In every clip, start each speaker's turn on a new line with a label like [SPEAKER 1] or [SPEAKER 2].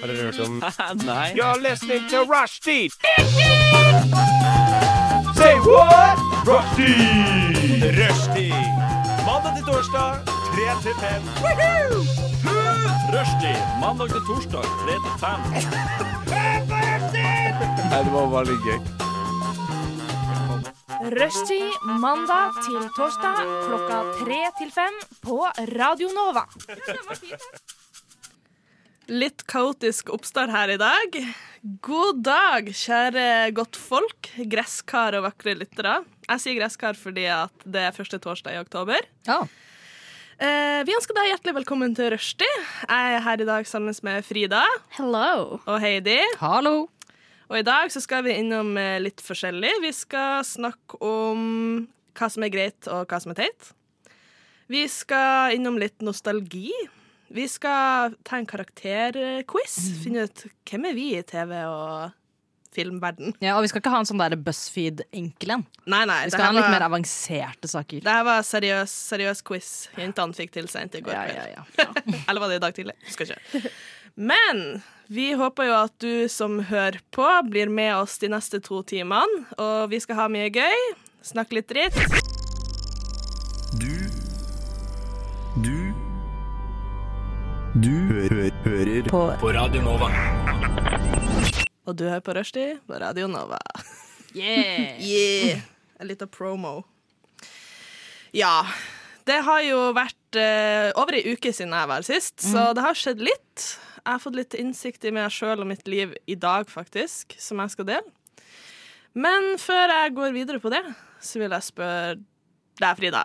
[SPEAKER 1] Har dere hørt om
[SPEAKER 2] Nei.
[SPEAKER 3] You're listening to Rushdie. Say what? Rushdie. Rushdie. Mandag til torsdag, 3 til 5. Rushdie. Mandag til torsdag, 3 til 5.
[SPEAKER 2] Nei, det var bare litt gøy.
[SPEAKER 4] Rushtid mandag til torsdag klokka tre til fem på Radio Nova.
[SPEAKER 5] Litt kaotisk oppstart her i dag. God dag, kjære godtfolk, gresskar og vakre lyttere. Jeg sier gresskar fordi at det er første torsdag i oktober.
[SPEAKER 6] Ja.
[SPEAKER 5] Eh, vi ønsker deg hjertelig velkommen til Rushdie. Jeg er her i dag sammen med Frida
[SPEAKER 4] Hello.
[SPEAKER 5] og Heidi.
[SPEAKER 6] Hallo.
[SPEAKER 5] Og i dag så skal vi innom eh, litt forskjellig. Vi skal snakke om hva som er greit, og hva som er teit. Vi skal innom litt nostalgi. Vi skal ta en karakterquiz.
[SPEAKER 6] Mm.
[SPEAKER 5] Finne ut hvem er vi i TV og filmverden.
[SPEAKER 6] Ja, og vi skal ikke ha en sånn der BuzzFeed-enkel en.
[SPEAKER 5] Nei, nei.
[SPEAKER 6] Vi
[SPEAKER 5] Det
[SPEAKER 6] skal ha
[SPEAKER 5] her
[SPEAKER 6] en litt mer
[SPEAKER 5] var,
[SPEAKER 6] avanserte saker.
[SPEAKER 5] det her var seriøs, seriøs quiz jentene fikk tilsendt i går
[SPEAKER 6] Ja,
[SPEAKER 5] kveld.
[SPEAKER 6] ja, ja.
[SPEAKER 5] Eller var det i dag tidlig? Husker ikke. Men vi håper jo at du som hører på, blir med oss de neste to timene. Og vi skal ha mye gøy. Snakke litt dritt.
[SPEAKER 7] Du Du Du hø hø hører på. på Radio Nova.
[SPEAKER 5] Og du hører på Rushdie på Radio Nova.
[SPEAKER 6] Yeah.
[SPEAKER 5] Yeah! En liten promo. Ja. Det har jo vært eh, over ei uke siden jeg var her sist, så
[SPEAKER 8] Mhm.
[SPEAKER 5] det har skjedd litt. Jeg har fått litt innsikt i meg sjøl og mitt liv i dag, faktisk, som jeg skal dele. Men før jeg går videre på det, så vil jeg spørre deg, Frida.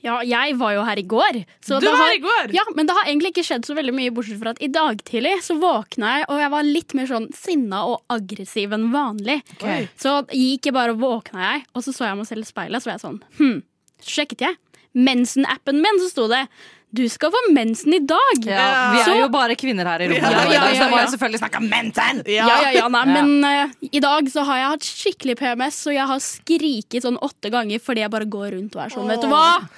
[SPEAKER 8] Ja, jeg var jo her i går. så
[SPEAKER 5] Du
[SPEAKER 8] det
[SPEAKER 5] var
[SPEAKER 8] har-
[SPEAKER 5] her i går!
[SPEAKER 8] Ja, Men det har egentlig ikke skjedd så veldig mye, bortsett fra at i dag tidlig så våkna jeg, og jeg var litt mer sånn sinna og aggressiv enn vanlig.
[SPEAKER 6] Ok.
[SPEAKER 8] Så gikk jeg bare og våkna, jeg, og så så jeg meg selv i speilet, så var jeg sånn hm. Så sjekket jeg. Mensen-appen min, så sto det 'Du skal få mensen i dag'.
[SPEAKER 6] Ja, vi er
[SPEAKER 8] Så-
[SPEAKER 6] jo bare kvinner her i rommet,
[SPEAKER 8] Ja,
[SPEAKER 6] nå i
[SPEAKER 8] ja,
[SPEAKER 6] dag, så
[SPEAKER 8] ja,
[SPEAKER 6] det må
[SPEAKER 8] ja.
[SPEAKER 6] jo selvfølgelig snakke om mensen!
[SPEAKER 8] Ja, ja, ja, nei,
[SPEAKER 6] Ja.
[SPEAKER 8] men eh, i dag så har jeg hatt skikkelig PMS, og jeg har skriket sånn åtte ganger fordi jeg bare går rundt og er sånn, vet du hva?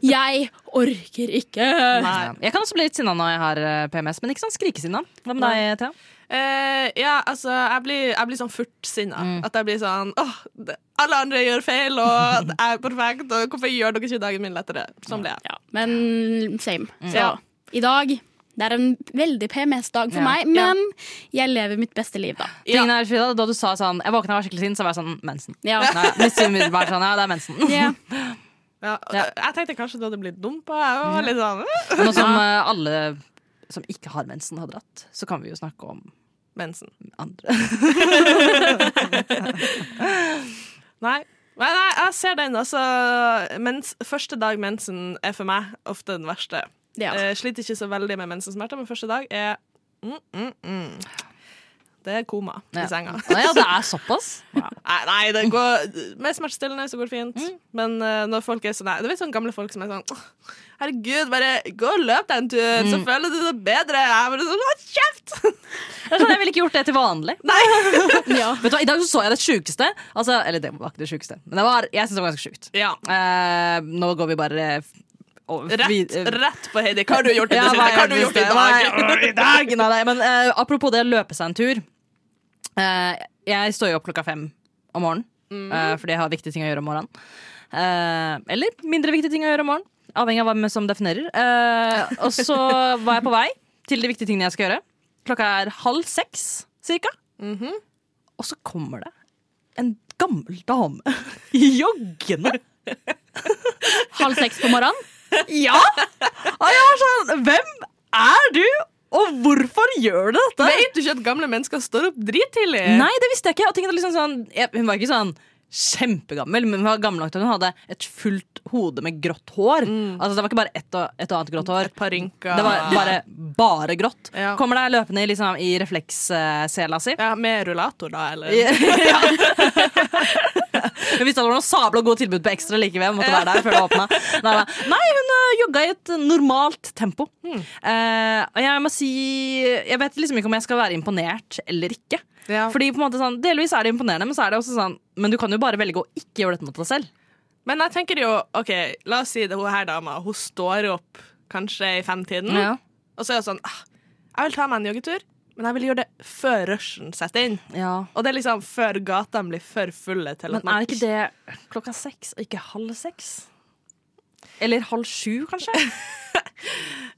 [SPEAKER 8] Jeg orker ikke.
[SPEAKER 6] Ja. Jeg kan også bli litt sinna når jeg har eh, PMS, men ikke sånn skrikesinna. Hva med deg, Thea?
[SPEAKER 5] Eh, ja, altså, jeg blir, jeg blir sånn furtsinna.
[SPEAKER 8] Mm.
[SPEAKER 5] At jeg blir sånn åh, det- alle andre gjør feil, og jeg er perfekt, og hvorfor gjør dere ikke dagen min lettere? Sånn blir jeg.
[SPEAKER 8] Ja, men same. Så
[SPEAKER 5] Ja.
[SPEAKER 8] i dag, det er en veldig PMS-dag for
[SPEAKER 6] Ja.
[SPEAKER 8] meg, men jeg lever mitt beste liv da.
[SPEAKER 5] Ja.
[SPEAKER 6] Tingen er, Frida, Da du sa sånn Jeg våkna og var skikkelig sint, så var jeg sånn Mensen.
[SPEAKER 8] Ja.
[SPEAKER 6] Nei, mistet umiddelbart sånn, ja, det er mensen.
[SPEAKER 8] Ja.
[SPEAKER 5] Ja, og
[SPEAKER 6] Ja.
[SPEAKER 5] Jeg tenkte kanskje du hadde blitt dumpa. Jeg var litt sånn øh,
[SPEAKER 6] Nå som eh, alle som ikke har mensen, har dratt, så kan vi jo snakke om
[SPEAKER 5] mensen.
[SPEAKER 6] andre.
[SPEAKER 5] Nei. Nei, nei, jeg ser den. Altså, mens, første dag mensen er for meg ofte den verste.
[SPEAKER 8] Ja.
[SPEAKER 5] Eh, sliter ikke så veldig med mensensmerter, men første dag er mm, mm, mm. Det er koma i
[SPEAKER 6] Ja.
[SPEAKER 5] senga.
[SPEAKER 6] Å Ja, det er såpass?
[SPEAKER 5] Nei, nei det går, med smertestillende så går det fint. Men eh, når folk er sånn nei, Du vet sånne gamle folk som er sånn «Åh, Herregud, bare gå og løp deg en tur, så føler du deg bedre. Jeg er bare sånn, Hold kjeft!
[SPEAKER 6] Det er sånn, jeg ville ikke gjort det til vanlig.
[SPEAKER 8] Ja.
[SPEAKER 6] Vet du hva, I dag så, så jeg det sjukeste. Altså, eller det var ikke det sjukeste, men det var, jeg syns det var ganske sjukt.
[SPEAKER 5] Ja.
[SPEAKER 6] Eh, nå går vi bare eh, over- vi-
[SPEAKER 5] Rett,
[SPEAKER 6] eh,
[SPEAKER 5] rett på Heidi. Hva har du gjort i det
[SPEAKER 6] Ja,
[SPEAKER 5] siste?
[SPEAKER 6] hva
[SPEAKER 5] Hva har du gjort i dag?
[SPEAKER 6] Hva har jeg gjort i dag? Nei, nei, men eh, apropos det å løpe seg en tur. Eh, jeg står jo opp klokka fem om morgenen eh, fordi jeg har viktige ting å gjøre om morgenen. Eh, eller mindre viktige ting å gjøre om morgenen. Avhengig av hvem som definerer. Eh, og så var jeg på vei til de viktige tingene jeg skal gjøre. Klokka er halv seks cirka. Og så kommer det en gammel dame joggende.
[SPEAKER 8] Halv seks på morgenen.
[SPEAKER 6] Ja! Og jeg var sånn Hvem er du, og hvorfor gjør du dette?
[SPEAKER 5] Vet du ikke at gamle mennesker står opp drittidlig?
[SPEAKER 6] Nei, det visste jeg ikke. Og tenkte liksom sånn, jeg, hun var ikke sånn kjempegammel, men hun var gammel nok til at hun hadde et fullt hode med grått hår. Altså Det var ikke bare ett og, et og annet grått hår.
[SPEAKER 5] Et par rynker.
[SPEAKER 6] Det var bare, bare grått.
[SPEAKER 5] Ja.
[SPEAKER 6] Kommer deg løpende i, liksom, i reflekssela si.
[SPEAKER 5] ja, Med rullator, da, eller?
[SPEAKER 6] Ja. Hun visste at det var noen sabla gode tilbud på ekstra likevel. Måtte være der før det åpna. Nei, nei. nei, hun ø, jogga i et normalt tempo. Eh, og jeg må si Jeg vet liksom ikke om jeg skal være imponert eller ikke.
[SPEAKER 5] Ja.
[SPEAKER 6] Fordi på en måte sånn, Delvis er det imponerende, men så er det også sånn Men du kan jo bare velge å ikke gjøre dette mot deg selv.
[SPEAKER 5] Men jeg tenker jo, ok, la oss si det hun her dama, hun står opp kanskje i femtiden,
[SPEAKER 6] Ja.
[SPEAKER 5] og så er hun sånn, ah, jeg vil ta meg en joggetur, Men jeg vil gjøre det før rushen setter inn.
[SPEAKER 6] Ja.
[SPEAKER 5] Og det er liksom før gatene blir for fulle til at
[SPEAKER 6] Men er ikke det klokka seks, og ikke halv seks? Eller halv sju, kanskje?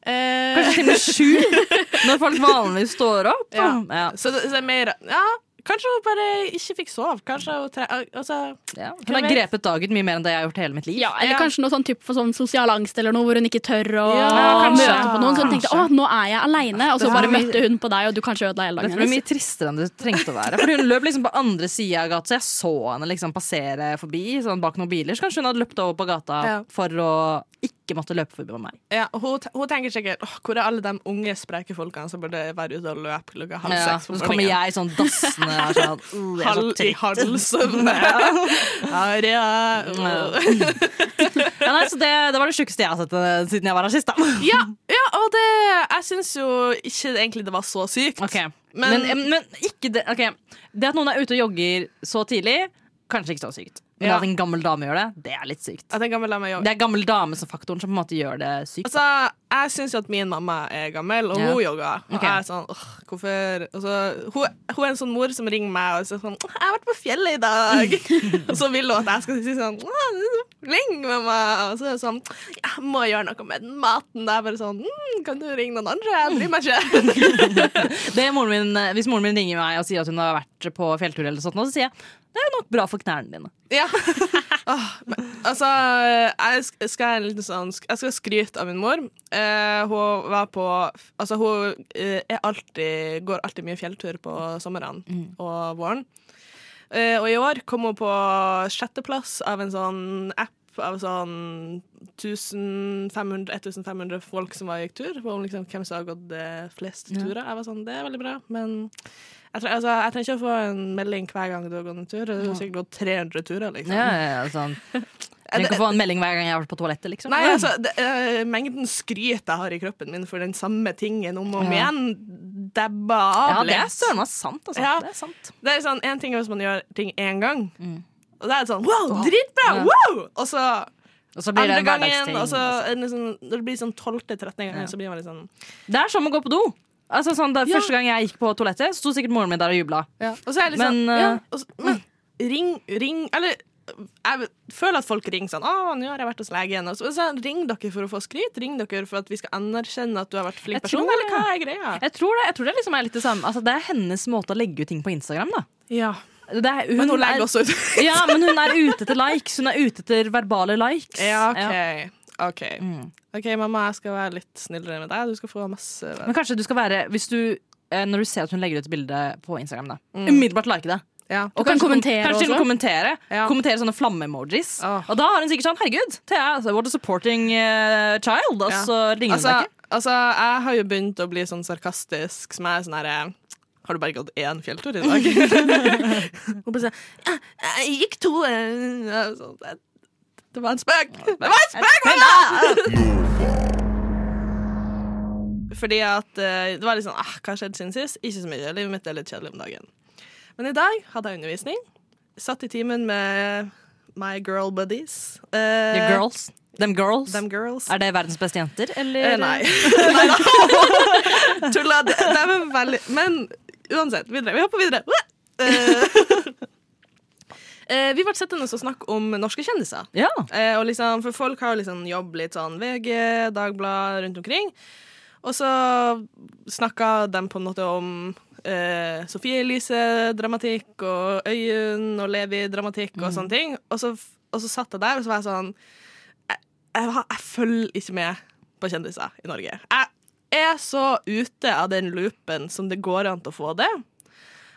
[SPEAKER 5] Eh,
[SPEAKER 6] Kanskje til og med sju, når folk vanligvis står opp.
[SPEAKER 5] ja.
[SPEAKER 6] Ja.
[SPEAKER 5] Så det så det er mer Ja, kanskje hun bare ikke fikk sove. Kanskje hun tre... Altså
[SPEAKER 6] Ja. Hun har grepet dagen mye mer enn det jeg har gjort hele mitt liv.
[SPEAKER 8] Ja, eller
[SPEAKER 5] Ja.
[SPEAKER 8] kanskje noe sånn typ for sånn sosial angst eller noe, hvor hun ikke tør å
[SPEAKER 5] Ja,
[SPEAKER 8] møte
[SPEAKER 5] kanskje.
[SPEAKER 8] på noen. Så hun tenkte
[SPEAKER 6] Kanskje.
[SPEAKER 8] å, nå er jeg aleine, og så
[SPEAKER 6] Ja.
[SPEAKER 8] bare møtte hun på deg, og du kanskje ødela hele
[SPEAKER 6] Dette
[SPEAKER 8] dagen
[SPEAKER 6] ble mye
[SPEAKER 8] hennes.
[SPEAKER 6] tristere enn det trengte å være. Fordi Hun løp liksom på andre sida av gata, så jeg så henne liksom passere forbi sånn bak noen biler. Så kanskje hun hadde løpt over på gata
[SPEAKER 5] Ja.
[SPEAKER 6] for å ikke måtte løpe forbi meg.
[SPEAKER 5] ja, hun, te- hun tenker sikkert Åh, hvor er alle de unge, spreke folkene som burde være ute og løpe klokka halv
[SPEAKER 6] Ja,
[SPEAKER 5] seks
[SPEAKER 6] så
[SPEAKER 5] på
[SPEAKER 6] kommer
[SPEAKER 5] morgenen?
[SPEAKER 6] jeg sånn dassende her sånn «Uh, jeg er så
[SPEAKER 5] Halv i
[SPEAKER 6] trett».
[SPEAKER 5] halsen. Aria.
[SPEAKER 6] ja, nei, så det, det var det sjukeste jeg har sett eh, siden jeg var her sist, da.
[SPEAKER 5] Ja, ja, og det Jeg syns jo ikke egentlig det var så sykt.
[SPEAKER 6] Ok,
[SPEAKER 5] Men-
[SPEAKER 6] Men, men, ikke det ok. Det at noen er ute og jogger så tidlig, kanskje ikke så sykt. Men
[SPEAKER 5] Ja.
[SPEAKER 6] at en gammel dame gjør det, det er litt sykt.
[SPEAKER 5] At jeg kan vel la meg jobbe.
[SPEAKER 6] Det er gammel dame som faktoren som på en måte gjør det sykt.
[SPEAKER 5] Altså, jeg syns jo at min mamma er gammel, og
[SPEAKER 6] Ja.
[SPEAKER 5] hun jogger. Og
[SPEAKER 6] Ok.
[SPEAKER 5] jeg er sånn, åh, hvorfor og så, hun, hun er en sånn mor som ringer meg og sier sånn «Åh, 'Jeg har vært på fjellet i dag.' og så vil hun at jeg skal si sånn «Åh, det er så flink, mamma.' Og så er det sånn 'Jeg må gjøre noe med den maten.' Det er bare sånn mm, 'Kan du ringe noen andre? Jeg bryr meg ikke.'
[SPEAKER 6] Det er moren min, eh, hvis moren min ringer meg og sier at hun har vært på fjelltur, eller sånt, nå, så sier jeg det er nok bra for knærne dine.
[SPEAKER 5] ja. Åh, men, altså, jeg sk- skal, ha en liten sånn, sk- jeg skal skryte av min mor. Eh, hun var på Altså, hun eh, er alltid, går alltid mye fjelltur på somrene og våren. Eh, og i år kom hun på sjetteplass av en sånn app av sånn 1500 1500 folk som var gikk tur. Hvor hun liksom, hvem som har gått eh, flest turer. Jeg var sånn, det er veldig bra, men jeg, tre, altså, jeg trenger ikke å få en melding hver gang du har gått en tur. Du har sikkert gått 300 turer, liksom.
[SPEAKER 6] Ja, ja, ja, sånn. Trenger ikke å få en melding hver gang jeg har vært på toalettet. liksom
[SPEAKER 5] Nei, altså, det, eh, mengden skryt jeg har i kroppen min for den samme tingen om og om
[SPEAKER 6] Ja.
[SPEAKER 5] igjen, dabba av
[SPEAKER 6] ja, det er
[SPEAKER 5] litt.
[SPEAKER 6] søren meg sant. Altså.
[SPEAKER 5] Ja.
[SPEAKER 6] Det er sant.
[SPEAKER 5] Det er sånn, en ting er hvis man gjør ting én gang, og da er det sånn wow, dritbra! Wow! Og så
[SPEAKER 6] Og så blir Mm.
[SPEAKER 5] andre
[SPEAKER 6] det en
[SPEAKER 5] gangen,
[SPEAKER 6] hverdagsting.
[SPEAKER 5] og så
[SPEAKER 6] altså.
[SPEAKER 5] er det liksom, når det blir sånn 12.-13. gangen, så blir man litt sånn
[SPEAKER 6] Det er som å gå på do. Altså, sånn, da,
[SPEAKER 5] Ja.
[SPEAKER 6] Første gang jeg gikk på toalettet, sto sikkert moren min der og jubla.
[SPEAKER 5] Og så er jeg litt
[SPEAKER 6] Men,
[SPEAKER 5] sånn ja,
[SPEAKER 6] eh,
[SPEAKER 5] og så, Men ring, ring Eller jeg føler at folk ringer sånn 'Å, nå har jeg vært hos legen.' Og så, så ring dere for å få skryt. Ring dere for at vi skal anerkjenne at du har vært flink
[SPEAKER 6] Jeg
[SPEAKER 5] person,
[SPEAKER 6] tror
[SPEAKER 5] eller hva er greia?
[SPEAKER 6] Jeg tror det, jeg tror det liksom er litt det samme. Altså, det er hennes måte å legge ut ting på Instagram. Da.
[SPEAKER 5] Ja.
[SPEAKER 6] Det er,
[SPEAKER 5] Men hun
[SPEAKER 6] er-
[SPEAKER 5] legger også ut.
[SPEAKER 6] Ja, men hun er ute etter likes. Hun er ute etter verbale likes.
[SPEAKER 5] ja, Mm. OK.
[SPEAKER 6] Ja.
[SPEAKER 5] OK. OK, mamma, jeg skal være litt snillere med deg. Du skal få masse
[SPEAKER 6] Men kanskje du skal være Hvis du eh, når du ser at hun legger ut et bilde på Instagram, da, umiddelbart like det.
[SPEAKER 5] Ja.
[SPEAKER 6] Og
[SPEAKER 8] Mm. kan
[SPEAKER 6] kanskje kom-
[SPEAKER 8] kommentere
[SPEAKER 6] kanskje til og med
[SPEAKER 8] også.
[SPEAKER 6] kommentere,
[SPEAKER 5] Ja.
[SPEAKER 6] kommentere sånne flamme-emojis.
[SPEAKER 5] Åh.
[SPEAKER 6] Og da har hun sikkert sånn Herregud, Thea, altså, what a supporting eh, child. Og
[SPEAKER 5] Ja.
[SPEAKER 6] så ringer
[SPEAKER 5] Altså,
[SPEAKER 6] hun deg ikke.
[SPEAKER 5] altså, jeg har jo begynt å bli sånn sarkastisk, som er sånn herre Har du bare gått én fjelltur i dag? Og bare sånn «Ja, Jeg gikk to eh, ja, sånn, det- Det var en spøk! Det var en spøk! mamma! Fordi at eh, det var litt sånn ah, Hva skjedde siden sist? Ikke så mye. Livet mitt er litt kjedelig om dagen. Men i dag hadde jeg undervisning. Satt i timen med my girl buddies. Eh,
[SPEAKER 6] The girls. Them girls.
[SPEAKER 5] Them girls.
[SPEAKER 6] Er det verdens beste jenter, eller?
[SPEAKER 5] Eh, nei. Neida. Tulla. Det, det er vel veldig Men uansett, videre. Vi hopper videre. Eh, eh, vi ble sittende og snakke om norske kjendiser.
[SPEAKER 6] Ja.
[SPEAKER 5] Eh, og liksom, for folk har jo liksom jobb litt sånn VG, Dagblad, rundt omkring. Og så snakka de på en måte om eh, Sofie Elise-dramatikk og Øyunn og Levi-dramatikk og sånne ting. Og så, og så satt jeg der, og så var jeg sånn Jeg, jeg, har- jeg følger ikke med på kjendiser i Norge. Jeg er så ute av den loopen som det går an til å få det.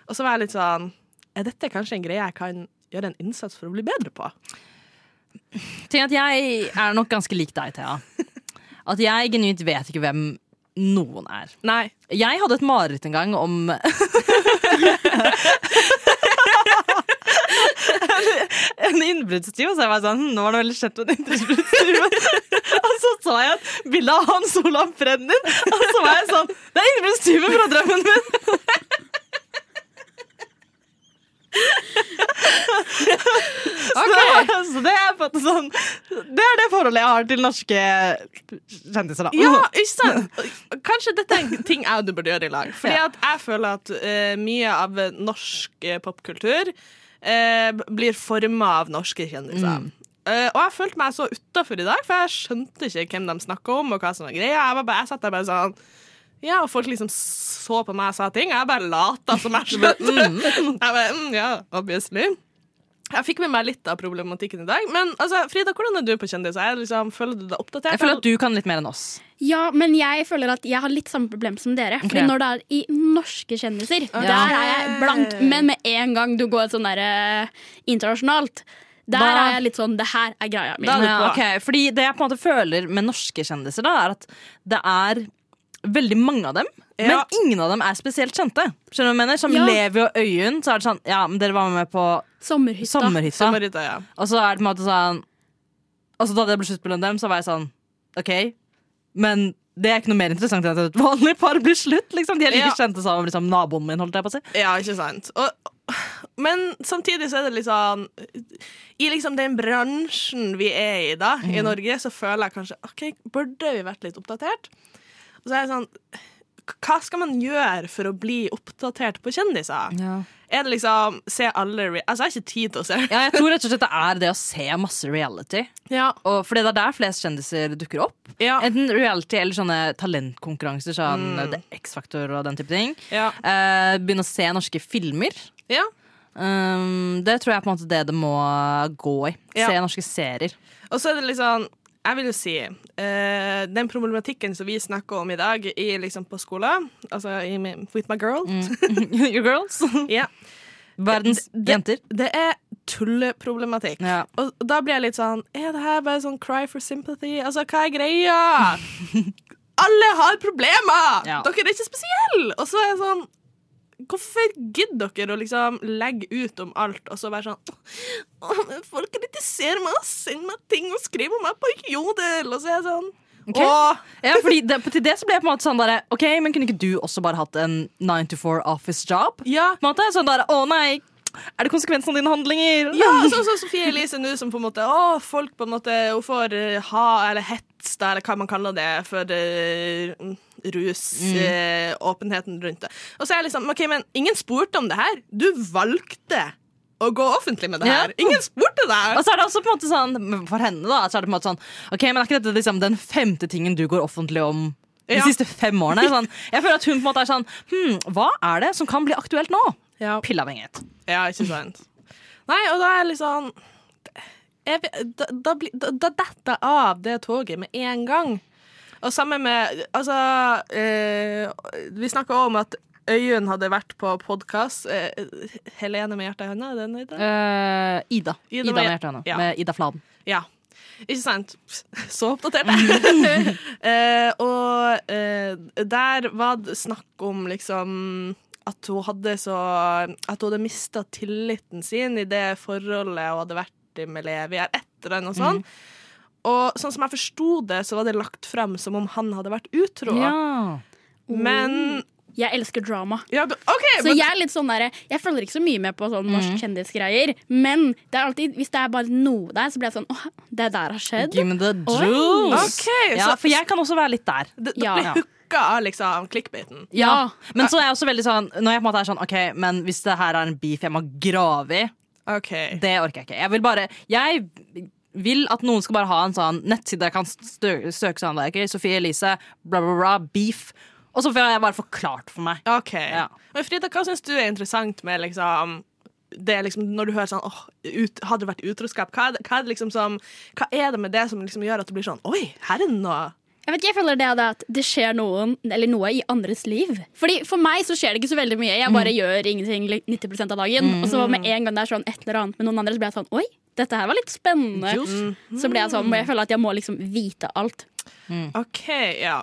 [SPEAKER 5] Og så var jeg litt sånn Er dette kanskje en greie jeg kan gjøre en innsats for å bli bedre på?
[SPEAKER 6] Tenk at jeg er nok ganske lik deg, Thea. At jeg genuint vet ikke hvem noen er.
[SPEAKER 5] Nei.
[SPEAKER 6] Jeg hadde et mareritt en gang om En innbruddstyv, og så jeg var sånn, «Hm, nå var det veldig kjent med en innbruddstyv. og så så jeg et bilde av Hans Olav Brenner, og så var jeg sånn Det er innbruddstyven fra drømmen min! Ok, Så det er, på en måte sånn, det er det forholdet jeg har til norske kjendiser, da.
[SPEAKER 5] Ja, ikke sant? Kanskje dette er en ting jeg og du burde gjøre i lag. Fordi
[SPEAKER 6] Ja.
[SPEAKER 5] at jeg føler at eh, mye av norsk eh, popkultur eh, blir forma av norske kjendiser.
[SPEAKER 6] Mm.
[SPEAKER 5] Eh, og jeg følte meg så utafor i dag, for jeg skjønte ikke hvem de snakka om. og hva som var greia. Jeg, var bare, jeg satt der bare sånn Ja, og folk liksom så på meg og sa ting. Jeg bare lata som jeg skjønte. Jeg bare, mm, ja, obviously. Jeg fikk med meg litt av problematikken i dag. Men altså, Frida, hvordan er du på kjendiser? Jeg Liksom, føler du deg oppdatert?
[SPEAKER 6] Jeg føler at du kan litt mer enn oss.
[SPEAKER 8] Ja, men jeg føler at jeg har litt samme problem som dere. Fordi
[SPEAKER 6] Ok.
[SPEAKER 8] når det er i norske kjendiser, der er jeg blank. Men med en gang du går sånn der eh, internasjonalt, der
[SPEAKER 6] Da-
[SPEAKER 8] er jeg litt sånn Det her er greia mi.
[SPEAKER 5] Da er du
[SPEAKER 6] Ja,
[SPEAKER 5] på.
[SPEAKER 6] ok. Fordi det jeg på en måte føler med norske kjendiser, da, er at det er veldig mange av dem.
[SPEAKER 5] Ja.
[SPEAKER 6] Men ingen av dem er spesielt kjente. Skjønner du hva jeg mener? Som
[SPEAKER 8] Ja.
[SPEAKER 6] Levi og Øyunn. Så er det sånn Ja, men dere var med på
[SPEAKER 8] Sommerhytta.
[SPEAKER 6] Sommerhytta.
[SPEAKER 5] Samarita, ja.
[SPEAKER 6] Og så er det på en måte sånn Og så da det ble slutt mellom dem, så var jeg sånn OK, men det er ikke noe mer interessant enn at et vanlig par blir slutt. Liksom. De er like
[SPEAKER 5] Ja.
[SPEAKER 6] kjente som liksom, naboen min, holdt jeg på å si.
[SPEAKER 5] Ja, ikke sant. Og, men samtidig så er det litt sånn I liksom den bransjen vi er i da, i Norge, så føler jeg kanskje OK, burde vi vært litt oppdatert? Og så er jeg sånn Hva skal man gjøre for å bli oppdatert på kjendiser?
[SPEAKER 6] Ja.
[SPEAKER 5] Er det liksom Se alle re Altså, jeg har ikke tid til å se.
[SPEAKER 6] Ja, jeg tror rett og slett det er det å se masse reality.
[SPEAKER 5] Ja.
[SPEAKER 6] Og fordi det er der flest kjendiser dukker opp.
[SPEAKER 5] Ja. Mm.
[SPEAKER 6] Enten reality eller sånne talentkonkurranser. Sånn The X-Factor og den type ting.
[SPEAKER 5] Ja.
[SPEAKER 6] Eh, begynne å se norske filmer.
[SPEAKER 5] ja.
[SPEAKER 6] Um, det tror jeg er på en måte det det må gå i.
[SPEAKER 5] Ja.
[SPEAKER 6] Se norske serier.
[SPEAKER 5] Og så er det liksom Jeg vil jo si eh, Den problematikken som vi snakker om i dag i, liksom, på skolen, altså i, min- with my girl
[SPEAKER 6] Mm. Your girls.
[SPEAKER 5] Ja.
[SPEAKER 6] Verdens jenter.
[SPEAKER 5] Det er tulleproblematikk.
[SPEAKER 6] Ja.
[SPEAKER 5] Og da blir jeg litt sånn Er det her bare sånn cry for sympathy? Altså, hva er greia? Alle har problemer!
[SPEAKER 6] Ja.
[SPEAKER 5] Dere er ikke spesielle! Og så er jeg sånn Hvorfor gidder dere å liksom legge ut om alt, og så være sånn «Åh, men Folk kritiserer meg og sender meg ting og skriver om meg på Jodel! Og så er jeg sånn
[SPEAKER 6] Ok.
[SPEAKER 5] Åh,
[SPEAKER 6] Ja, fordi det, til det så ble jeg på en måte sånn der, Ok, men kunne ikke du også bare hatt en 9 to 4 office job?
[SPEAKER 5] ja.
[SPEAKER 6] På en måte, sånn der, Å nei, er det konsekvensen av dine handlinger?
[SPEAKER 5] Ja, sånn som Sofie Elise nå, som på en måte Å, folk på en måte Hun får eh, ha, eller hets, da, eller hva man kaller det, for eh, rus, eh, åpenheten rundt det. Og så er jeg liksom OK, men ingen spurte om det her. Du valgte å gå offentlig med det
[SPEAKER 6] Ja. Altså,
[SPEAKER 5] her. Ingen spurte deg!
[SPEAKER 6] Og så er det også på en måte sånn For henne da Så er det på en måte sånn Ok, men er ikke dette liksom den femte tingen du går offentlig om De
[SPEAKER 5] Ja.
[SPEAKER 6] siste fem årene sånn, Jeg føler at hun på en måte er sånn hmm, Hva er det som kan bli aktuelt nå?
[SPEAKER 5] Ja.
[SPEAKER 6] Pillavhengighet
[SPEAKER 5] ja, ikke sant. Nei, og da er jeg liksom jeg, vet- da, da, blir- da, da detter jeg av det toget med en gang. Og sammen med Altså, eh, vi snakka om at Øyunn hadde vært på podkast. Eh, Helene med hjertet i hånda, er det den heter?
[SPEAKER 6] Eh, Ida
[SPEAKER 5] Ida
[SPEAKER 6] Ida,
[SPEAKER 5] var-
[SPEAKER 6] med hjertet henne
[SPEAKER 5] ja.
[SPEAKER 6] Med Ida Fladen
[SPEAKER 5] Ja. Ikke sant? Så oppdatert jeg eh, Og eh, der var det snakk om liksom at hun hadde så At hun hadde mista tilliten sin i det forholdet hun hadde vært i med Levi, eller et eller annet sånt.
[SPEAKER 8] Mhm.
[SPEAKER 5] Og sånn som jeg forsto det, så var det lagt frem som om han hadde vært utro. Men
[SPEAKER 8] Jeg elsker drama.
[SPEAKER 5] ja, du, OK!
[SPEAKER 8] Så
[SPEAKER 5] men,
[SPEAKER 8] jeg er litt sånn der, jeg følger ikke så mye med på sånn norsk kjendisgreier. Men det er alltid, hvis det er bare noe der, så blir jeg sånn åh, det der har skjedd.
[SPEAKER 6] Give me the juice
[SPEAKER 5] Ok,
[SPEAKER 6] Ja,
[SPEAKER 5] så-
[SPEAKER 6] for jeg kan også være litt der
[SPEAKER 5] det, det
[SPEAKER 8] Ja.
[SPEAKER 5] blir hooka av liksom clickbaiten.
[SPEAKER 6] ja. men så er jeg også veldig sånn Når jeg på en måte er sånn Ok, men hvis det her er en beef jeg må grave i
[SPEAKER 5] OK.
[SPEAKER 6] Det orker jeg ikke. Jeg vil bare Jeg vil at noen skal bare ha en sånn nettside jeg kan stø søke sånn der. ok, Sofie Elise, bla, bla, bla, beef. Og så får jeg bare forklart for meg.
[SPEAKER 5] Ok.
[SPEAKER 6] Ja.
[SPEAKER 5] Men Frida, hva syns du er interessant med liksom det er liksom, når du hører sånn åh, ut, Hadde det vært utroskap? Hva er, det, hva, er det liksom som, hva er det med det som liksom gjør at det blir sånn Oi, her er det noe
[SPEAKER 8] Jeg vet ikke, jeg føler det, er det at det skjer noen, eller noe i andres liv. Fordi For meg så skjer det ikke så veldig mye. Jeg bare gjør ingenting li- 90 av dagen. Og så med en gang det er sånn et eller annet med noen andre, så blir jeg sånn Oi, dette her var litt spennende. Så blir jeg sånn, jeg føler at jeg må liksom vite alt.
[SPEAKER 6] Mm.
[SPEAKER 5] OK, ja.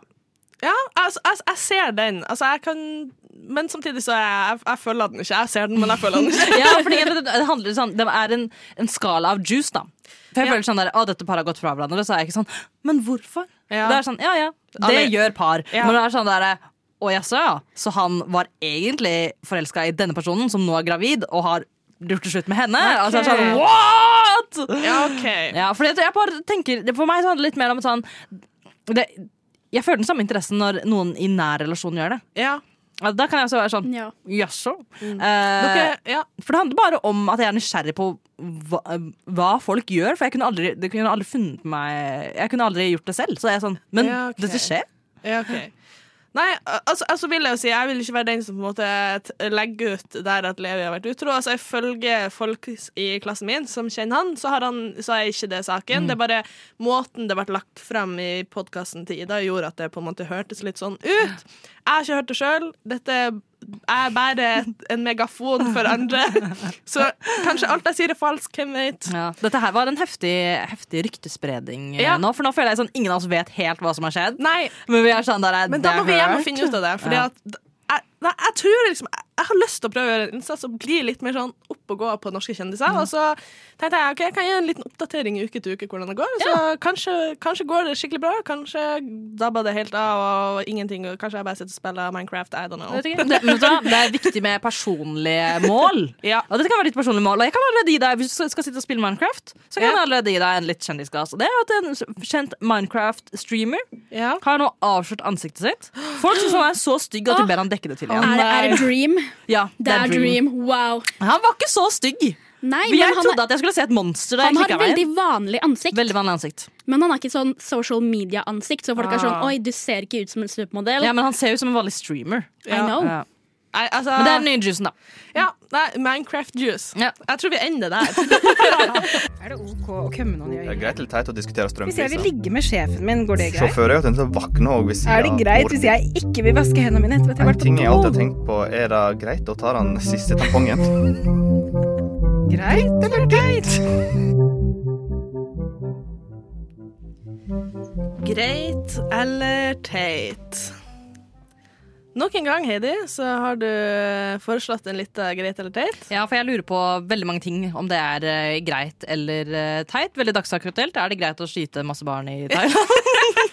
[SPEAKER 5] Ja, altså, altså, jeg ser den. Altså, jeg kan Men samtidig så er jeg, jeg føler den ikke. Jeg ser den, men jeg føler den ikke.
[SPEAKER 6] Ja, fordi det, det handler sånn Det er en, en skala av juice, da. For jeg
[SPEAKER 5] Ja.
[SPEAKER 6] føler sånn der, Å, dette paret har gått fra hverandre. Så er jeg ikke sånn Men hvorfor?
[SPEAKER 5] Ja.
[SPEAKER 6] Det er sånn, ja ja, det
[SPEAKER 5] Alle-
[SPEAKER 6] gjør par.
[SPEAKER 5] Ja.
[SPEAKER 6] Men det er sånn derre å jaså, ja. Så han var egentlig forelska i denne personen, som nå er gravid, og har gjort det slutt med henne. Altså, jeg er
[SPEAKER 4] Ok.
[SPEAKER 6] sånn, what?
[SPEAKER 5] Ja, OK.
[SPEAKER 6] Ja, for jeg, jeg bare tenker det- For meg så handler det litt mer om et sånn det, Jeg føler den samme interessen når noen i nær relasjon gjør det.
[SPEAKER 5] Ja.
[SPEAKER 6] Ja, Da kan jeg også være sånn
[SPEAKER 8] Ja.
[SPEAKER 6] Jaså?
[SPEAKER 5] Mm. Dere,
[SPEAKER 6] Eh,
[SPEAKER 5] ja.
[SPEAKER 6] for det handler bare om at jeg er nysgjerrig på hva, hva folk gjør. For jeg kunne aldri, det kunne aldri funnet meg Jeg kunne aldri gjort det selv. Så jeg er sånn Men
[SPEAKER 5] Ja, ok.
[SPEAKER 6] dette skjer.
[SPEAKER 5] Ja, ok. Nei, altså, altså vil jeg jo si Jeg vil ikke være den som på en måte t- legger ut der at Levi har vært utro. Altså, Ifølge folk s- i klassen min som kjenner han, så, har han, så er ikke det saken. Det er bare måten det ble lagt frem i podkasten til Ida, gjorde at det på en måte hørtes litt sånn ut. Jeg har ikke hørt det sjøl. Dette er bare et- en megafon for andre. Så kanskje alt jeg sier er falskt. Hvem vet?
[SPEAKER 6] Dette her var en heftig, heftig ryktespredning eh,
[SPEAKER 5] Ja.
[SPEAKER 6] nå, for nå føler jeg sånn ingen av oss vet helt hva som har skjedd.
[SPEAKER 5] Nei,
[SPEAKER 6] Men vi er sånn der
[SPEAKER 5] Men da må vi hjem og finne ut av det. Fordi
[SPEAKER 6] Ja.
[SPEAKER 5] at jeg, nei, jeg tror liksom jeg, jeg har lyst til å prøve å gjøre en innsats og bli litt mer sånn opp og gå på norske kjendiser.
[SPEAKER 6] Mm.
[SPEAKER 5] Og så tenkte jeg ok, jeg kan gi en liten oppdatering uke til uke hvordan det går. Så kanskje, kanskje går det skikkelig bra. Kanskje dabber det helt av og ingenting. Og kanskje jeg bare sitter og spiller Minecraft. I don't know.
[SPEAKER 6] Det, men vet du hva? det er viktig med personlige mål.
[SPEAKER 5] Ja.
[SPEAKER 6] Og dette kan være ditt personlige mål. Og jeg kan allerede gi deg, Hvis du skal sitte og spille Minecraft, så
[SPEAKER 5] Ja.
[SPEAKER 6] kan jeg allerede gi deg en litt kjendisgass. Og det er at En kjent Minecraft-streamer
[SPEAKER 5] Ja.
[SPEAKER 6] har nå avslørt ansiktet sitt. Folk syns han er så stygg at de ber han dekke det til igjen.
[SPEAKER 8] Er det, er det dream?
[SPEAKER 6] Ja,
[SPEAKER 8] Det er dream. Wow.
[SPEAKER 6] Han var ikke så stygg.
[SPEAKER 8] Nei,
[SPEAKER 6] Jeg
[SPEAKER 8] men han,
[SPEAKER 6] trodde at jeg skulle se et monster. Da
[SPEAKER 8] han
[SPEAKER 6] jeg klikket
[SPEAKER 8] har
[SPEAKER 6] veien.
[SPEAKER 8] veldig vanlig ansikt,
[SPEAKER 6] veldig vanlig ansikt.
[SPEAKER 8] men han har ikke sånn social media-ansikt. Så folk er sånn
[SPEAKER 6] Ah.
[SPEAKER 8] Oi, du ser ikke ut som en supermodell.
[SPEAKER 6] Ja, Men han ser ut som en vanlig streamer.
[SPEAKER 8] I know.
[SPEAKER 6] Ja.
[SPEAKER 5] Nei, altså,
[SPEAKER 6] Men det er den nye juicen, da.
[SPEAKER 5] ja, nei, Minecraft juice.
[SPEAKER 6] Ja.
[SPEAKER 5] Jeg tror vi ender der.
[SPEAKER 1] Er det OK å kømme noen i
[SPEAKER 2] Det er
[SPEAKER 1] øyet?
[SPEAKER 2] greit eller teit å diskutere
[SPEAKER 1] Hvis jeg vil
[SPEAKER 2] strømpriser.
[SPEAKER 1] ligge med sjefen min, går det greit?
[SPEAKER 2] Sjåfører er jo tenkt til å våkne òg hvis
[SPEAKER 1] Er det greit hvis jeg ikke vil vaske hendene mine etter at jeg har
[SPEAKER 2] En
[SPEAKER 1] vært
[SPEAKER 2] ting jeg
[SPEAKER 1] på
[SPEAKER 2] alltid har
[SPEAKER 1] do?
[SPEAKER 2] tenkt på, er det greit å ta den siste tampongen?
[SPEAKER 1] Greit eller teit?
[SPEAKER 5] Greit eller teit? Nok en gang, Heidi, så har du foreslått en liten greit eller teit.
[SPEAKER 6] Ja, for jeg lurer på veldig mange ting. Om det er eh, greit eller eh, teit. Veldig dagsaktuelt. Er det greit å skyte masse barn i Thailand?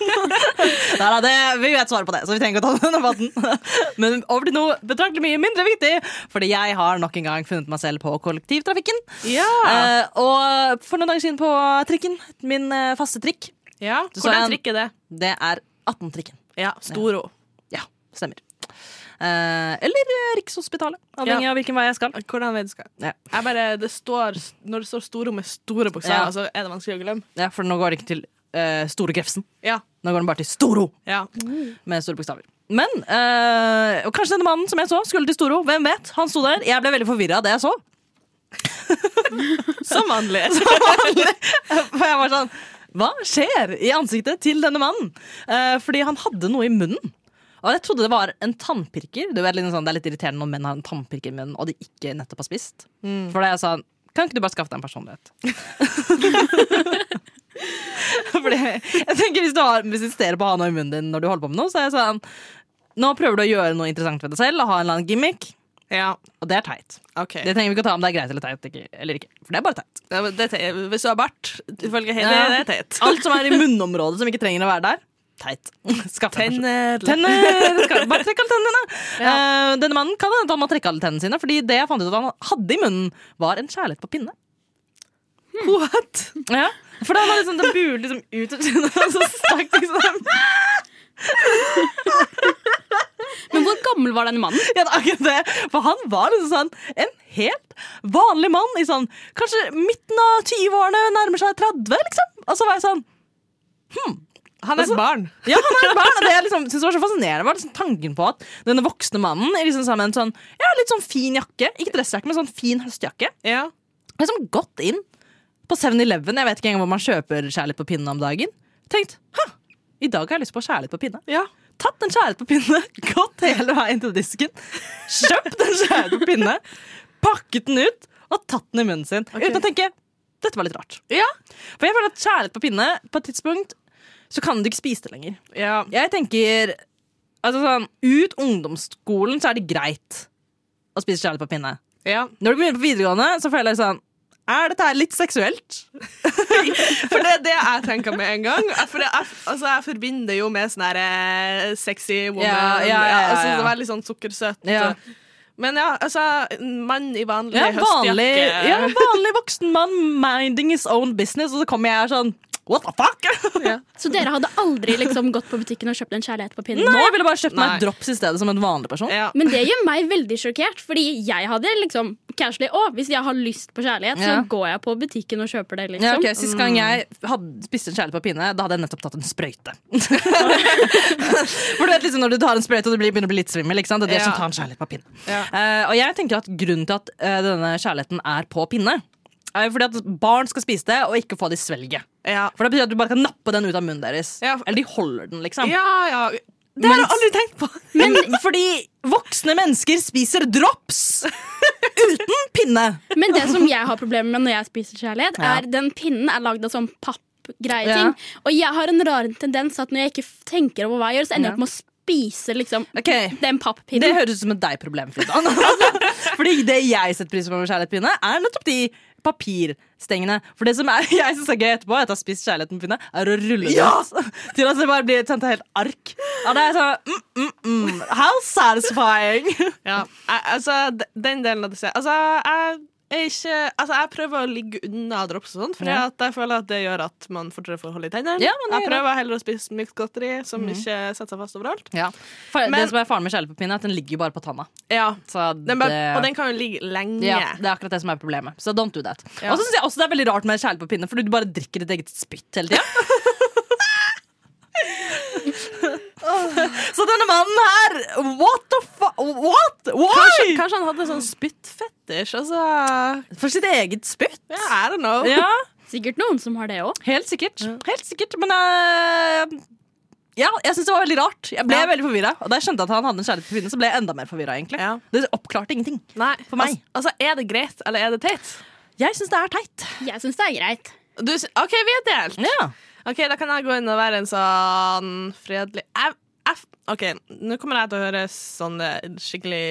[SPEAKER 6] Nei, nei, det, vi vet svaret på det, så vi trenger ikke å ta den debatten. Men over til noe betraktelig mye mindre viktig. Fordi jeg har nok en gang funnet meg selv på kollektivtrafikken.
[SPEAKER 5] Ja.
[SPEAKER 6] Eh, og for noen dager siden på trikken, min eh, faste trikk,
[SPEAKER 5] ja.
[SPEAKER 6] Så
[SPEAKER 5] Hvordan
[SPEAKER 6] en-
[SPEAKER 5] trykker det?
[SPEAKER 6] det er 18-trikken.
[SPEAKER 5] Ja, Storo.
[SPEAKER 6] Ja, stemmer. Eh, eller eh, Rikshospitalet, avhengig
[SPEAKER 5] Ja.
[SPEAKER 6] av hvilken vei jeg skal.
[SPEAKER 5] Hvordan vet du skal?
[SPEAKER 6] Ja.
[SPEAKER 5] Jeg bare, det står, når det står Storo med store bokstaver,
[SPEAKER 6] Ja.
[SPEAKER 5] så er det vanskelig å glemme.
[SPEAKER 6] Ja, for nå går det ikke til eh, Store Grefsen.
[SPEAKER 5] Ja.
[SPEAKER 6] Nå går den bare til Storo
[SPEAKER 5] ja.
[SPEAKER 6] med store bokstaver. Men eh, og kanskje denne mannen som jeg så, skulle til Storo. Hvem vet? Han sto der. Jeg ble veldig forvirra av det jeg så.
[SPEAKER 5] Som vanlig.
[SPEAKER 6] For jeg var sånn Hva skjer i ansiktet til denne mannen? Eh, fordi han hadde noe i munnen. Og jeg trodde det var en tannpirker. Du vet, litt sånn, det er litt irriterende når menn har en tannpirker i munnen og de ikke nettopp har spist. For da jeg sa kan ikke du bare skaffe deg en personlighet? Fordi jeg tenker Hvis du har, hvis du insisterer på å ha noe i munnen din når du holder på med noe, så er jeg sånn Nå prøver du å gjøre noe interessant ved deg selv og ha en eller annen gimmick,
[SPEAKER 5] ja,
[SPEAKER 6] og det er teit.
[SPEAKER 5] ok.
[SPEAKER 6] Det trenger vi ikke å ta om det er greit eller teit. ikke- Eller ikke, for det er bare teit.
[SPEAKER 5] Ja, men det er teit. Hvis du har bart, ifølge Heidi,
[SPEAKER 6] Ja.
[SPEAKER 5] det er teit.
[SPEAKER 6] Alt som er i munnområdet som ikke trenger å være der. Teit. Skaff deg en person.
[SPEAKER 5] Tenner.
[SPEAKER 6] Tenner! Skal- Bare trekk alle tennene! Eh, denne mannen kan hende at han må trekke alle tennene sine, Fordi det jeg fant ut at han hadde i munnen, var en kjærlighet på pinne.
[SPEAKER 5] Hmm. What?
[SPEAKER 6] Ja. For det var liksom, den buler liksom ut av kinnet, og så stakk liksom
[SPEAKER 8] Men hvor gammel var den mannen?
[SPEAKER 6] Ja, det er akkurat det. For han var liksom sånn en helt vanlig mann i sånn kanskje midten av 20-årene, nærmer seg 30, liksom. Og så var jeg sånn hmm.
[SPEAKER 5] Han er et barn.
[SPEAKER 6] Ja, han er et barn, og det jeg liksom, synes var så fascinerende var liksom tanken på at denne voksne mannen er liksom sammen med en sånn, ja, litt sånn fin jakke, ikke dressjakke, men sånn fin høstjakke,
[SPEAKER 5] Ja.
[SPEAKER 6] liksom gått inn på 7-Eleven, jeg vet ikke engang hvor man kjøper kjærlighet på pinne om dagen, tenkt, «Hå, i dag har jeg lyst på kjærlighet på pinne.
[SPEAKER 5] Ja.
[SPEAKER 6] Tatt en kjærlighet på pinne, gått hele veien til disken, kjøpt en kjærlighet på pinne, pakket den ut og tatt den i munnen sin, uten å tenke, dette var litt rart.
[SPEAKER 5] Ja.
[SPEAKER 6] For jeg føler at kjærlighet på pinne, på et tidspunkt, så kan du ikke spise det lenger.
[SPEAKER 5] Ja.
[SPEAKER 6] Jeg tenker altså sånn, Ut ungdomsskolen så er det greit å spise kjærlighet på pinne.
[SPEAKER 5] ja.
[SPEAKER 6] Når du begynner på videregående, så føler jeg sånn Er dette her litt seksuelt?
[SPEAKER 5] For det er det jeg tenker med en gang. For jeg, altså, jeg forbinder jo med sånn her eh, sexy woman.
[SPEAKER 6] Ja, ja, ja, ja, ja.
[SPEAKER 5] Altså, det var litt sånn sukkersøtt.
[SPEAKER 6] Ja.
[SPEAKER 5] Men ja, altså Mann i vanlig
[SPEAKER 6] Ja, vanlig,
[SPEAKER 5] høstjakke.
[SPEAKER 6] ja, vanlig voksen mann minding his own business, og så kommer jeg her sånn What the fuck?
[SPEAKER 8] Så dere hadde aldri liksom gått på butikken og kjøpt en kjærlighet på pinnen?
[SPEAKER 6] Nå jeg ville bare kjøpt meg
[SPEAKER 5] Nei.
[SPEAKER 6] drops i stedet som en vanlig person.
[SPEAKER 5] Ja.
[SPEAKER 8] Men det gjør meg veldig sjokkert, fordi jeg hadde liksom casually Å, hvis jeg har lyst på kjærlighet,
[SPEAKER 6] Ja.
[SPEAKER 8] så går jeg på butikken og kjøper det, liksom.
[SPEAKER 5] sånn.
[SPEAKER 6] Ja, ok, Sist gang jeg hadde, spiste en kjærlighet på pinne, da hadde jeg nettopp tatt en sprøyte. For du vet liksom Når du tar en sprøyte og du blir- begynner å bli litt svimmel, ikke sant? det er det
[SPEAKER 5] Ja.
[SPEAKER 6] som tar en kjærlighet på pinne.
[SPEAKER 5] Ja.
[SPEAKER 6] Eh, og jeg tenker at grunnen til at eh, denne kjærligheten er på pinne, er jo fordi at barn skal spise det og ikke få det i svelget.
[SPEAKER 5] Ja.
[SPEAKER 6] For det betyr at du bare kan nappe den ut av munnen deres.
[SPEAKER 5] Ja.
[SPEAKER 6] Eller de holder den, liksom.
[SPEAKER 5] ja, ja.
[SPEAKER 6] Det har jeg aldri tenkt på! Men fordi voksne mennesker spiser drops uten pinne.
[SPEAKER 8] Men det som jeg har problemer med når jeg spiser kjærlighet,
[SPEAKER 6] Ja.
[SPEAKER 8] er den pinnen er lagd av sånn pappgreie
[SPEAKER 6] Ja.
[SPEAKER 8] ting. Og jeg har en rar tendens at når jeg ikke f- tenker over hva jeg gjør, så ender jeg opp med å spise liksom
[SPEAKER 6] Ok,
[SPEAKER 8] den
[SPEAKER 6] Det
[SPEAKER 8] pappinnen.
[SPEAKER 6] høres ut som et deg-problem, Frida. Altså, Fordi det jeg setter pris på med kjærlighetspinne, er nettopp de papirstengene. For det som er, jeg syns er gøy etterpå, etter å ha spist kjærligheten på pinne, er å rulle det ut. Til at det bare blir et sånt helt ark. Ja, det er sånn mm, mm, mm. How satisfying!
[SPEAKER 5] ja. Jeg, altså, d- den delen av det ser- Altså, jeg er ikke Altså, jeg prøver å ligge unna drops og sånn, for
[SPEAKER 6] Ja.
[SPEAKER 5] jeg føler at det gjør at man fortere får hold i tennene.
[SPEAKER 6] Ja, men
[SPEAKER 5] jeg
[SPEAKER 6] det gjør det.
[SPEAKER 5] prøver heller å spise mykt godteri som ikke setter seg fast overalt.
[SPEAKER 6] For,
[SPEAKER 5] Men-
[SPEAKER 6] det som er faren med kjærlighet på pinne, er at den ligger jo bare på tanna.
[SPEAKER 5] Ja.
[SPEAKER 6] Så
[SPEAKER 5] Den bare,
[SPEAKER 6] det-
[SPEAKER 5] Og den kan jo ligge lenge.
[SPEAKER 6] ja, det er akkurat det som er problemet. Så don't do that.
[SPEAKER 5] Ja.
[SPEAKER 6] Og så syns jeg også det er veldig rart med kjærlighet på pinne, fordi du bare drikker ditt eget spytt hele tida. så denne mannen her What the fu... What?
[SPEAKER 5] Kanskje,
[SPEAKER 6] Why?
[SPEAKER 5] kanskje han hadde sånn spyttfetisj? Altså
[SPEAKER 6] For sitt eget spytt?
[SPEAKER 5] yeah, I don't know.
[SPEAKER 6] Ja,
[SPEAKER 8] Sikkert noen som har det òg.
[SPEAKER 6] helt sikkert. Helt sikkert, men eh, ja, jeg syns det var veldig rart. Jeg ble
[SPEAKER 5] Ja.
[SPEAKER 6] veldig forvirra. Og da jeg skjønte at han hadde en kjærlighet på pinne, så ble jeg enda mer forvirra.
[SPEAKER 5] Ja.
[SPEAKER 6] Det oppklarte ingenting.
[SPEAKER 5] Nei,
[SPEAKER 6] For meg.
[SPEAKER 5] Altså, altså, er det greit, eller er det teit?
[SPEAKER 6] Jeg syns det er teit.
[SPEAKER 8] Jeg syns det er greit.
[SPEAKER 5] Du, s- OK, vi er delt.
[SPEAKER 6] Ja.
[SPEAKER 5] Ok, Da kan jeg gå inn og være en sånn fredelig jeg, jeg, OK, nå kommer jeg til å høres sånn eh, skikkelig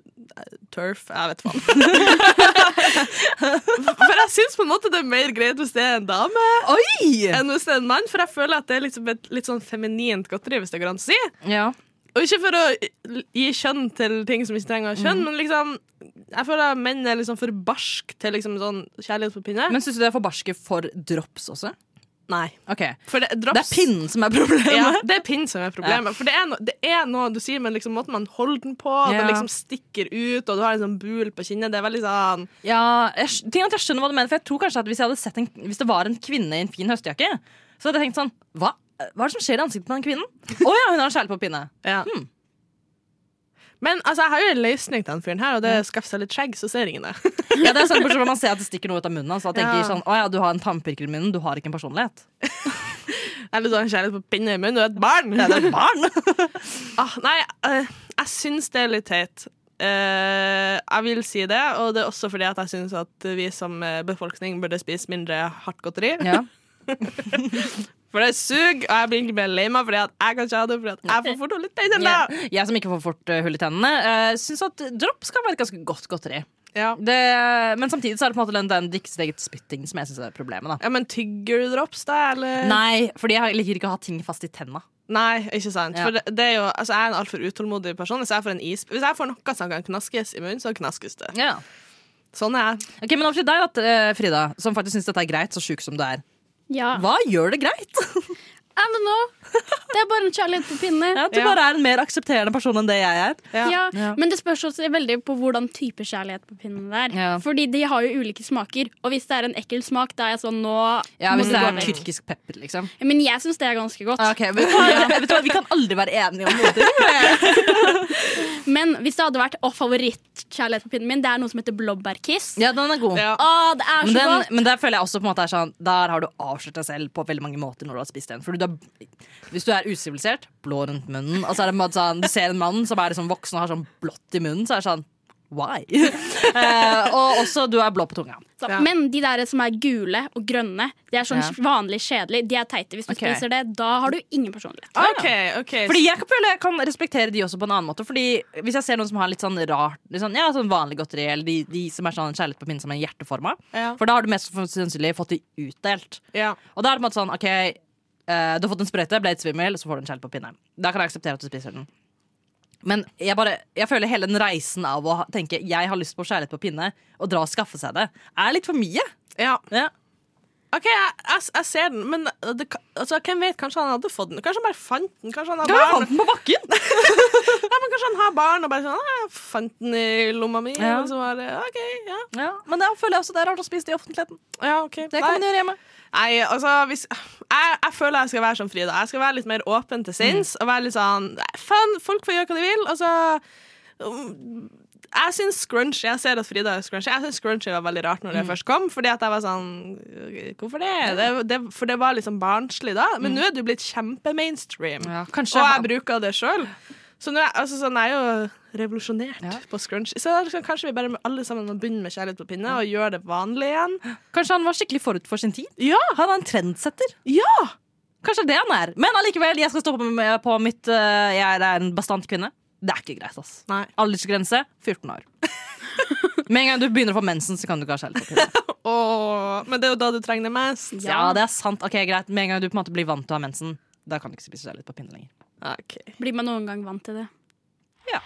[SPEAKER 5] eh, turf Jeg vet faen. for jeg syns på en måte det er mer greit hvis det er en dame
[SPEAKER 6] Oi!
[SPEAKER 5] enn hvis det er en mann, for jeg føler at det er liksom et litt sånn feminint godteri, hvis det går an å si.
[SPEAKER 6] Ja.
[SPEAKER 5] Og ikke for å gi kjønn til ting som ikke trenger å ha
[SPEAKER 6] Mhm.
[SPEAKER 5] kjønn, men liksom Jeg føler at menn er liksom for barsk til liksom sånn kjærlighet på pinne.
[SPEAKER 6] Men syns du det er for barske for drops også?
[SPEAKER 5] nei.
[SPEAKER 6] Ok,
[SPEAKER 5] For det,
[SPEAKER 6] Det
[SPEAKER 5] drops,
[SPEAKER 6] er pinnen som er problemet.
[SPEAKER 5] Ja, det er pinn som er problemet. For det er, no, det er noe du sier, men liksom måten man holder den på,
[SPEAKER 6] Ja.
[SPEAKER 5] den liksom stikker ut, og du har en sånn bul på kinnet, det er veldig sånn
[SPEAKER 6] Ja, jeg, skj- ting er at jeg skjønner hva du mener, for jeg tror kanskje at hvis, jeg hadde sett en, hvis det var en kvinne i en fin høstjakke, så hadde jeg tenkt sånn Hva, hva er det som skjer i ansiktet på den kvinnen? Å ja, hun har en kjærlighet på pinne.
[SPEAKER 5] ja. hmm. Men altså, jeg har jo en løsning til den fyren her, og det er å skaffe seg litt skjegg, så ser ingen det.
[SPEAKER 6] Ja, det er sånn, bortsett fra at Man ser at det stikker noe ut av munnen. Altså, og tenker
[SPEAKER 5] Ja.
[SPEAKER 6] sånn, å ja, Du har en tannpirker i munnen, du har ikke en personlighet.
[SPEAKER 5] Eller du har en kjærlighet på pinne i munnen, du er et barn!
[SPEAKER 6] Ja, det er et barn.
[SPEAKER 5] Ah, nei, eh, jeg syns det er litt teit. Eh, jeg vil si det, og det er også fordi at jeg syns at vi som eh, befolkning burde spise mindre hardt godteri.
[SPEAKER 6] Ja.
[SPEAKER 5] For det suger, og jeg blir egentlig mer lei meg fordi at jeg kan ikke ha det fordi at jeg får fort litt teit i
[SPEAKER 6] Ja.
[SPEAKER 5] det.
[SPEAKER 6] Jeg som ikke får fort eh, hull i tennene, uh, syns at drops kan være et ganske godt godteri.
[SPEAKER 5] Ja.
[SPEAKER 6] Det, men samtidig så er det på en måte den, den drikke sitt eget spytting som jeg syns er problemet. da
[SPEAKER 5] ja, men tygger du drops, da? Eller?
[SPEAKER 6] Nei, fordi jeg liker ikke å ha ting fast i tenna.
[SPEAKER 5] Nei, ikke sant.
[SPEAKER 6] Ja.
[SPEAKER 5] For det, det er jo, altså, jeg er en altfor utålmodig person. Hvis jeg får en is Hvis jeg får noe som kan knaskes i munnen, så knaskes det.
[SPEAKER 6] Ja.
[SPEAKER 5] Sånn er jeg.
[SPEAKER 6] Ok, Men over til deg, da, eh, Frida, som faktisk syns dette er greit, så sjuk som du er.
[SPEAKER 8] Ja.
[SPEAKER 6] Hva gjør det greit?
[SPEAKER 8] I don't know. Det er bare en kjærlighet på pinne.
[SPEAKER 6] At du
[SPEAKER 5] Ja.
[SPEAKER 6] bare er en mer aksepterende person enn det jeg er.
[SPEAKER 5] Ja.
[SPEAKER 8] Ja.
[SPEAKER 6] Ja.
[SPEAKER 8] Men det spørs også veldig på hvordan type kjærlighet på pinnen det er.
[SPEAKER 6] Ja.
[SPEAKER 8] Fordi de har jo ulike smaker. Og hvis det er en ekkel smak, da er jeg sånn nå
[SPEAKER 6] Ja,
[SPEAKER 8] må
[SPEAKER 6] Hvis
[SPEAKER 8] du
[SPEAKER 6] det
[SPEAKER 8] gå
[SPEAKER 6] er
[SPEAKER 8] vekk.
[SPEAKER 6] tyrkisk pepper, liksom.
[SPEAKER 8] Men jeg syns det er ganske godt.
[SPEAKER 6] Mm. vet, du hva, vet du hva, Vi kan aldri være enige om noe. ting.
[SPEAKER 8] Men hvis det hadde vært å, favorittkjærlighet på pinnen min, det er noe som heter blåbærkiss.
[SPEAKER 6] Ja, den er god.
[SPEAKER 5] Ja.
[SPEAKER 8] Å, det er
[SPEAKER 6] Men,
[SPEAKER 8] så
[SPEAKER 6] den,
[SPEAKER 8] godt!
[SPEAKER 6] men der føler jeg også på en måte er sånn Der har du avslørt deg selv på veldig mange måter når du har spist den. Fordi du er, hvis du er usivilisert, blå rundt munnen, og så er det på en måte sånn, du ser en mann som er liksom voksen og har sånn blått i munnen, så er det sånn Why? Eh, og også du er blå på tunga.
[SPEAKER 8] Så,
[SPEAKER 5] Ja.
[SPEAKER 8] Men de der som er gule og grønne, de er sånn
[SPEAKER 6] Ja.
[SPEAKER 8] vanlig kjedelige. De er teite. Hvis du
[SPEAKER 6] Ok.
[SPEAKER 8] spiser det, da har du ingen personlighet.
[SPEAKER 5] OK, OK.
[SPEAKER 6] Fordi jeg kan føle jeg kan respektere de også på en annen måte. Fordi Hvis jeg ser noen som har litt sånn rart litt sånn, Ja, sånn vanlig godteri, eller de, de som er sånn kjærlighet på pinne som er hjerteforma,
[SPEAKER 5] Ja.
[SPEAKER 6] for da har du mest sannsynlig fått de utdelt.
[SPEAKER 5] ja.
[SPEAKER 6] Og da er det på en måte sånn OK, eh, du har fått en sprøyte, ble litt svimmel, så får du en kjærlighet på pinne. Da kan jeg akseptere at du spiser den. Men jeg, bare, jeg føler hele den reisen av å ha- tenke jeg har lyst på kjærlighet på pinne, og dra og skaffe seg det, er litt for mye.
[SPEAKER 5] Ja.
[SPEAKER 6] Ja.
[SPEAKER 5] OK, jeg, jeg, jeg ser den, men det, kan- altså, hvem vet? Kanskje han hadde fått den? Kanskje han bare fant den? Kanskje han har
[SPEAKER 6] Jeg
[SPEAKER 5] barn?
[SPEAKER 6] fant den på bakken!
[SPEAKER 5] Ja, men kanskje han har barn og bare sånn «Ah, 'Jeg fant den i lomma mi',
[SPEAKER 6] Ja.
[SPEAKER 5] og så bare OK, ja.
[SPEAKER 6] Ja, men det føler jeg også det er rart å spise det i offentligheten.
[SPEAKER 5] ja ok.
[SPEAKER 6] Det
[SPEAKER 5] Nei.
[SPEAKER 6] kan man gjøre hjemme.
[SPEAKER 5] Nei, altså hvis, jeg, jeg føler jeg skal være som Frida. Jeg skal være litt mer åpen til sinns.
[SPEAKER 6] Mm.
[SPEAKER 5] Og være litt sånn «Nei, Faen, folk får gjøre hva de vil. Altså um, Jeg syns scrunch Jeg ser at Frida er scrunch. Jeg syns scrunch var veldig rart når
[SPEAKER 6] Mm.
[SPEAKER 5] det først kom, fordi at jeg var sånn Hvorfor det? det, det for det var liksom barnslig da. Men
[SPEAKER 6] Mm.
[SPEAKER 5] nå er du blitt kjempemainstream.
[SPEAKER 6] kanskje
[SPEAKER 5] Og jeg bruker det sjøl. Så nå er, altså, sånn, jeg er jo revolusjonert på scrunch. Så da skal- kanskje vi bare alle sammen må begynne med kjærlighet på pinne og gjøre det vanlig igjen.
[SPEAKER 6] Kanskje han var skikkelig forut for sin tid?
[SPEAKER 5] Ja!
[SPEAKER 6] Han er en trendsetter.
[SPEAKER 5] Ja!
[SPEAKER 6] Kanskje det er han er. Men allikevel, jeg skal stå på, med- på mitt øh, Jeg er en bastant kvinne. Det er ikke greit, ass.
[SPEAKER 5] Nei.
[SPEAKER 6] Aldersgrense 14 år. Med en gang du begynner å få mensen, så kan du ikke ha kjærlighet. på pinne.
[SPEAKER 5] Åh, men det er jo da du trenger det mest.
[SPEAKER 6] Ja, det er sant. Ok, greit Med en gang du på en måte blir vant til å ha mensen, da kan du ikke spise kjærlighet på pinne lenger.
[SPEAKER 5] Ok.
[SPEAKER 8] Blir man noen gang vant til det?
[SPEAKER 6] Ja.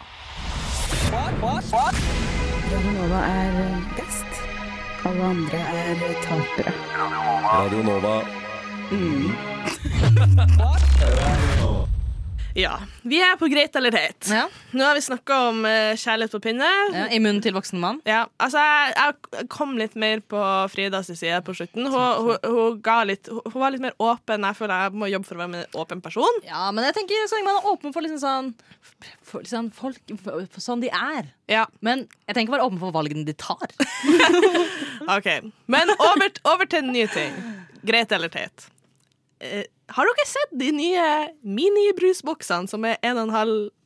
[SPEAKER 7] Radio Nova.
[SPEAKER 5] Ja. Vi er på greit eller teit.
[SPEAKER 6] Ja.
[SPEAKER 5] Nå har vi snakka om eh, kjærlighet på pinne. Ja.
[SPEAKER 6] I munnen til voksen mann.
[SPEAKER 5] altså jeg, jeg kom litt mer på Fridas side på slutten. Hun, hun, hun, ga litt, hun hun var litt mer åpen. Jeg føler jeg må jobbe for å være en åpen person.
[SPEAKER 6] Ja, men jeg tenker så lenge man er åpen for liksom sånn for liksom folk for, for sånn de er.
[SPEAKER 5] Ja,
[SPEAKER 6] Men jeg trenger ikke være åpen for valgene de tar.
[SPEAKER 5] ok Men over, over til en ny ting. Greit eller teit. Eh, har dere sett de nye minibrusboksene som er 1,5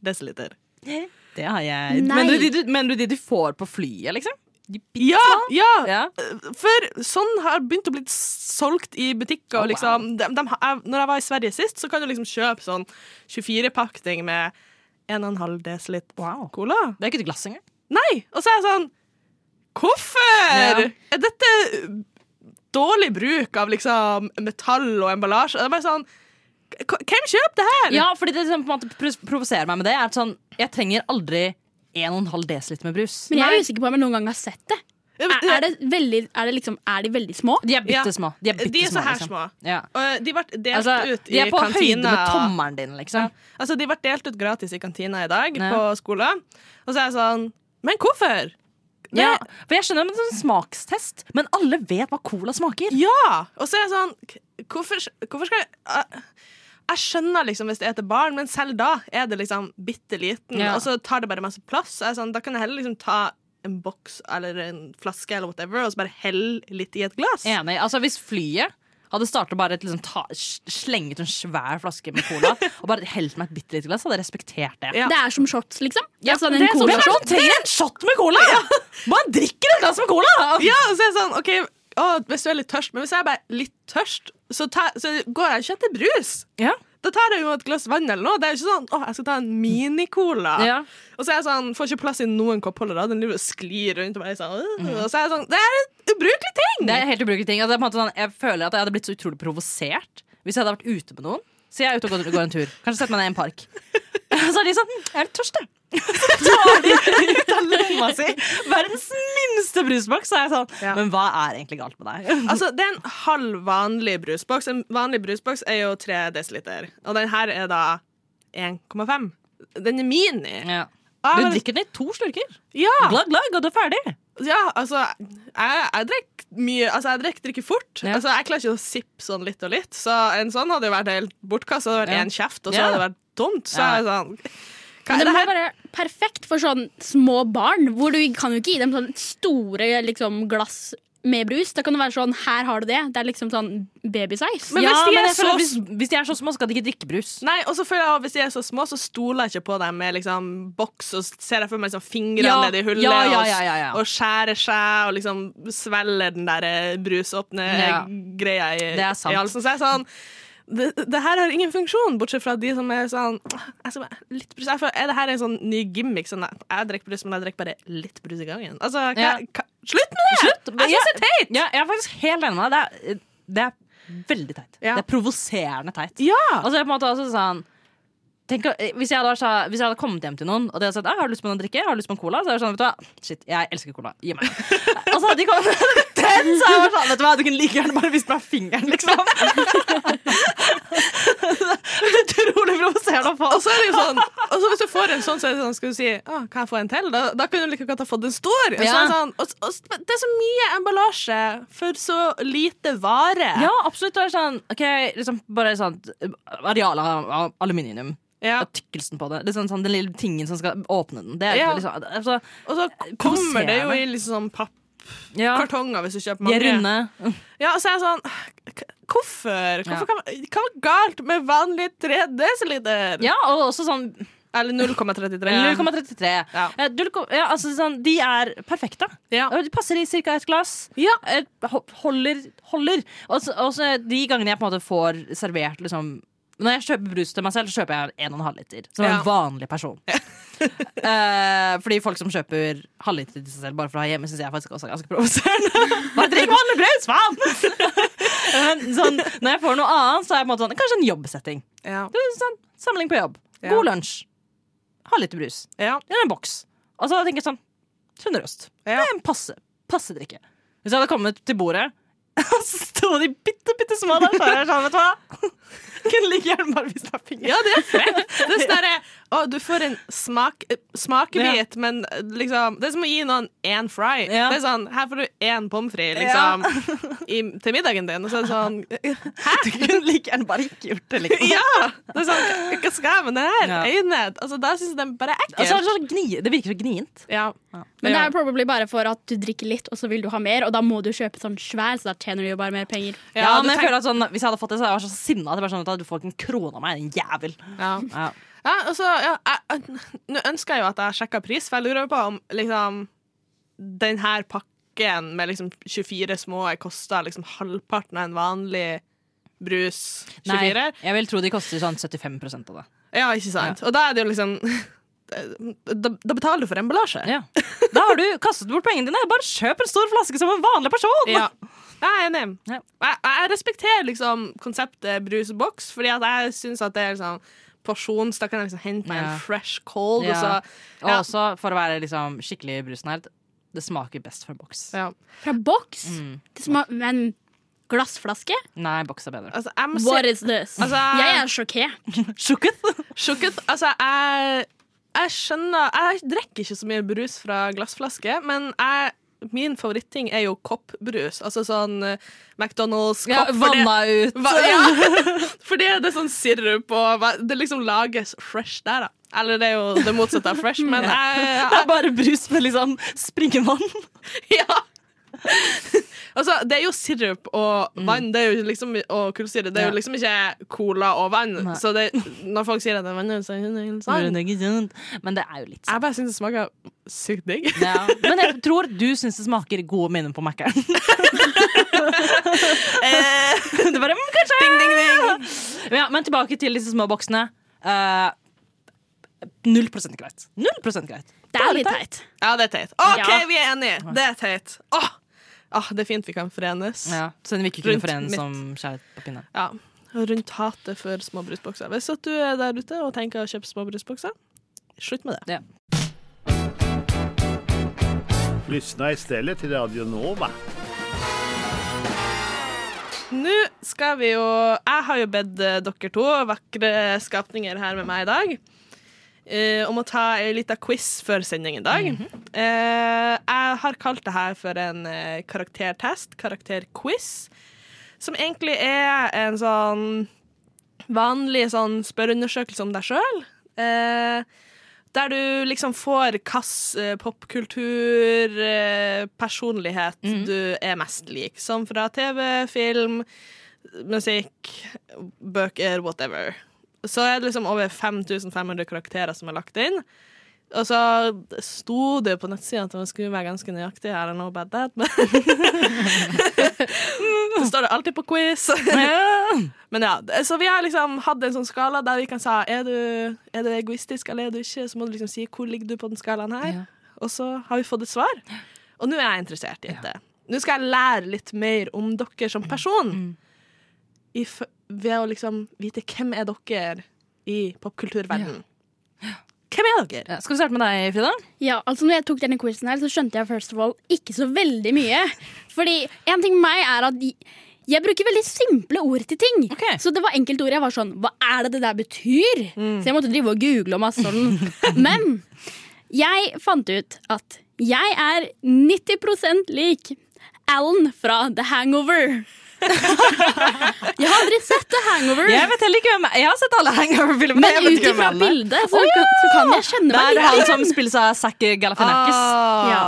[SPEAKER 5] desiliter?
[SPEAKER 6] Det har jeg
[SPEAKER 8] Nei.
[SPEAKER 6] Men du, de, du, men du, de du får på flyet, liksom? De bitte
[SPEAKER 5] Ja!
[SPEAKER 6] små?
[SPEAKER 5] ja!
[SPEAKER 6] Sånn? Ja.
[SPEAKER 5] For sånn har begynt å bli solgt i butikker.
[SPEAKER 6] Oh,
[SPEAKER 5] og liksom, de, de, har- når jeg var i Sverige sist, så kan du liksom kjøpe sånn 24-pakning med 1,5 dl
[SPEAKER 6] Wow.
[SPEAKER 5] cola.
[SPEAKER 6] Det er ikke et glass engang.
[SPEAKER 5] Nei! Og så er jeg sånn Hvorfor?!
[SPEAKER 6] Ja.
[SPEAKER 5] Er dette dårlig bruk av liksom metall og emballasje? Det er bare sånn k- Hvem kjøper det her?!
[SPEAKER 6] Ja, fordi det som på en måte pros- provoserer meg med det, er at sånn Jeg trenger aldri 1,5 dl med brus.
[SPEAKER 8] Men jeg er usikker på om jeg noen gang har sett det.
[SPEAKER 5] Ja,
[SPEAKER 8] Er,
[SPEAKER 5] men-
[SPEAKER 8] er, det veldig, er, det liksom, er de veldig små?
[SPEAKER 6] De er bitte små. De er,
[SPEAKER 5] De er
[SPEAKER 6] bittesmå,
[SPEAKER 5] så her
[SPEAKER 6] liksom.
[SPEAKER 5] små.
[SPEAKER 6] Ja.
[SPEAKER 5] Og de ble delt
[SPEAKER 6] Altså,
[SPEAKER 5] ut i
[SPEAKER 6] de er på høyde
[SPEAKER 5] kantina.
[SPEAKER 6] med tommelen din, liksom.
[SPEAKER 5] Altså, De ble delt ut gratis i kantina i dag
[SPEAKER 6] Ja.
[SPEAKER 5] på skolen. Og så er jeg sånn Men hvorfor? Det-
[SPEAKER 6] Ja, for jeg skjønner det er en sånn smakstest, men alle vet hva cola smaker.
[SPEAKER 5] Ja! Og så er jeg sånn k- Hvorfor, hvorfor skal jeg jeg- Jeg skjønner liksom hvis det er til barn, men selv da er det liksom bitte liten.
[SPEAKER 6] Ja.
[SPEAKER 5] Og så tar det bare masse plass. Jeg er sånn, da kan jeg heller liksom ta en boks eller en flaske eller whatever, og så bare helle litt i et glass.
[SPEAKER 6] Enig. Altså, hvis flyet hadde startet bare et liksom ta, s- slenge ut en svær flaske med cola og bare helt meg et bitte lite glass, hadde jeg respektert det.
[SPEAKER 5] Ja.
[SPEAKER 8] Det er som shots, liksom.
[SPEAKER 6] Ja,
[SPEAKER 8] sånn
[SPEAKER 6] det
[SPEAKER 8] en
[SPEAKER 6] er sånn- Hvem er det
[SPEAKER 8] colashot.
[SPEAKER 6] som trenger en shot med cola?! Man drikker et glass med cola!
[SPEAKER 5] Ja, og så er jeg sånn, ok å, Hvis du er litt tørst, men hvis jeg er bare litt tørst, så, ta, så går jeg ikke etter brus.
[SPEAKER 6] Ja.
[SPEAKER 5] Da tar jeg jo et glass vann eller noe. Det er jo ikke sånn å, jeg skal ta en minicola.
[SPEAKER 6] Ja.
[SPEAKER 5] Og så er jeg sånn, får ikke plass i noen koppholdere. Den driver og sklir rundt. Og, bare sånn, øh, og så er jeg sånn, Det er en ubrukelig ting!
[SPEAKER 6] Det er helt ubrukelig ting. Altså, det er på en måte sånn, jeg føler at jeg hadde blitt så utrolig provosert hvis jeg hadde vært ute med noen. Så jeg er ute og går, går en tur. Kanskje setter meg ned i en park. Så er de sånn Jeg er litt tørst, jeg. Så tar de ut av lomma si verdens minste brusboks. Så er jeg sånn
[SPEAKER 5] Ja.
[SPEAKER 6] Men hva er egentlig galt med deg?
[SPEAKER 5] Altså, Det er en halv vanlig brusboks. En vanlig brusboks er jo 3 dl. Og den her er da 1,5. Den er mini.
[SPEAKER 6] Ja.
[SPEAKER 5] Ah,
[SPEAKER 6] Du
[SPEAKER 5] men-
[SPEAKER 6] drikker den i to slurker.
[SPEAKER 5] Ja.
[SPEAKER 6] Glagg, glagg, og du er ferdig.
[SPEAKER 5] Ja, altså Jeg, jeg drekk mye Altså, jeg drekk drikker fort.
[SPEAKER 6] Ja.
[SPEAKER 5] Altså, Jeg klarer ikke å sippe sånn litt og litt. Så en sånn hadde jo vært helt bortkasta. Det hadde vært
[SPEAKER 6] Ja.
[SPEAKER 5] én kjeft, og så
[SPEAKER 6] Ja.
[SPEAKER 5] hadde det vært tomt. Så
[SPEAKER 6] Ja.
[SPEAKER 5] er jeg sånn Hva
[SPEAKER 8] Men
[SPEAKER 5] er
[SPEAKER 8] det
[SPEAKER 5] det
[SPEAKER 8] må
[SPEAKER 5] her?
[SPEAKER 8] være perfekt for sånn små barn, hvor du kan jo ikke gi dem sånn store liksom, glass med brus. Da kan det være sånn, her har du det. Det er liksom sånn babysize.
[SPEAKER 5] Men
[SPEAKER 6] ja,
[SPEAKER 5] hvis de
[SPEAKER 6] men
[SPEAKER 5] er
[SPEAKER 6] jeg føler
[SPEAKER 5] så-
[SPEAKER 6] at hvis, hvis de er så små, skal de ikke drikke brus.
[SPEAKER 5] Nei, og så føler jeg at Hvis de er så små, så stoler jeg ikke på dem med liksom boks, og ser jeg for meg liksom fingrene
[SPEAKER 6] Ja.
[SPEAKER 5] nedi hullet
[SPEAKER 6] Ja, ja,
[SPEAKER 5] og s-
[SPEAKER 6] ja, ja, ja.
[SPEAKER 5] og skjærer seg og liksom svelger den der eh, brusåpne
[SPEAKER 6] Ja.
[SPEAKER 5] greia i,
[SPEAKER 6] Det er sant.
[SPEAKER 5] i halsen. Så jeg er sånn det, det her har ingen funksjon, bortsett fra de som er sånn jeg skal bare, litt brus. Jeg føler, er det her en sånn ny gimmick? Sånn, jeg drikker brus, men jeg drikker bare litt brus i gangen. Altså, hva,
[SPEAKER 6] Ja.
[SPEAKER 5] hva, slutt med det! Jeg synes
[SPEAKER 6] Men jeg-
[SPEAKER 5] det er teit!
[SPEAKER 6] Ja, jeg er faktisk helt enig med deg. Det er, det er veldig teit.
[SPEAKER 5] Ja.
[SPEAKER 6] Det er provoserende teit.
[SPEAKER 5] Ja!
[SPEAKER 6] Altså, jeg er på en måte også sånn tenk, å- eh, hvis, jeg hadde, vært så- hvis jeg hadde kommet hjem til noen og de hadde sagt «Ah, har du lyst på noe å drikke, har du lyst på en cola, så hadde jeg vært sånn, vet du hva, shit, jeg elsker cola, gi meg. og så hadde de kommet den, så hadde jeg vært sånn, vet du hva, du kunne like gjerne bare vist meg fingeren, liksom. Utrolig provoserende å få.
[SPEAKER 5] Og så er det jo sånn Og så hvis du får en sånn, så er det sånn Skal du si «Å, Kan jeg få en til? Da, da kunne du like godt ha fått en stor. Og så
[SPEAKER 6] Ja.
[SPEAKER 5] er det sånn, og, og, men det er så mye emballasje for så lite vare.
[SPEAKER 6] Ja, absolutt. Det er sånn, ok, liksom bare sånn areal av aluminium.
[SPEAKER 5] Ja.
[SPEAKER 6] Og tykkelsen på det. Liksom sånn, den lille tingen som skal åpne den. Det er
[SPEAKER 5] Ja.
[SPEAKER 6] liksom, altså,
[SPEAKER 5] Og så kommer det jo i liksom sånn
[SPEAKER 6] ja,
[SPEAKER 5] pappkartonger hvis du kjøper
[SPEAKER 6] de
[SPEAKER 5] mange.
[SPEAKER 6] er runde.
[SPEAKER 5] Ja, og så er jeg sånn k- Hvorfor?
[SPEAKER 6] Ja.
[SPEAKER 5] Hvorfor kan man, hva er galt med vanlig 3 dl?
[SPEAKER 6] Ja, og også sånn
[SPEAKER 5] Eller 0,33.
[SPEAKER 6] 0,33.
[SPEAKER 5] Ja.
[SPEAKER 6] Eh, null kom- Ja, altså, sånn, de er perfekte.
[SPEAKER 5] Ja.
[SPEAKER 6] Og De passer i ca. ett glass.
[SPEAKER 5] Ja.
[SPEAKER 6] Eh, ho- Holder. holder. Og så- og så de gangene jeg på en måte får servert liksom når jeg kjøper brus til meg selv, så kjøper jeg 1,5 liter. Som
[SPEAKER 5] Ja.
[SPEAKER 6] en vanlig person. Eh, fordi folk som kjøper halvliter til seg selv bare for å ha hjemme, syns jeg faktisk også er ganske provoserende. bare drikk vanlig brus, faen! Men sånn, når jeg får noe annet, så er jeg på en måte sånn Kanskje en jobbsetting.
[SPEAKER 5] Ja.
[SPEAKER 6] Det er sånn, samling på jobb.
[SPEAKER 5] Ja.
[SPEAKER 6] God lunsj. Halvliter brus.
[SPEAKER 5] Ja.
[SPEAKER 6] Eller en boks. Og så tenker jeg sånn Sunnrøst.
[SPEAKER 5] Ja.
[SPEAKER 6] Det er en passe, passe drikke. Hvis jeg hadde kommet til bordet, og så sto de bitte, bitte små der, så hadde jeg sånn, vet du hva Kunne like gjerne bare vist meg fingeren.
[SPEAKER 5] Ja, det er frekt. Det er sånn derre Å, du får en smak, eh, smakebit, men eh, liksom Det er som å gi noen én fry.
[SPEAKER 6] Ja.
[SPEAKER 5] Det er sånn Her får du én pommes frites, liksom, i, til middagen din. Og så er det sånn
[SPEAKER 6] Du kunne like gjerne bare ikke gjort det. Liksom.
[SPEAKER 5] Ja! Det er sånn Hva skal jeg med det her?
[SPEAKER 6] Ja.
[SPEAKER 5] Øyne Altså, da syns jeg den bare er
[SPEAKER 6] Og så er
[SPEAKER 5] ekkel.
[SPEAKER 6] det, sånn gni, det virker så gnient.
[SPEAKER 5] Ja.
[SPEAKER 8] Men det er probably bare for at du drikker litt, og så vil du ha mer, og da må du kjøpe sånn svær, så da tjener du jo bare mer penger.
[SPEAKER 6] Ja,
[SPEAKER 5] Ja, du
[SPEAKER 6] men jeg
[SPEAKER 5] tenk-
[SPEAKER 6] føler at sånn, Hvis jeg hadde fått det, så hadde jeg vært så sinna at jeg bare sånn, vet du hva, du får ikke en krone av meg, din jævel.
[SPEAKER 5] ja.
[SPEAKER 6] Ja.
[SPEAKER 5] Ja, altså, ja, jeg, jeg, nå ønsker jeg jo at jeg sjekka pris, for jeg lurer jo på om liksom, den her pakken med liksom 24 små koster liksom halvparten av en vanlig brus. 24.
[SPEAKER 6] Nei, jeg vil tro de koster sånn 75 av det.
[SPEAKER 5] Ja, ikke sant? Og da er det jo liksom da, da betaler du for emballasje.
[SPEAKER 6] Ja. Da har du kastet bort pengene dine. Bare kjøp en stor flaske som en vanlig person!
[SPEAKER 5] Ja. Jeg er enig.
[SPEAKER 6] Ja.
[SPEAKER 5] Jeg, jeg respekterer liksom konseptet brusboks, fordi at jeg syns at det er liksom porsjons. Da kan jeg liksom hente meg
[SPEAKER 6] Ja.
[SPEAKER 5] en fresh cold, og
[SPEAKER 6] Ja.
[SPEAKER 5] så
[SPEAKER 6] Og også, for å være liksom, skikkelig brusnerd, det smaker best fra boks.
[SPEAKER 5] ja.
[SPEAKER 8] Fra boks? Det sma- Men glassflaske?
[SPEAKER 6] Nei, boks er bedre.
[SPEAKER 5] altså, jeg må si-
[SPEAKER 8] What is this?
[SPEAKER 5] Altså-
[SPEAKER 8] jeg er sjokkert.
[SPEAKER 6] Sjukket!
[SPEAKER 5] Sjokket, altså jeg, jeg skjønner Jeg drikker ikke så mye brus fra glassflaske, men jeg, min favoritting er jo koppbrus. Altså sånn eh, McDonald's kopp. for det-
[SPEAKER 6] vanna ut.
[SPEAKER 5] Va, ja. For det er sånn sirup og hva- Det liksom lages fresh der, da. Eller det er jo det motsatte av fresh, men
[SPEAKER 6] Det
[SPEAKER 5] jeg,
[SPEAKER 6] er bare brus med liksom springevann.
[SPEAKER 5] jeg Ja. Altså, det er jo sirup og vann det er jo liksom, og kullsyre. Det er
[SPEAKER 6] Ja.
[SPEAKER 5] jo liksom ikke cola og vann.
[SPEAKER 6] Nei.
[SPEAKER 5] Så det, når folk sier at det er vann, så er det ikke sant.
[SPEAKER 6] Men det er jo litt sånn.
[SPEAKER 5] Jeg bare syns det smaker sykt digg.
[SPEAKER 6] Ja. Men jeg tror du syns det smaker gode minner på Mækkern. du bare mm, kanskje Ja, Men tilbake til disse små boksene. Eh, Null prosent greit. Null prosent greit.
[SPEAKER 8] Det er litt teit.
[SPEAKER 5] Ja, det er teit. OK,
[SPEAKER 8] Ja.
[SPEAKER 5] vi er enige. Det er teit. Åh! Åh, det er fint vi kan forenes. Ja.
[SPEAKER 6] Ja, Siden vi ikke kunne
[SPEAKER 5] Rundt
[SPEAKER 6] forenes
[SPEAKER 5] mitt.
[SPEAKER 6] som skjær på pinne.
[SPEAKER 5] Og Rundt hatet for små brusbokser. Hvis at du er der ute og tenker å kjøpe små brusbokser, slutt med det.
[SPEAKER 9] Lyssna istället till Radio Nova.
[SPEAKER 5] Nå skal vi jo Jeg har jo bedt eh, dere to vakre skapninger her med meg i dag eh, om å ta en liten quiz før sending i dag. eh, jeg har kalt det her for en eh, karaktertest, karakterquiz, som egentlig er en sånn vanlig sånn spørreundersøkelse om deg sjøl. Eh, der du liksom får hvilken eh, popkultur, eh, personlighet du er mest lik. Som fra TV, film, musikk, bøker, whatever. Så er det liksom over 5500 karakterer som er lagt inn. Og så sto det jo på nettsida at man skulle være ganske nøyaktig. I don't know about that, but Så står det alltid på quiz. Men ja, d- så vi har liksom hatt en sånn skala der vi kan si er du, er du egoistisk eller er du ikke. Så må du liksom si hvor ligger du på den skalaen her. Og så har vi fått et svar. Og nå er jeg interessert i det. Nå skal jeg lære litt mer om dere som person. I f ved å liksom vite hvem er dere i popkulturverdenen. Hvem er dere?
[SPEAKER 6] Ja, skal vi starte med deg, Frida?
[SPEAKER 8] Ja, altså når jeg tok denne quizen her, så skjønte jeg first of all ikke så veldig mye. Fordi en ting med meg er at jeg bruker veldig simple ord til ting.
[SPEAKER 6] Ok.
[SPEAKER 8] Så det var enkeltord jeg var sånn Hva er det det der betyr?
[SPEAKER 6] Mm.
[SPEAKER 8] Så jeg måtte drive og google og masse sånn. Men jeg fant ut at jeg er 90 lik Alan fra The Hangover. jeg har aldri sett The Hangover.
[SPEAKER 6] Jeg vet heller ikke hvem Jeg har sett alle hangover-filmene.
[SPEAKER 8] men
[SPEAKER 6] jeg vet
[SPEAKER 8] ut
[SPEAKER 6] ikke hvem
[SPEAKER 8] ifra
[SPEAKER 6] han er.
[SPEAKER 8] bildet så, så kan jeg kjenne
[SPEAKER 6] Det
[SPEAKER 8] meg
[SPEAKER 6] er
[SPEAKER 8] litt
[SPEAKER 6] han
[SPEAKER 8] igjen.
[SPEAKER 6] som spilles av Zac Galifianakis.
[SPEAKER 5] Ja.
[SPEAKER 8] Ja.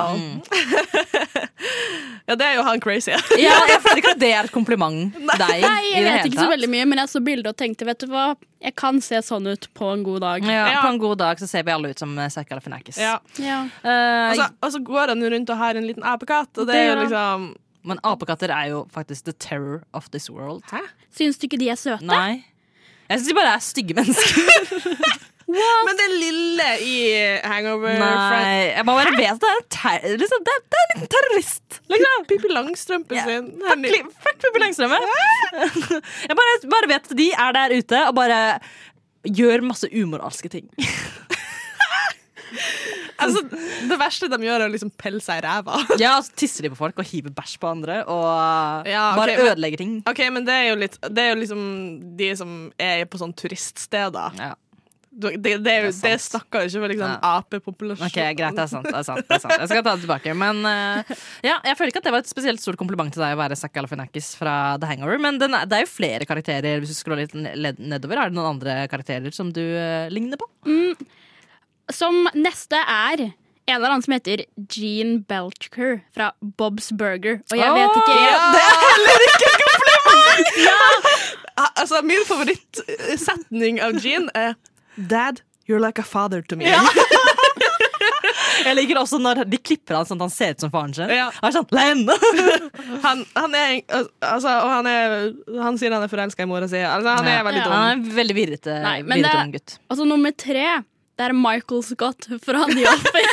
[SPEAKER 5] ja, det er jo han crazy.
[SPEAKER 6] Ja, jeg føler ikke at det er et kompliment til deg. i
[SPEAKER 8] Nei, jeg
[SPEAKER 6] det
[SPEAKER 8] vet
[SPEAKER 6] hele
[SPEAKER 8] ikke så
[SPEAKER 6] tatt.
[SPEAKER 8] veldig mye, men jeg så bildet og tenkte vet du hva, jeg kan se sånn ut på en god dag.
[SPEAKER 6] Ja, På en god dag så ser vi alle ut som eh, Zac Galifianakis.
[SPEAKER 5] Ja.
[SPEAKER 8] Ja. Altså-
[SPEAKER 6] Eh,
[SPEAKER 5] Og, så, og så går han jo rundt og har en liten apekatt, og det
[SPEAKER 6] Det
[SPEAKER 5] er jo
[SPEAKER 6] gjør han.
[SPEAKER 5] liksom
[SPEAKER 6] men apekatter er jo faktisk the terror of this world.
[SPEAKER 8] Syns du ikke de er søte?
[SPEAKER 6] Nei. Jeg syns de bare er stygge mennesker.
[SPEAKER 5] Men det lille i Hangover Friends
[SPEAKER 6] Nei, jeg må bare vet at det er en ter liksom, det, er- det er en liten terrorist. Liksom.
[SPEAKER 5] Pippi Langstrømpe sin.
[SPEAKER 6] Fuck, li- fuck Pippi Langstrømme. Jeg bare, bare vet at de er der ute og bare gjør masse umoralske ting.
[SPEAKER 5] Altså, det verste de gjør, er å liksom pelle seg i ræva.
[SPEAKER 6] Ja, så tisser de på folk og hiver bæsj på andre og
[SPEAKER 5] Ja, ok,
[SPEAKER 6] bare
[SPEAKER 5] men-
[SPEAKER 6] ødelegger ting.
[SPEAKER 5] Ok, men det er jo litt Det er jo liksom de som er på sånn turiststeder.
[SPEAKER 6] Ja.
[SPEAKER 5] Du- Det, det, er jo,
[SPEAKER 6] Det er
[SPEAKER 5] det
[SPEAKER 6] sant.
[SPEAKER 5] snakker jo ikke med liksom, apepopulasjon.
[SPEAKER 6] Ok, Greit, det er sant. det er sant, det er sant. Jeg skal ta det tilbake. Men eh, ja, Jeg føler ikke at det var et spesielt stort kompliment til deg å være Zac Galifianakis fra The Hangover, men den er, det er jo flere karakterer. Hvis du scroller litt ned- nedover, Er det noen andre karakterer som du eh, ligner på?
[SPEAKER 8] Som neste er en eller annen som heter Jean Belcher fra Bob's Burger. Og jeg vet ikke
[SPEAKER 5] Det er heller ikke et kompliment! ja. Altså, min favorittsetning av Jean er Dad, you're like a father to me.
[SPEAKER 6] Jeg liker også når de klipper han sånn at han ser ut som faren sin.
[SPEAKER 5] Ja.
[SPEAKER 6] Han er sånn, Len!
[SPEAKER 5] Han, han er altså, Og han, er, han sier han er forelska i mora si. Altså, han er veldig
[SPEAKER 8] Ja.
[SPEAKER 5] dum.
[SPEAKER 6] Han er en veldig virrete,
[SPEAKER 8] Nei, men
[SPEAKER 6] virrete
[SPEAKER 8] det-
[SPEAKER 6] ung gutt.
[SPEAKER 8] Altså nummer tre, det er Michael Scott fra The Office.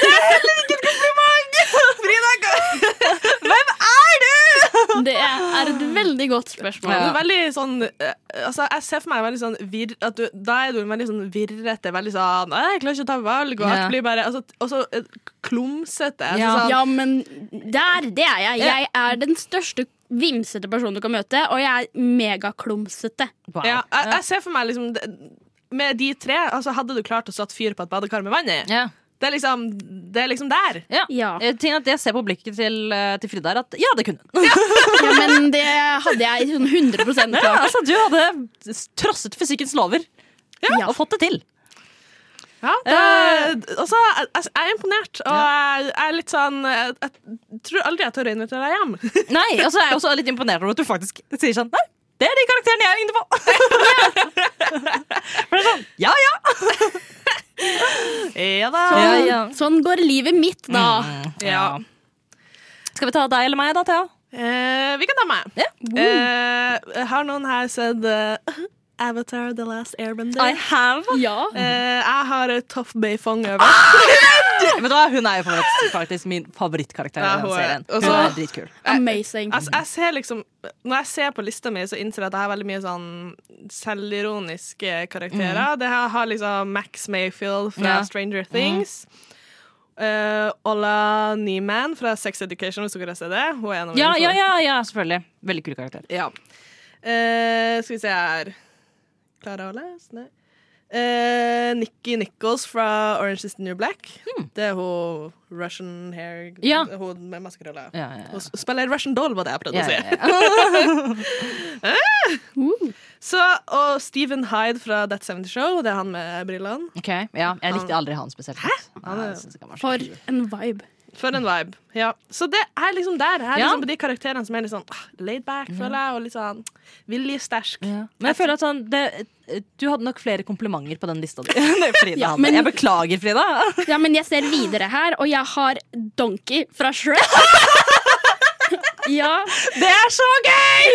[SPEAKER 8] Det er et veldig godt spørsmål.
[SPEAKER 5] Du er veldig sånn eh, altså, Jeg ser for meg veldig sånn virr, at du, Da er du en veldig sånn virrete, veldig sånn «Nei, 'Jeg klarer ikke å ta valg', og
[SPEAKER 6] Ja.
[SPEAKER 5] alt blir bare altså, Og så eh, klumsete. Altså,
[SPEAKER 6] Ja.
[SPEAKER 5] sånn,
[SPEAKER 8] Ja, men der, det er jeg. Jeg er den største vimsete personen du kan møte, og jeg er megaklumsete.
[SPEAKER 6] Wow.
[SPEAKER 5] ja, jeg, jeg ser for meg liksom det- Med de tre, altså, hadde du klart å satt fyr på et badekar med vann i?
[SPEAKER 6] Ja.
[SPEAKER 5] Det, er liksom, det er liksom der.
[SPEAKER 6] Ja.
[SPEAKER 8] Ja.
[SPEAKER 6] Jeg, tenker at jeg ser på blikket til, eh, til Frida her at ja, det kunne hun.
[SPEAKER 8] Ja, men det hadde jeg sånn 100
[SPEAKER 6] Ja,
[SPEAKER 8] klart.
[SPEAKER 6] altså, du hadde s- trosset fysikkens lover
[SPEAKER 8] Ja.
[SPEAKER 6] og fått det til.
[SPEAKER 5] Ja, det, altså, jeg, jeg er imponert, og jeg, jeg er litt sånn jeg, jeg tror aldri jeg tør å invitere deg hjem.
[SPEAKER 6] Nei, og så er jeg også litt imponert over at du faktisk sier sånn Nei, det er de karakterene jeg ligner på! For det er sånn, ja, ja.
[SPEAKER 5] ja da.
[SPEAKER 8] Sånn,
[SPEAKER 6] Ja, ja.
[SPEAKER 8] sånn går livet mitt, da.
[SPEAKER 5] Ja.
[SPEAKER 6] Skal vi ta deg eller meg da, Thea?
[SPEAKER 5] Eh, vi kan ta meg.
[SPEAKER 6] Ja.
[SPEAKER 5] Eh, har noen her sett eh, Avatar The Last Airbender?
[SPEAKER 6] I have.
[SPEAKER 8] Ja.
[SPEAKER 5] Eh, jeg har eh, Toff Beifong over.
[SPEAKER 6] Vet du hva, hun er jo favoritt, faktisk min favorittkarakter i
[SPEAKER 5] Ja,
[SPEAKER 6] den
[SPEAKER 5] hun er-
[SPEAKER 6] serien.
[SPEAKER 5] og
[SPEAKER 6] Hun
[SPEAKER 5] så-
[SPEAKER 6] er dritkul.
[SPEAKER 8] Amazing.
[SPEAKER 5] Altså, jeg ser liksom, når jeg ser på lista mi, så innser jeg at jeg har veldig mye sånn selvironiske karakterer. Det her har liksom Max Mayfield fra
[SPEAKER 6] Mhm. Ja. Mhm.
[SPEAKER 5] Stranger Things. Eh, Ola Nyman fra Sex Education, hvis dere har sett det. Hun er en av
[SPEAKER 6] Ja,
[SPEAKER 5] mine
[SPEAKER 6] ja,
[SPEAKER 5] favoritter.
[SPEAKER 6] ja, ja, selvfølgelig. Veldig kul karakter.
[SPEAKER 5] Ja. Eh, skal vi se her Klarer jeg å lese? Nei. Eh, Nikki Nichols fra Orange is the New Black. Det er hun Russian hair
[SPEAKER 6] Hmm. Ja.
[SPEAKER 5] Hun med maskerøller.
[SPEAKER 6] Ja, ja, ja.
[SPEAKER 5] Hun spiller Russian Doll, var det jeg prøvde
[SPEAKER 6] Ja,
[SPEAKER 5] å si.
[SPEAKER 6] ja, ja.
[SPEAKER 5] Så, og Stephen Hyde fra That 70 Show. Det er han med brillene.
[SPEAKER 6] Ok, ja, jeg likte aldri han spesielt godt. Nei, jeg synes ikke han var så
[SPEAKER 8] For
[SPEAKER 6] kul.
[SPEAKER 8] en vibe.
[SPEAKER 5] For en vibe. Ja. Så det er liksom der. Jeg er
[SPEAKER 6] Ja.
[SPEAKER 5] liksom på de karakterene som er litt sånn ah, laid back, føler jeg, og litt sånn viljesterk.
[SPEAKER 6] Ja. Men jeg føler at sånn, det, du hadde nok flere komplimenter på den lista di. Nei, Frida,
[SPEAKER 8] Ja,
[SPEAKER 6] hadde.
[SPEAKER 8] men-
[SPEAKER 6] Jeg beklager, Frida.
[SPEAKER 8] Ja, men jeg ser videre her, og jeg har Donkey fra Shrek. Ja.
[SPEAKER 6] Det er så gøy!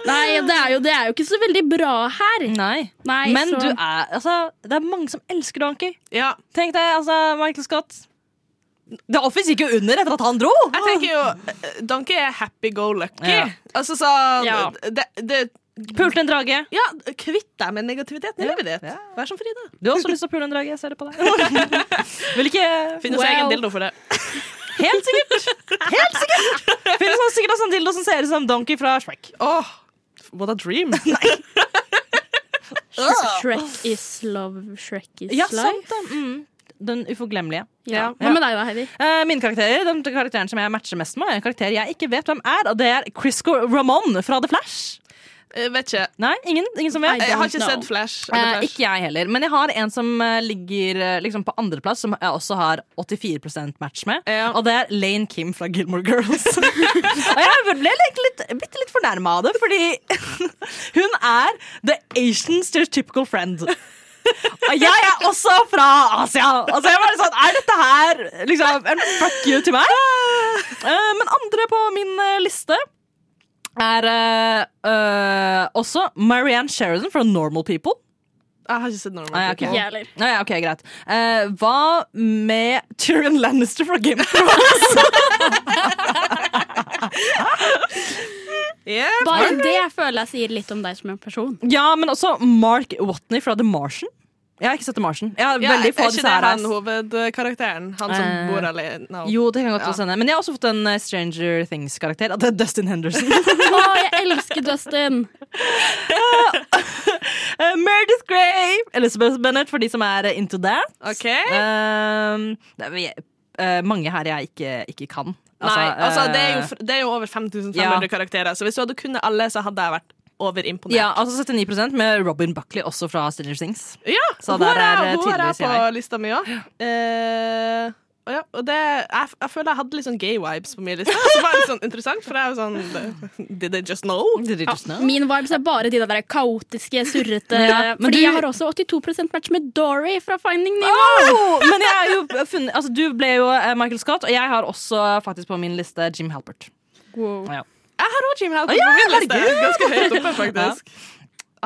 [SPEAKER 8] Nei, det er, jo, det er jo ikke så veldig bra her.
[SPEAKER 6] Nei,
[SPEAKER 8] Nei,
[SPEAKER 6] Men
[SPEAKER 8] så
[SPEAKER 6] du er, altså, det er mange som elsker Donkey.
[SPEAKER 5] Ja.
[SPEAKER 6] Tenk deg, altså, Michael Scott. The Office gikk jo under etter at han dro.
[SPEAKER 5] Jeg tenker jo eh, Donkey er happy go lucky.
[SPEAKER 6] Ah. Ja.
[SPEAKER 5] Altså sånn
[SPEAKER 8] Ja.
[SPEAKER 5] det, det
[SPEAKER 6] Pulte en drage.
[SPEAKER 5] Ja, kvitt deg med negativiteten i livet ditt. Vær som Frida.
[SPEAKER 6] Du har også lyst til å pule en drage. Jeg ser det på deg. Vil ikke
[SPEAKER 5] Finnes
[SPEAKER 6] Well.
[SPEAKER 5] egen dildo for det.
[SPEAKER 6] Helt sikkert. Helt sikkert. Finnes noen sikkert en sånn dildo som ser ut som Donkey fra Shrek.
[SPEAKER 5] Åh, what a dream.
[SPEAKER 8] Shrek is love, Shrek is
[SPEAKER 6] Ja,
[SPEAKER 8] life.
[SPEAKER 6] sant det. Mm. Den uforglemmelige.
[SPEAKER 8] sånn. Ja. Hva med deg da, Heidi?
[SPEAKER 6] Eh, mine karakterer, Den karakteren som jeg matcher mest med, er en karakter jeg ikke vet hvem er, og det er Crisco Ramon fra The Flash.
[SPEAKER 5] Jeg Eh, vet ikke.
[SPEAKER 6] Nei, ingen, ingen som vet?
[SPEAKER 8] Nei,
[SPEAKER 5] Jeg har
[SPEAKER 8] don't
[SPEAKER 5] ikke
[SPEAKER 8] know.
[SPEAKER 5] sett Flash.
[SPEAKER 6] Eh,
[SPEAKER 5] Eller Flash.
[SPEAKER 6] ikke jeg heller. Men jeg har en som eh, ligger eh, liksom på andreplass, som jeg også har 84 match med.
[SPEAKER 5] Ja.
[SPEAKER 6] Og det er Lane Kim fra Gilmore Girls. og jeg ble litt, litt, blitt litt fornærma av det, fordi hun er the Asian stereotypical friend. Og jeg er også fra Asia. Altså jeg var litt sånn, Er dette her liksom, en fuck you til meg? Eh, men andre på min eh, liste er eh, eh, også Marianne Sheridan fra Normal People.
[SPEAKER 5] Jeg har ikke sett Norman.
[SPEAKER 6] Nei, ok.
[SPEAKER 8] Jeg heller.
[SPEAKER 6] Nei, Ah, ja, ok, greit. Eh, hva med Tyrion Lannister fra Game of Thrones?
[SPEAKER 5] Yeah.
[SPEAKER 8] Bare det jeg føler jeg sier litt om deg som en person.
[SPEAKER 6] ja, men også Mark Watney fra The Martian. Jeg har ikke sett The Martian. Jeg har
[SPEAKER 5] Ja,
[SPEAKER 6] veldig få
[SPEAKER 5] er
[SPEAKER 6] av
[SPEAKER 5] ikke
[SPEAKER 6] disse
[SPEAKER 5] det
[SPEAKER 6] her.
[SPEAKER 5] han hovedkarakteren? Han som
[SPEAKER 6] Eh,
[SPEAKER 5] bor alene?
[SPEAKER 6] Jo, det kan godt
[SPEAKER 5] Ja.
[SPEAKER 6] også hende. Men jeg har også fått en eh, Stranger Things-karakter. Og det er Dustin Henderson.
[SPEAKER 8] Å, jeg elsker Dustin!
[SPEAKER 6] Eh, Meredith Grey! Elizabeth Bennett, for de som er eh, into that.
[SPEAKER 5] Ok.
[SPEAKER 6] Eh, det er vi- eh, mange her jeg ikke, ikke kan.
[SPEAKER 5] Nei, altså, det er, jo,
[SPEAKER 6] eh,
[SPEAKER 5] fr- det er jo over 5500
[SPEAKER 6] ja.
[SPEAKER 5] karakterer, så hvis du hadde kunnet alle, så hadde jeg vært overimponert.
[SPEAKER 6] ja, altså 79 med Robin Buckley, også fra Stranger Things.
[SPEAKER 5] Ja,
[SPEAKER 6] Så
[SPEAKER 5] hun
[SPEAKER 6] der er,
[SPEAKER 5] er,
[SPEAKER 6] eh,
[SPEAKER 5] hun er
[SPEAKER 6] tydeligvis
[SPEAKER 5] på
[SPEAKER 6] jeg.
[SPEAKER 5] lista mi òg. og ja, og det, jeg, f- jeg føler jeg hadde litt sånn gay vibes på min liste. Som var litt sånn interessant, for jeg er jo sånn Did they just know?
[SPEAKER 6] Did you just know?
[SPEAKER 8] Min vibes er bare de der kaotiske, surrete
[SPEAKER 6] Ja, men
[SPEAKER 8] Fordi
[SPEAKER 6] du-
[SPEAKER 8] jeg har også 82 match med Dory fra Finding Nemo.
[SPEAKER 6] Oh, men jeg er jo funnet, altså, du ble jo eh, Michael Scott, og jeg har også faktisk på min liste Jim Halpert. Ja.
[SPEAKER 5] Jeg har òg Jim Halpert
[SPEAKER 6] Å, ja,
[SPEAKER 5] på min liste.
[SPEAKER 6] herregud!
[SPEAKER 5] Ganske høyt oppe, faktisk.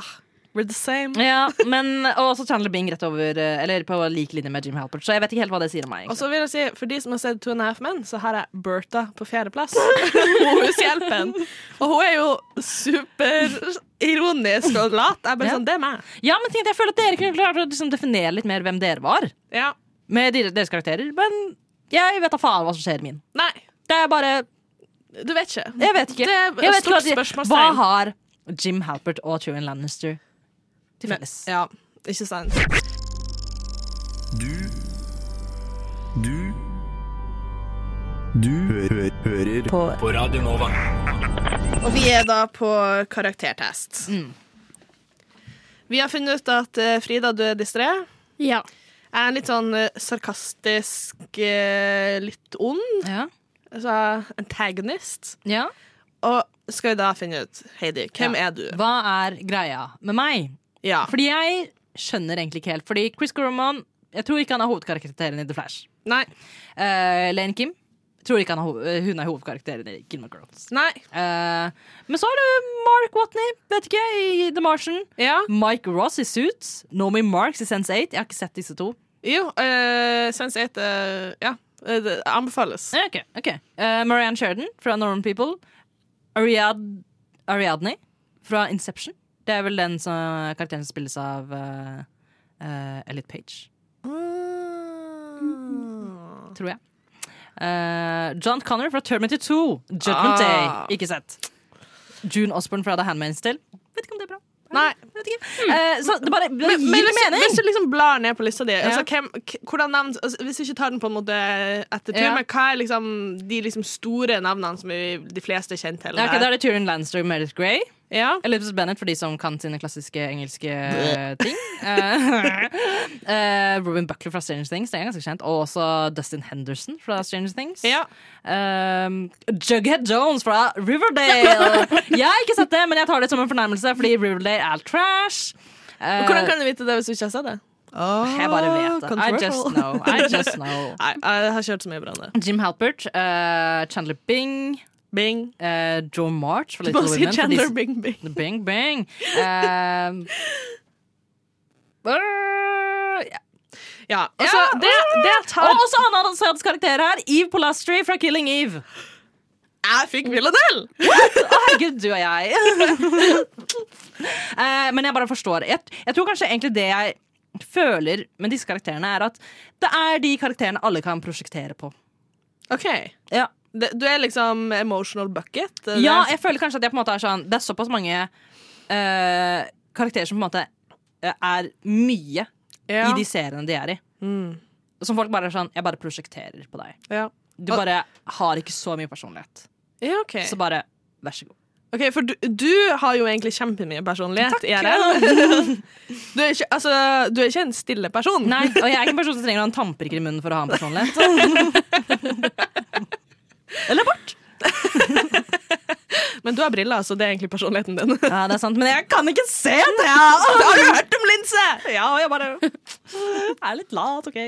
[SPEAKER 5] Ah, we're the same.
[SPEAKER 6] Ja, men, og også Chandler Bing rett over eh, Eller på lik linje med Jim Halpert, så jeg vet ikke helt hva det sier om meg.
[SPEAKER 5] Og
[SPEAKER 6] egentlig.
[SPEAKER 5] så vil jeg si, For de som har sett Two and a Half Men, så har jeg Bertha på fjerdeplass. Hushjelpen. Og hun er jo superironisk og lat. Jeg er bare
[SPEAKER 6] Ja.
[SPEAKER 5] sånn, det er meg.
[SPEAKER 6] Ja, men tenkte, jeg føler at dere kunne klart å liksom, definere litt mer hvem dere var
[SPEAKER 5] Ja.
[SPEAKER 6] med dere- deres karakterer, men jeg vet da faen hva som skjer i min.
[SPEAKER 5] Nei,
[SPEAKER 6] Det er bare
[SPEAKER 5] du vet ikke.
[SPEAKER 6] Jeg vet ikke.
[SPEAKER 5] Det er
[SPEAKER 6] Jeg vet ikke
[SPEAKER 5] stort
[SPEAKER 6] hva, de- hva
[SPEAKER 5] spørsmålstegn.
[SPEAKER 6] har Jim Halpert og Tyrion Lannister til felles?
[SPEAKER 5] Ja, ikke sant.
[SPEAKER 7] Du Du Du hø hø hører på. på Radio Nova.
[SPEAKER 5] Og vi er da på karaktertest.
[SPEAKER 6] Mm.
[SPEAKER 5] Vi har funnet ut at eh, Frida, du er distré.
[SPEAKER 8] Ja.
[SPEAKER 5] Jeg er litt sånn eh, sarkastisk, eh, litt ond.
[SPEAKER 6] Ja.
[SPEAKER 5] Altså antagonist.
[SPEAKER 6] ja.
[SPEAKER 5] Og skal vi da finne ut, Heidi, hvem er du?
[SPEAKER 6] Hva er greia med meg?
[SPEAKER 5] Ja.
[SPEAKER 6] Fordi jeg skjønner egentlig ikke helt. Fordi Chris Gorman Jeg tror ikke han er hovedkarakteren i The Flash.
[SPEAKER 5] Nei.
[SPEAKER 6] Eh, Lane Kim jeg tror ikke han er hov eh, hun er hovedkarakteren i Gilmore Girls.
[SPEAKER 5] Nei.
[SPEAKER 6] Eh, men så er det Mark Watney, vet ikke, i The Martian.
[SPEAKER 5] Ja.
[SPEAKER 6] Mike Ross i Suits. Nomi Marks i Sense8. Jeg har ikke sett disse to.
[SPEAKER 5] Jo, uh, Sense 8 eh, Ja, eh, det anbefales.
[SPEAKER 6] Eh, ok, ok. Eh, Marianne Sheridan fra Norman People. Ariad Ariadne fra Inception. Det er vel den som, karakteren som spilles av uh, Elliot Page.
[SPEAKER 5] Mm.
[SPEAKER 6] Mm. tror jeg. Eh, John Connor fra Terminator 2. Judgment
[SPEAKER 5] Ah.
[SPEAKER 6] Day. Ikke sett. June Osborne fra The Handmaid's Tale. Vet ikke om det er bra.
[SPEAKER 5] Nei.
[SPEAKER 6] Vet ikke. Eh, så det bare det gir
[SPEAKER 5] Hmm. Men hvis,
[SPEAKER 6] mening.
[SPEAKER 5] hvis du liksom blar ned på lista di altså,
[SPEAKER 6] Ja.
[SPEAKER 5] hvem, k- hvordan navn, altså, Hvis du ikke tar den på en måte etter tur,
[SPEAKER 6] Ja.
[SPEAKER 5] men hva er liksom de liksom store navnene som vi, de fleste er kjent til?
[SPEAKER 6] Ja, ok, da
[SPEAKER 5] der?
[SPEAKER 6] er det Turin Lanster og Meredith Grey.
[SPEAKER 5] Ja.
[SPEAKER 6] Elizabeth Bennett for de som kan sine klassiske engelske eh, ting. Eh, eh, Robin Buckley fra Stranger Things, det er ganske kjent. Og også Dustin Henderson fra Stranger Things.
[SPEAKER 5] Ja.
[SPEAKER 6] Um, Jughead Jones fra Riverdale. jeg har ikke sett det, men jeg tar det som en fornærmelse, fordi Riverdale er trash. Uh,
[SPEAKER 5] Hvordan kan du vite det hvis du ikke har sett det? Ah,
[SPEAKER 6] jeg bare vet det. I just know. I just know.
[SPEAKER 5] Nei, jeg har ikke hørt så mye bra om det.
[SPEAKER 6] Ah, Jim Halpert, uh, Chandler Bing,
[SPEAKER 5] Bing.
[SPEAKER 6] uh, Joe March fra
[SPEAKER 5] Du
[SPEAKER 6] Little
[SPEAKER 5] må si
[SPEAKER 6] Women. for de
[SPEAKER 5] Chandler
[SPEAKER 6] som-
[SPEAKER 5] Bing Bing.
[SPEAKER 6] Bing, bing. Um, uh, ja.
[SPEAKER 5] Ja, altså,
[SPEAKER 6] Ja.
[SPEAKER 5] det, det jeg
[SPEAKER 6] Og
[SPEAKER 5] tar
[SPEAKER 6] også en annen søt karakter her. Eve Polastri fra Killing Eve.
[SPEAKER 5] Jeg fikk Villanelle!
[SPEAKER 6] Å, herregud, du og jeg. Eh, men jeg bare forstår. Jeg, jeg tror kanskje egentlig det jeg føler med disse karakterene, er at det er de karakterene alle kan prosjektere på.
[SPEAKER 5] OK.
[SPEAKER 6] Ja,
[SPEAKER 5] Det, du er liksom emotional bucket? Det er-
[SPEAKER 6] ja jeg føler kanskje at jeg på en måte er sånn Det er såpass mange eh, karakterer som på en måte eh, er mye
[SPEAKER 5] ja.
[SPEAKER 6] i de seriene de er i.
[SPEAKER 5] Mm.
[SPEAKER 6] Som folk bare er sånn Jeg bare prosjekterer på deg.
[SPEAKER 5] ja.
[SPEAKER 6] Du bare har ikke så mye personlighet.
[SPEAKER 5] ja OK.
[SPEAKER 6] Så bare vær så god.
[SPEAKER 5] Ok, For du, du har jo egentlig kjempemye personlighet. Takk, du, er ikke, altså, du er ikke en stille person.
[SPEAKER 6] Nei, og jeg er ikke en person som trenger å ha en tannpirker i munnen for å ha en personlighet. Eller bort.
[SPEAKER 5] Men du har briller, så det er egentlig personligheten din.
[SPEAKER 6] Ja, det er sant, men jeg kan ikke se det!
[SPEAKER 5] Har du hørt om linse? Ja, og jeg bare
[SPEAKER 6] Jeg er litt lat, OK?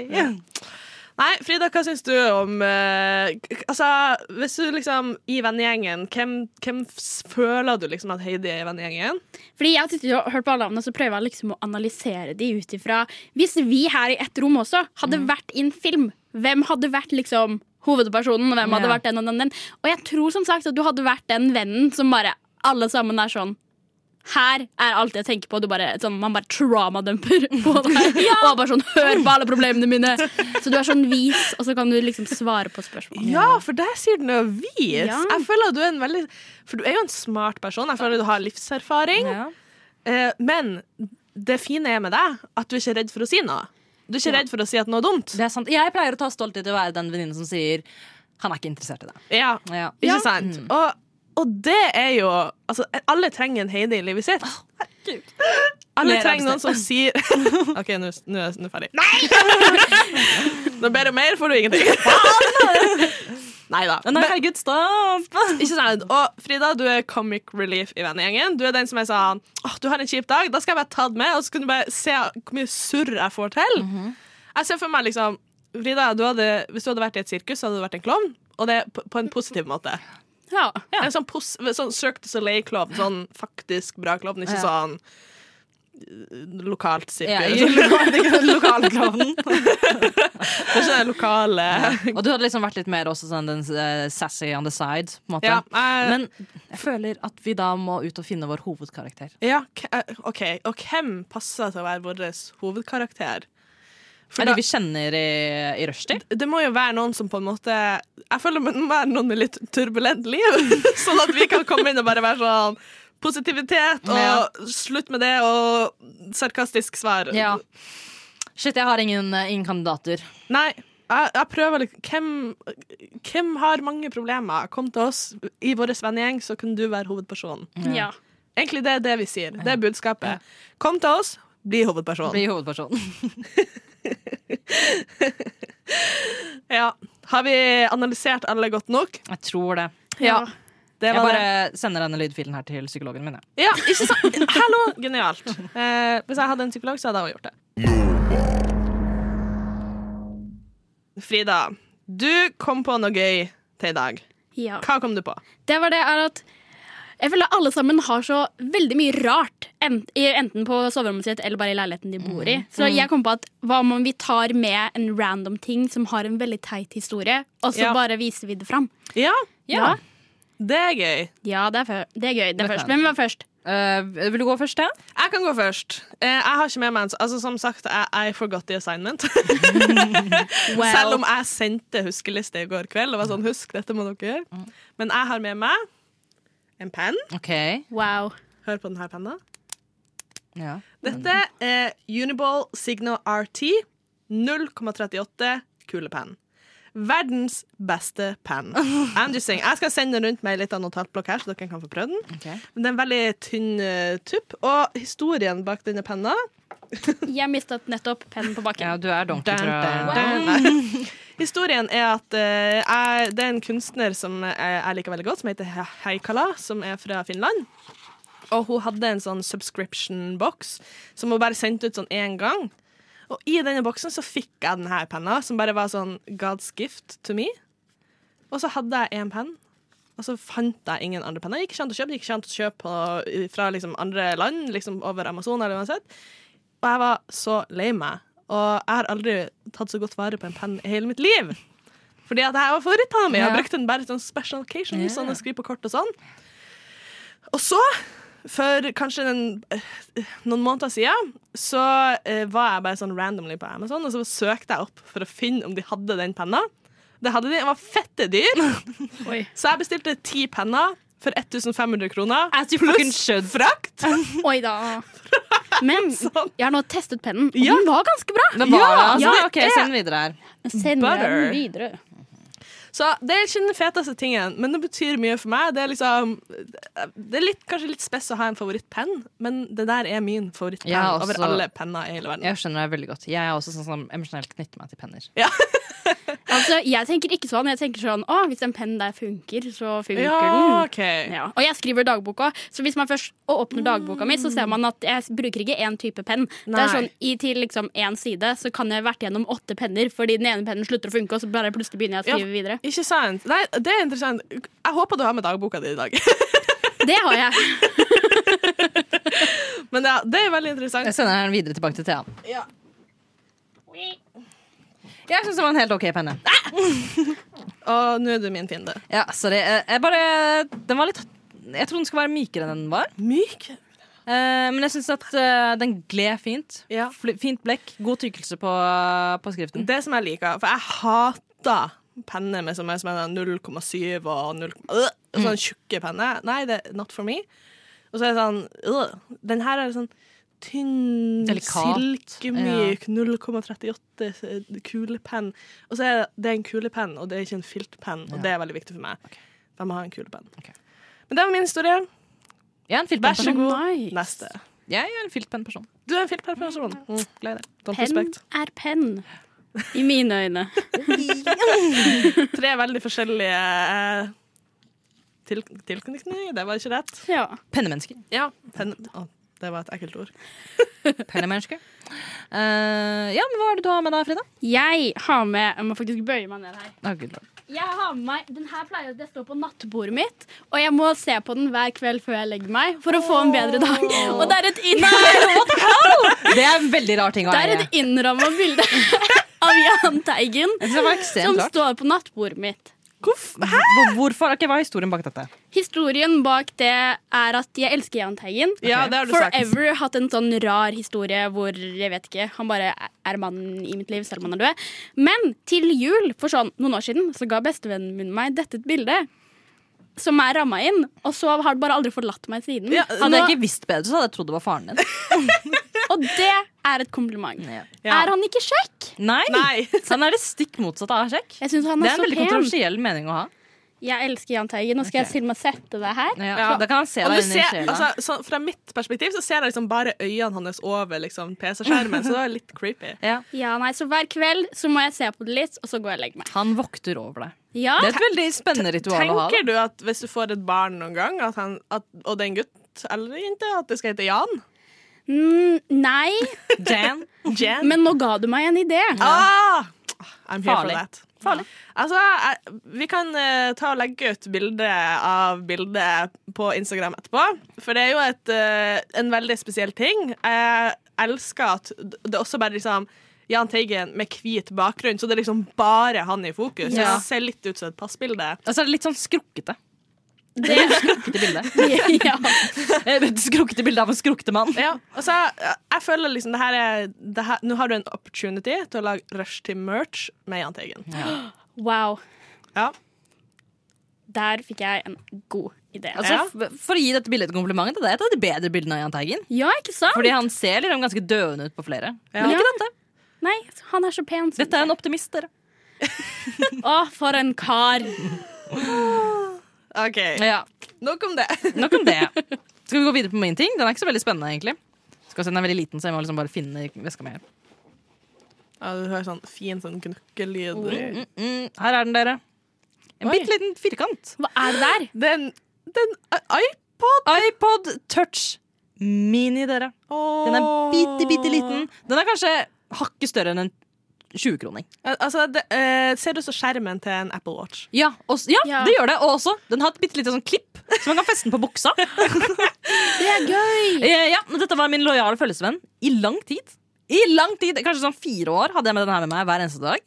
[SPEAKER 5] Nei, Frida, hva syns du om eh, k- Altså, hvis du liksom I vennegjengen, hvem, hvem s- føler du liksom at Heidi er i vennegjengen?
[SPEAKER 8] Fordi jeg sitter og hørt på alle navnene, så prøver jeg liksom å analysere de ut ifra Hvis vi her i ett rom også hadde vært i en film, hvem hadde vært liksom hovedpersonen, og hvem hadde
[SPEAKER 6] Ja.
[SPEAKER 8] vært den og den, den? Og jeg tror som sagt at du hadde vært den vennen som bare alle sammen er sånn her er alt jeg tenker på. Du bare, sånn, man bare traumadumper på deg. Og bare sånn, hør på alle problemene mine. Så du er sånn vis, og så kan du liksom svare på spørsmål.
[SPEAKER 5] Ja, for der sier den jo vis.
[SPEAKER 8] Ja.
[SPEAKER 5] Jeg føler at du er en veldig For du er jo en smart person. Jeg føler at du har livserfaring. Eh, men det fine er med deg at du er ikke redd for å si noe. Du er ikke redd for å si at noe er dumt.
[SPEAKER 6] Det er sant. Jeg pleier å ta stolthet i å være den venninnen som sier han er ikke interessert i deg.
[SPEAKER 5] Ja,
[SPEAKER 6] Ja. Mm.
[SPEAKER 5] ikke sant? Og, og det er jo altså, Alle trenger en Heidi i livet sitt. Alle
[SPEAKER 6] Mer
[SPEAKER 5] trenger noen som sier OK, nå nå er jeg nå er jeg ferdig. Nei! Når du ber om mer, får du ingenting. Nei da.
[SPEAKER 6] Nei, herregud, stopp!
[SPEAKER 5] Ikke sant? Og Frida, du er comic relief i vennegjengen. Du er den som er sånn Åh, du har en kjip dag, da skal jeg bare ta det med, og så kan du bare se hvor mye surr jeg får til.
[SPEAKER 6] Mhm.
[SPEAKER 5] Jeg ser for meg liksom Frida, du hadde, hvis du hadde vært i et sirkus, så hadde du vært en klovn. Og det på, på en positiv måte.
[SPEAKER 8] Ja.
[SPEAKER 5] En sånn, pos, sånn Cirque du Soleil-klovn. Sånn faktisk bra klovn, ikke
[SPEAKER 6] Ja.
[SPEAKER 5] sånn eh, lokalt
[SPEAKER 6] Ja,
[SPEAKER 5] sirkus.
[SPEAKER 6] i lokal- lokalklovnen.
[SPEAKER 5] Kanskje det lokale
[SPEAKER 6] Og du hadde liksom vært litt mer også sånn den eh, sassy on the side. På en måte.
[SPEAKER 5] Ja, jeg-
[SPEAKER 6] Men jeg føler at vi da må ut og finne vår hovedkarakter.
[SPEAKER 5] ja, k- eh, OK. Og hvem passer til å være vår hovedkarakter? For
[SPEAKER 6] Er
[SPEAKER 5] da-
[SPEAKER 6] det vi kjenner i, i rushtid?
[SPEAKER 5] det må jo være noen som på en måte Jeg føler det må være noen med litt turbulent liv, sånn at vi kan komme inn og bare være sånn Positivitet og
[SPEAKER 6] Ja.
[SPEAKER 5] slutt med det og sarkastisk svar.
[SPEAKER 6] Ja. Shit, jeg har ingen, eh, ingen kandidater.
[SPEAKER 5] Nei, jeg, jeg prøver litt hvem, hvem har mange problemer? Kom til oss i vår vennegjeng, så kan du være hovedpersonen.
[SPEAKER 8] ja.
[SPEAKER 5] Egentlig det er det vi sier. Det er budskapet. Kom til oss, bli hovedperson.
[SPEAKER 6] Blir hovedpersonen.
[SPEAKER 5] Ja. Har vi analysert alle godt nok?
[SPEAKER 6] Jeg tror det.
[SPEAKER 5] Ja. Det
[SPEAKER 6] Jeg
[SPEAKER 5] var det.
[SPEAKER 6] bare sender denne lydfilen her til psykologen min. jeg.
[SPEAKER 5] Ja, ikke sant? Hallo! Genialt. Eh, hvis jeg hadde en psykolog, så hadde jeg også gjort det. Frida, du kom på noe gøy til i dag.
[SPEAKER 8] ja.
[SPEAKER 5] Hva kom du på?
[SPEAKER 8] Det var det er at jeg føler alle sammen har så veldig mye rart, en- i- enten på soverommet sitt eller bare i leiligheten de bor i. Så jeg kom på at hva om vi tar med en random ting som har en veldig teit historie, og så
[SPEAKER 5] Ja.
[SPEAKER 8] bare viser vi det fram?
[SPEAKER 5] Ja,
[SPEAKER 8] Ja,
[SPEAKER 5] det er gøy.
[SPEAKER 8] ja det, er fø- det er gøy. Det er
[SPEAKER 6] Det
[SPEAKER 8] først.
[SPEAKER 6] kan.
[SPEAKER 8] Hvem var først?
[SPEAKER 6] Eh, vil du gå først, det?
[SPEAKER 5] Jeg kan gå først. Eh, jeg har ikke med meg en s- altså, Som sagt, I, I forgot the assignment. Selv om jeg sendte huskeliste i går kveld og var sånn Husk, dette må dere gjøre.
[SPEAKER 6] Mm.
[SPEAKER 5] Men jeg har med meg en penn.
[SPEAKER 6] Ok.
[SPEAKER 8] Wow.
[SPEAKER 5] Hør på denne penna.
[SPEAKER 6] Ja.
[SPEAKER 5] Dette er Uniball Signo RT 0,38 kulepenn. Verdens beste penn. I'm just saying. Jeg skal sende den rundt med ei lita notatblokk her, så dere kan få prøvd den.
[SPEAKER 6] Ok.
[SPEAKER 5] Men det er en veldig tynn eh, tupp, og historien bak denne penna
[SPEAKER 8] Jeg mistet nettopp pennen på bakken.
[SPEAKER 6] ja, du er donkey,
[SPEAKER 5] Dun,
[SPEAKER 6] tror
[SPEAKER 5] dun, dun.
[SPEAKER 6] jeg.
[SPEAKER 5] Nei. Historien er at eh, jeg, det er en kunstner som jeg, jeg liker veldig godt, som heter He- Heikala, som er fra Finland. Og hun hadde en sånn subscription-boks som hun bare sendte ut sånn én gang. Og i denne boksen så fikk jeg denne penna, som bare var sånn God's gift to me. Og så hadde jeg én penn, og så fant jeg ingen andre penner. Gikk ikke an å kjøpe, gikk ikke an å kjøpe på- fra liksom andre land, liksom over Amazon eller uansett. Og jeg var så lei meg. Og jeg har aldri tatt så godt vare på en penn i hele mitt liv. Fordi at det her var favorittpanna mi. Jeg
[SPEAKER 6] Ja.
[SPEAKER 5] brukte den bare til sånn special occasion,
[SPEAKER 6] Ja.
[SPEAKER 5] sånn jeg skriver på kort og sånn. Og så, for kanskje den, eh, noen måneder siden, så eh, var jeg bare sånn randomly på Amazon, og så søkte jeg opp for å finne om de hadde den penna. Det hadde de. Den var fette dyr.
[SPEAKER 8] Oi.
[SPEAKER 5] Så jeg bestilte ti penner for 1500 kroner.
[SPEAKER 6] As you fucking should.
[SPEAKER 5] Frakt!
[SPEAKER 8] Oi da. Men jeg har nå testet pennen, og
[SPEAKER 5] Ja.
[SPEAKER 8] den var ganske bra.
[SPEAKER 6] Den var det, altså.
[SPEAKER 5] ja, det
[SPEAKER 6] ok,
[SPEAKER 5] er-
[SPEAKER 6] send den videre her.
[SPEAKER 8] Send
[SPEAKER 5] Butter.
[SPEAKER 8] den videre.
[SPEAKER 5] Så det er ikke den feteste tingen, men det betyr mye for meg. Det er liksom Det er litt, kanskje litt spes å ha en favorittpenn, men det der er min favorittpenn
[SPEAKER 6] Jeg har også-
[SPEAKER 5] over alle penner i hele verden.
[SPEAKER 6] altså. Jeg skjønner deg veldig godt. Jeg er også sånn som emosjonelt knytter meg til penner.
[SPEAKER 8] Altså, jeg tenker ikke sånn. Jeg tenker sånn Å, hvis den pennen der funker, så funker
[SPEAKER 5] Ja,
[SPEAKER 8] den.
[SPEAKER 5] OK.
[SPEAKER 8] Ja. Og jeg skriver dagboka, så hvis man først åpner dagboka mi, så ser man at jeg bruker ikke én type penn. Det
[SPEAKER 5] Nei.
[SPEAKER 8] er sånn, i Til liksom én side så kan jeg vært gjennom åtte penner, fordi den ene pennen slutter å funke, og så bare plutselig begynner jeg
[SPEAKER 5] Ja.
[SPEAKER 8] å skrive videre.
[SPEAKER 5] Ikke sant? Nei, det er interessant. Jeg håper du har med dagboka di i dag.
[SPEAKER 8] Det har jeg.
[SPEAKER 5] Men ja, det er veldig interessant.
[SPEAKER 6] Jeg sender den videre tilbake til Thea.
[SPEAKER 5] Ja.
[SPEAKER 6] Jeg syns det var en helt ok penne.
[SPEAKER 5] Og nå er du min fiende.
[SPEAKER 6] Ja, sorry. Eh, Jeg bare Den var litt Jeg trodde den skulle være mykere enn den var.
[SPEAKER 5] Myk.
[SPEAKER 6] Eh, men jeg syns at eh, den gled fint.
[SPEAKER 5] Ja.
[SPEAKER 6] Fl- Fint blekk. God tykkelse på, på skriften.
[SPEAKER 5] Det som jeg liker, for jeg hater penner med som er sånn som er 0,7 og 0, øh, sånn tjukke penner. Nei, det er not for me. Og så er det sånn øh, Den her er sånn tynn,
[SPEAKER 6] Delikat.
[SPEAKER 5] silkemyk, 0,38 eh, kulepenn. Og så er det, det er en kulepenn, og det er ikke en filtpenn, og det er veldig viktig for meg. Jeg må ha en kulepenn.
[SPEAKER 6] Ok.
[SPEAKER 5] Men det var min historie.
[SPEAKER 6] Jeg er en
[SPEAKER 5] Vær så
[SPEAKER 6] filtpennperson.
[SPEAKER 5] god.
[SPEAKER 8] Nice.
[SPEAKER 5] Neste.
[SPEAKER 6] Jeg er en filtpennperson.
[SPEAKER 5] Du er en filtpennperson. Mm, gleder deg. Don't
[SPEAKER 8] Penn
[SPEAKER 5] respect.
[SPEAKER 8] er penn. I mine øyne.
[SPEAKER 5] Tre veldig forskjellige eh, til, tilknytninger. Det var ikke rett.
[SPEAKER 8] Ja.
[SPEAKER 6] Pennemennesker.
[SPEAKER 5] Ja. Pen, å, det var et ekkelt ord.
[SPEAKER 6] Pennemennesker. Eh, ja, men hva er det du har med deg, Frida?
[SPEAKER 8] Jeg har med Jeg må faktisk bøye meg ned her.
[SPEAKER 6] Å, Gud, lord.
[SPEAKER 8] Jeg har med meg, Den her pleier det står på nattbordet mitt, og jeg må se på den hver kveld før jeg legger meg for å få en bedre dag. Og det er et, inn,
[SPEAKER 6] det er en veldig rar ting å
[SPEAKER 8] det er
[SPEAKER 6] eie.
[SPEAKER 8] et innramma bilde av Jahn Teigen
[SPEAKER 6] Jeg synes det var
[SPEAKER 8] som
[SPEAKER 6] ekstremt rart.
[SPEAKER 8] står på nattbordet mitt.
[SPEAKER 6] Hvor- Hvorfor? Ok, hva er historien bak dette?
[SPEAKER 8] Historien bak det er at jeg elsker Jahn Teigen.
[SPEAKER 5] Ja, det har du sagt.
[SPEAKER 8] Forever hatt en sånn rar historie hvor jeg vet ikke, han bare er mannen i mitt liv, selv om han er død. Men til jul for sånn noen år siden så ga bestevennen min meg dette et bilde. Som er ramma inn, og så har det bare aldri forlatt meg siden.
[SPEAKER 5] Ja,
[SPEAKER 8] Så
[SPEAKER 6] Hadde
[SPEAKER 8] nå-
[SPEAKER 6] jeg ikke visst bedre, så hadde jeg trodd det var faren din.
[SPEAKER 8] Og det er et kompliment.
[SPEAKER 5] Ja.
[SPEAKER 8] Er han ikke kjekk?
[SPEAKER 6] Nei!
[SPEAKER 5] Nei.
[SPEAKER 6] Han er det stikk motsatte av kjekk.
[SPEAKER 8] Jeg syns han
[SPEAKER 6] Det
[SPEAKER 8] er,
[SPEAKER 6] er en veldig
[SPEAKER 8] så pen.
[SPEAKER 6] kontroversiell mening å ha.
[SPEAKER 8] Jeg elsker Jahn Teigen. Nå skal jeg til og med sette det her.
[SPEAKER 6] Ja,
[SPEAKER 5] Ja.
[SPEAKER 6] Da kan han se
[SPEAKER 5] Og
[SPEAKER 6] deg
[SPEAKER 5] du
[SPEAKER 6] inn i
[SPEAKER 5] ser,
[SPEAKER 6] sjela.
[SPEAKER 5] altså, så, fra mitt perspektiv så ser jeg liksom bare øynene hans over liksom, PC-skjermen, så det er litt creepy.
[SPEAKER 6] ja.
[SPEAKER 8] Ja, nei, Så hver kveld så må jeg se på det litt, og så går jeg og legger meg.
[SPEAKER 6] Han vokter over deg.
[SPEAKER 8] Ja,
[SPEAKER 6] Det er et veldig spennende ritual å ha. da.
[SPEAKER 5] Ah, Tenker du at hvis du får et barn noen gang, at han, at, og det er en gutt eller jente, at det skal hete Jan?
[SPEAKER 8] mm, Nei,
[SPEAKER 6] Jan.
[SPEAKER 5] Jan?
[SPEAKER 8] men nå ga du meg en idé.
[SPEAKER 5] Ah! I'm here
[SPEAKER 6] Farlig.
[SPEAKER 5] for that. Altså, jeg, vi kan eh, ta og legge ut bilde av bildet på Instagram etterpå. For det er jo et, eh, en veldig spesiell ting. Jeg elsker at det også bare liksom Jahn Teigen med hvit bakgrunn, så det er liksom bare han i fokus.
[SPEAKER 6] Ja.
[SPEAKER 5] Det ser litt ut som et passbilde.
[SPEAKER 6] Altså, det er litt sånn skrukkete.
[SPEAKER 8] Det,
[SPEAKER 6] Skrukkete bilde.
[SPEAKER 8] ja.
[SPEAKER 6] Et skrukkete bilde av en skrukkete mann.
[SPEAKER 5] Ja, og så jeg føler liksom det her er det her, Nå har du en opportunity til å lage rush til merch med Jahn Teigen.
[SPEAKER 8] Wow.
[SPEAKER 5] Ja.
[SPEAKER 8] Der fikk jeg en god idé.
[SPEAKER 6] Altså, f- for å gi dette bildet et kompliment, det er et av de bedre bildene av Jahn Teigen.
[SPEAKER 8] ja, ikke sant?
[SPEAKER 6] Fordi han ser liksom ganske døende ut på flere.
[SPEAKER 5] Ja.
[SPEAKER 6] Men
[SPEAKER 8] Ja.
[SPEAKER 6] ikke dette.
[SPEAKER 8] Nei, han er så pen. som-
[SPEAKER 6] Dette er en optimist, dere.
[SPEAKER 8] Å, for en kar.
[SPEAKER 5] OK.
[SPEAKER 6] Ja,
[SPEAKER 5] Nok om det.
[SPEAKER 6] Nok om det. Skal vi gå videre på min ting? Den er ikke så veldig spennende, egentlig. Skal se, Den er veldig liten, så jeg må liksom bare finne veska mi her.
[SPEAKER 5] Ja, du hører sånn fin sånn gnukkelyd.
[SPEAKER 6] Mm, mm, her er den, dere. En bitte liten firkant.
[SPEAKER 8] Hva er det der?
[SPEAKER 5] Det er en det er en iPod.
[SPEAKER 6] iPod Touch Mini, dere. Den er bitte, bitte liten. Den er kanskje hakket større enn en 20-kroning.
[SPEAKER 5] Al- Altså, det, eh, ser ut som skjermen til en Apple Watch.
[SPEAKER 6] Ja, og s- ja,
[SPEAKER 8] Ja.
[SPEAKER 6] det gjør det. Og også, den har et bitte lite sånn klipp som man kan feste den på buksa.
[SPEAKER 8] Det er gøy.
[SPEAKER 6] Eh, ja, men Dette var min lojale følgesvenn i lang tid. I lang tid, Kanskje sånn fire år hadde jeg med den her med meg hver eneste dag.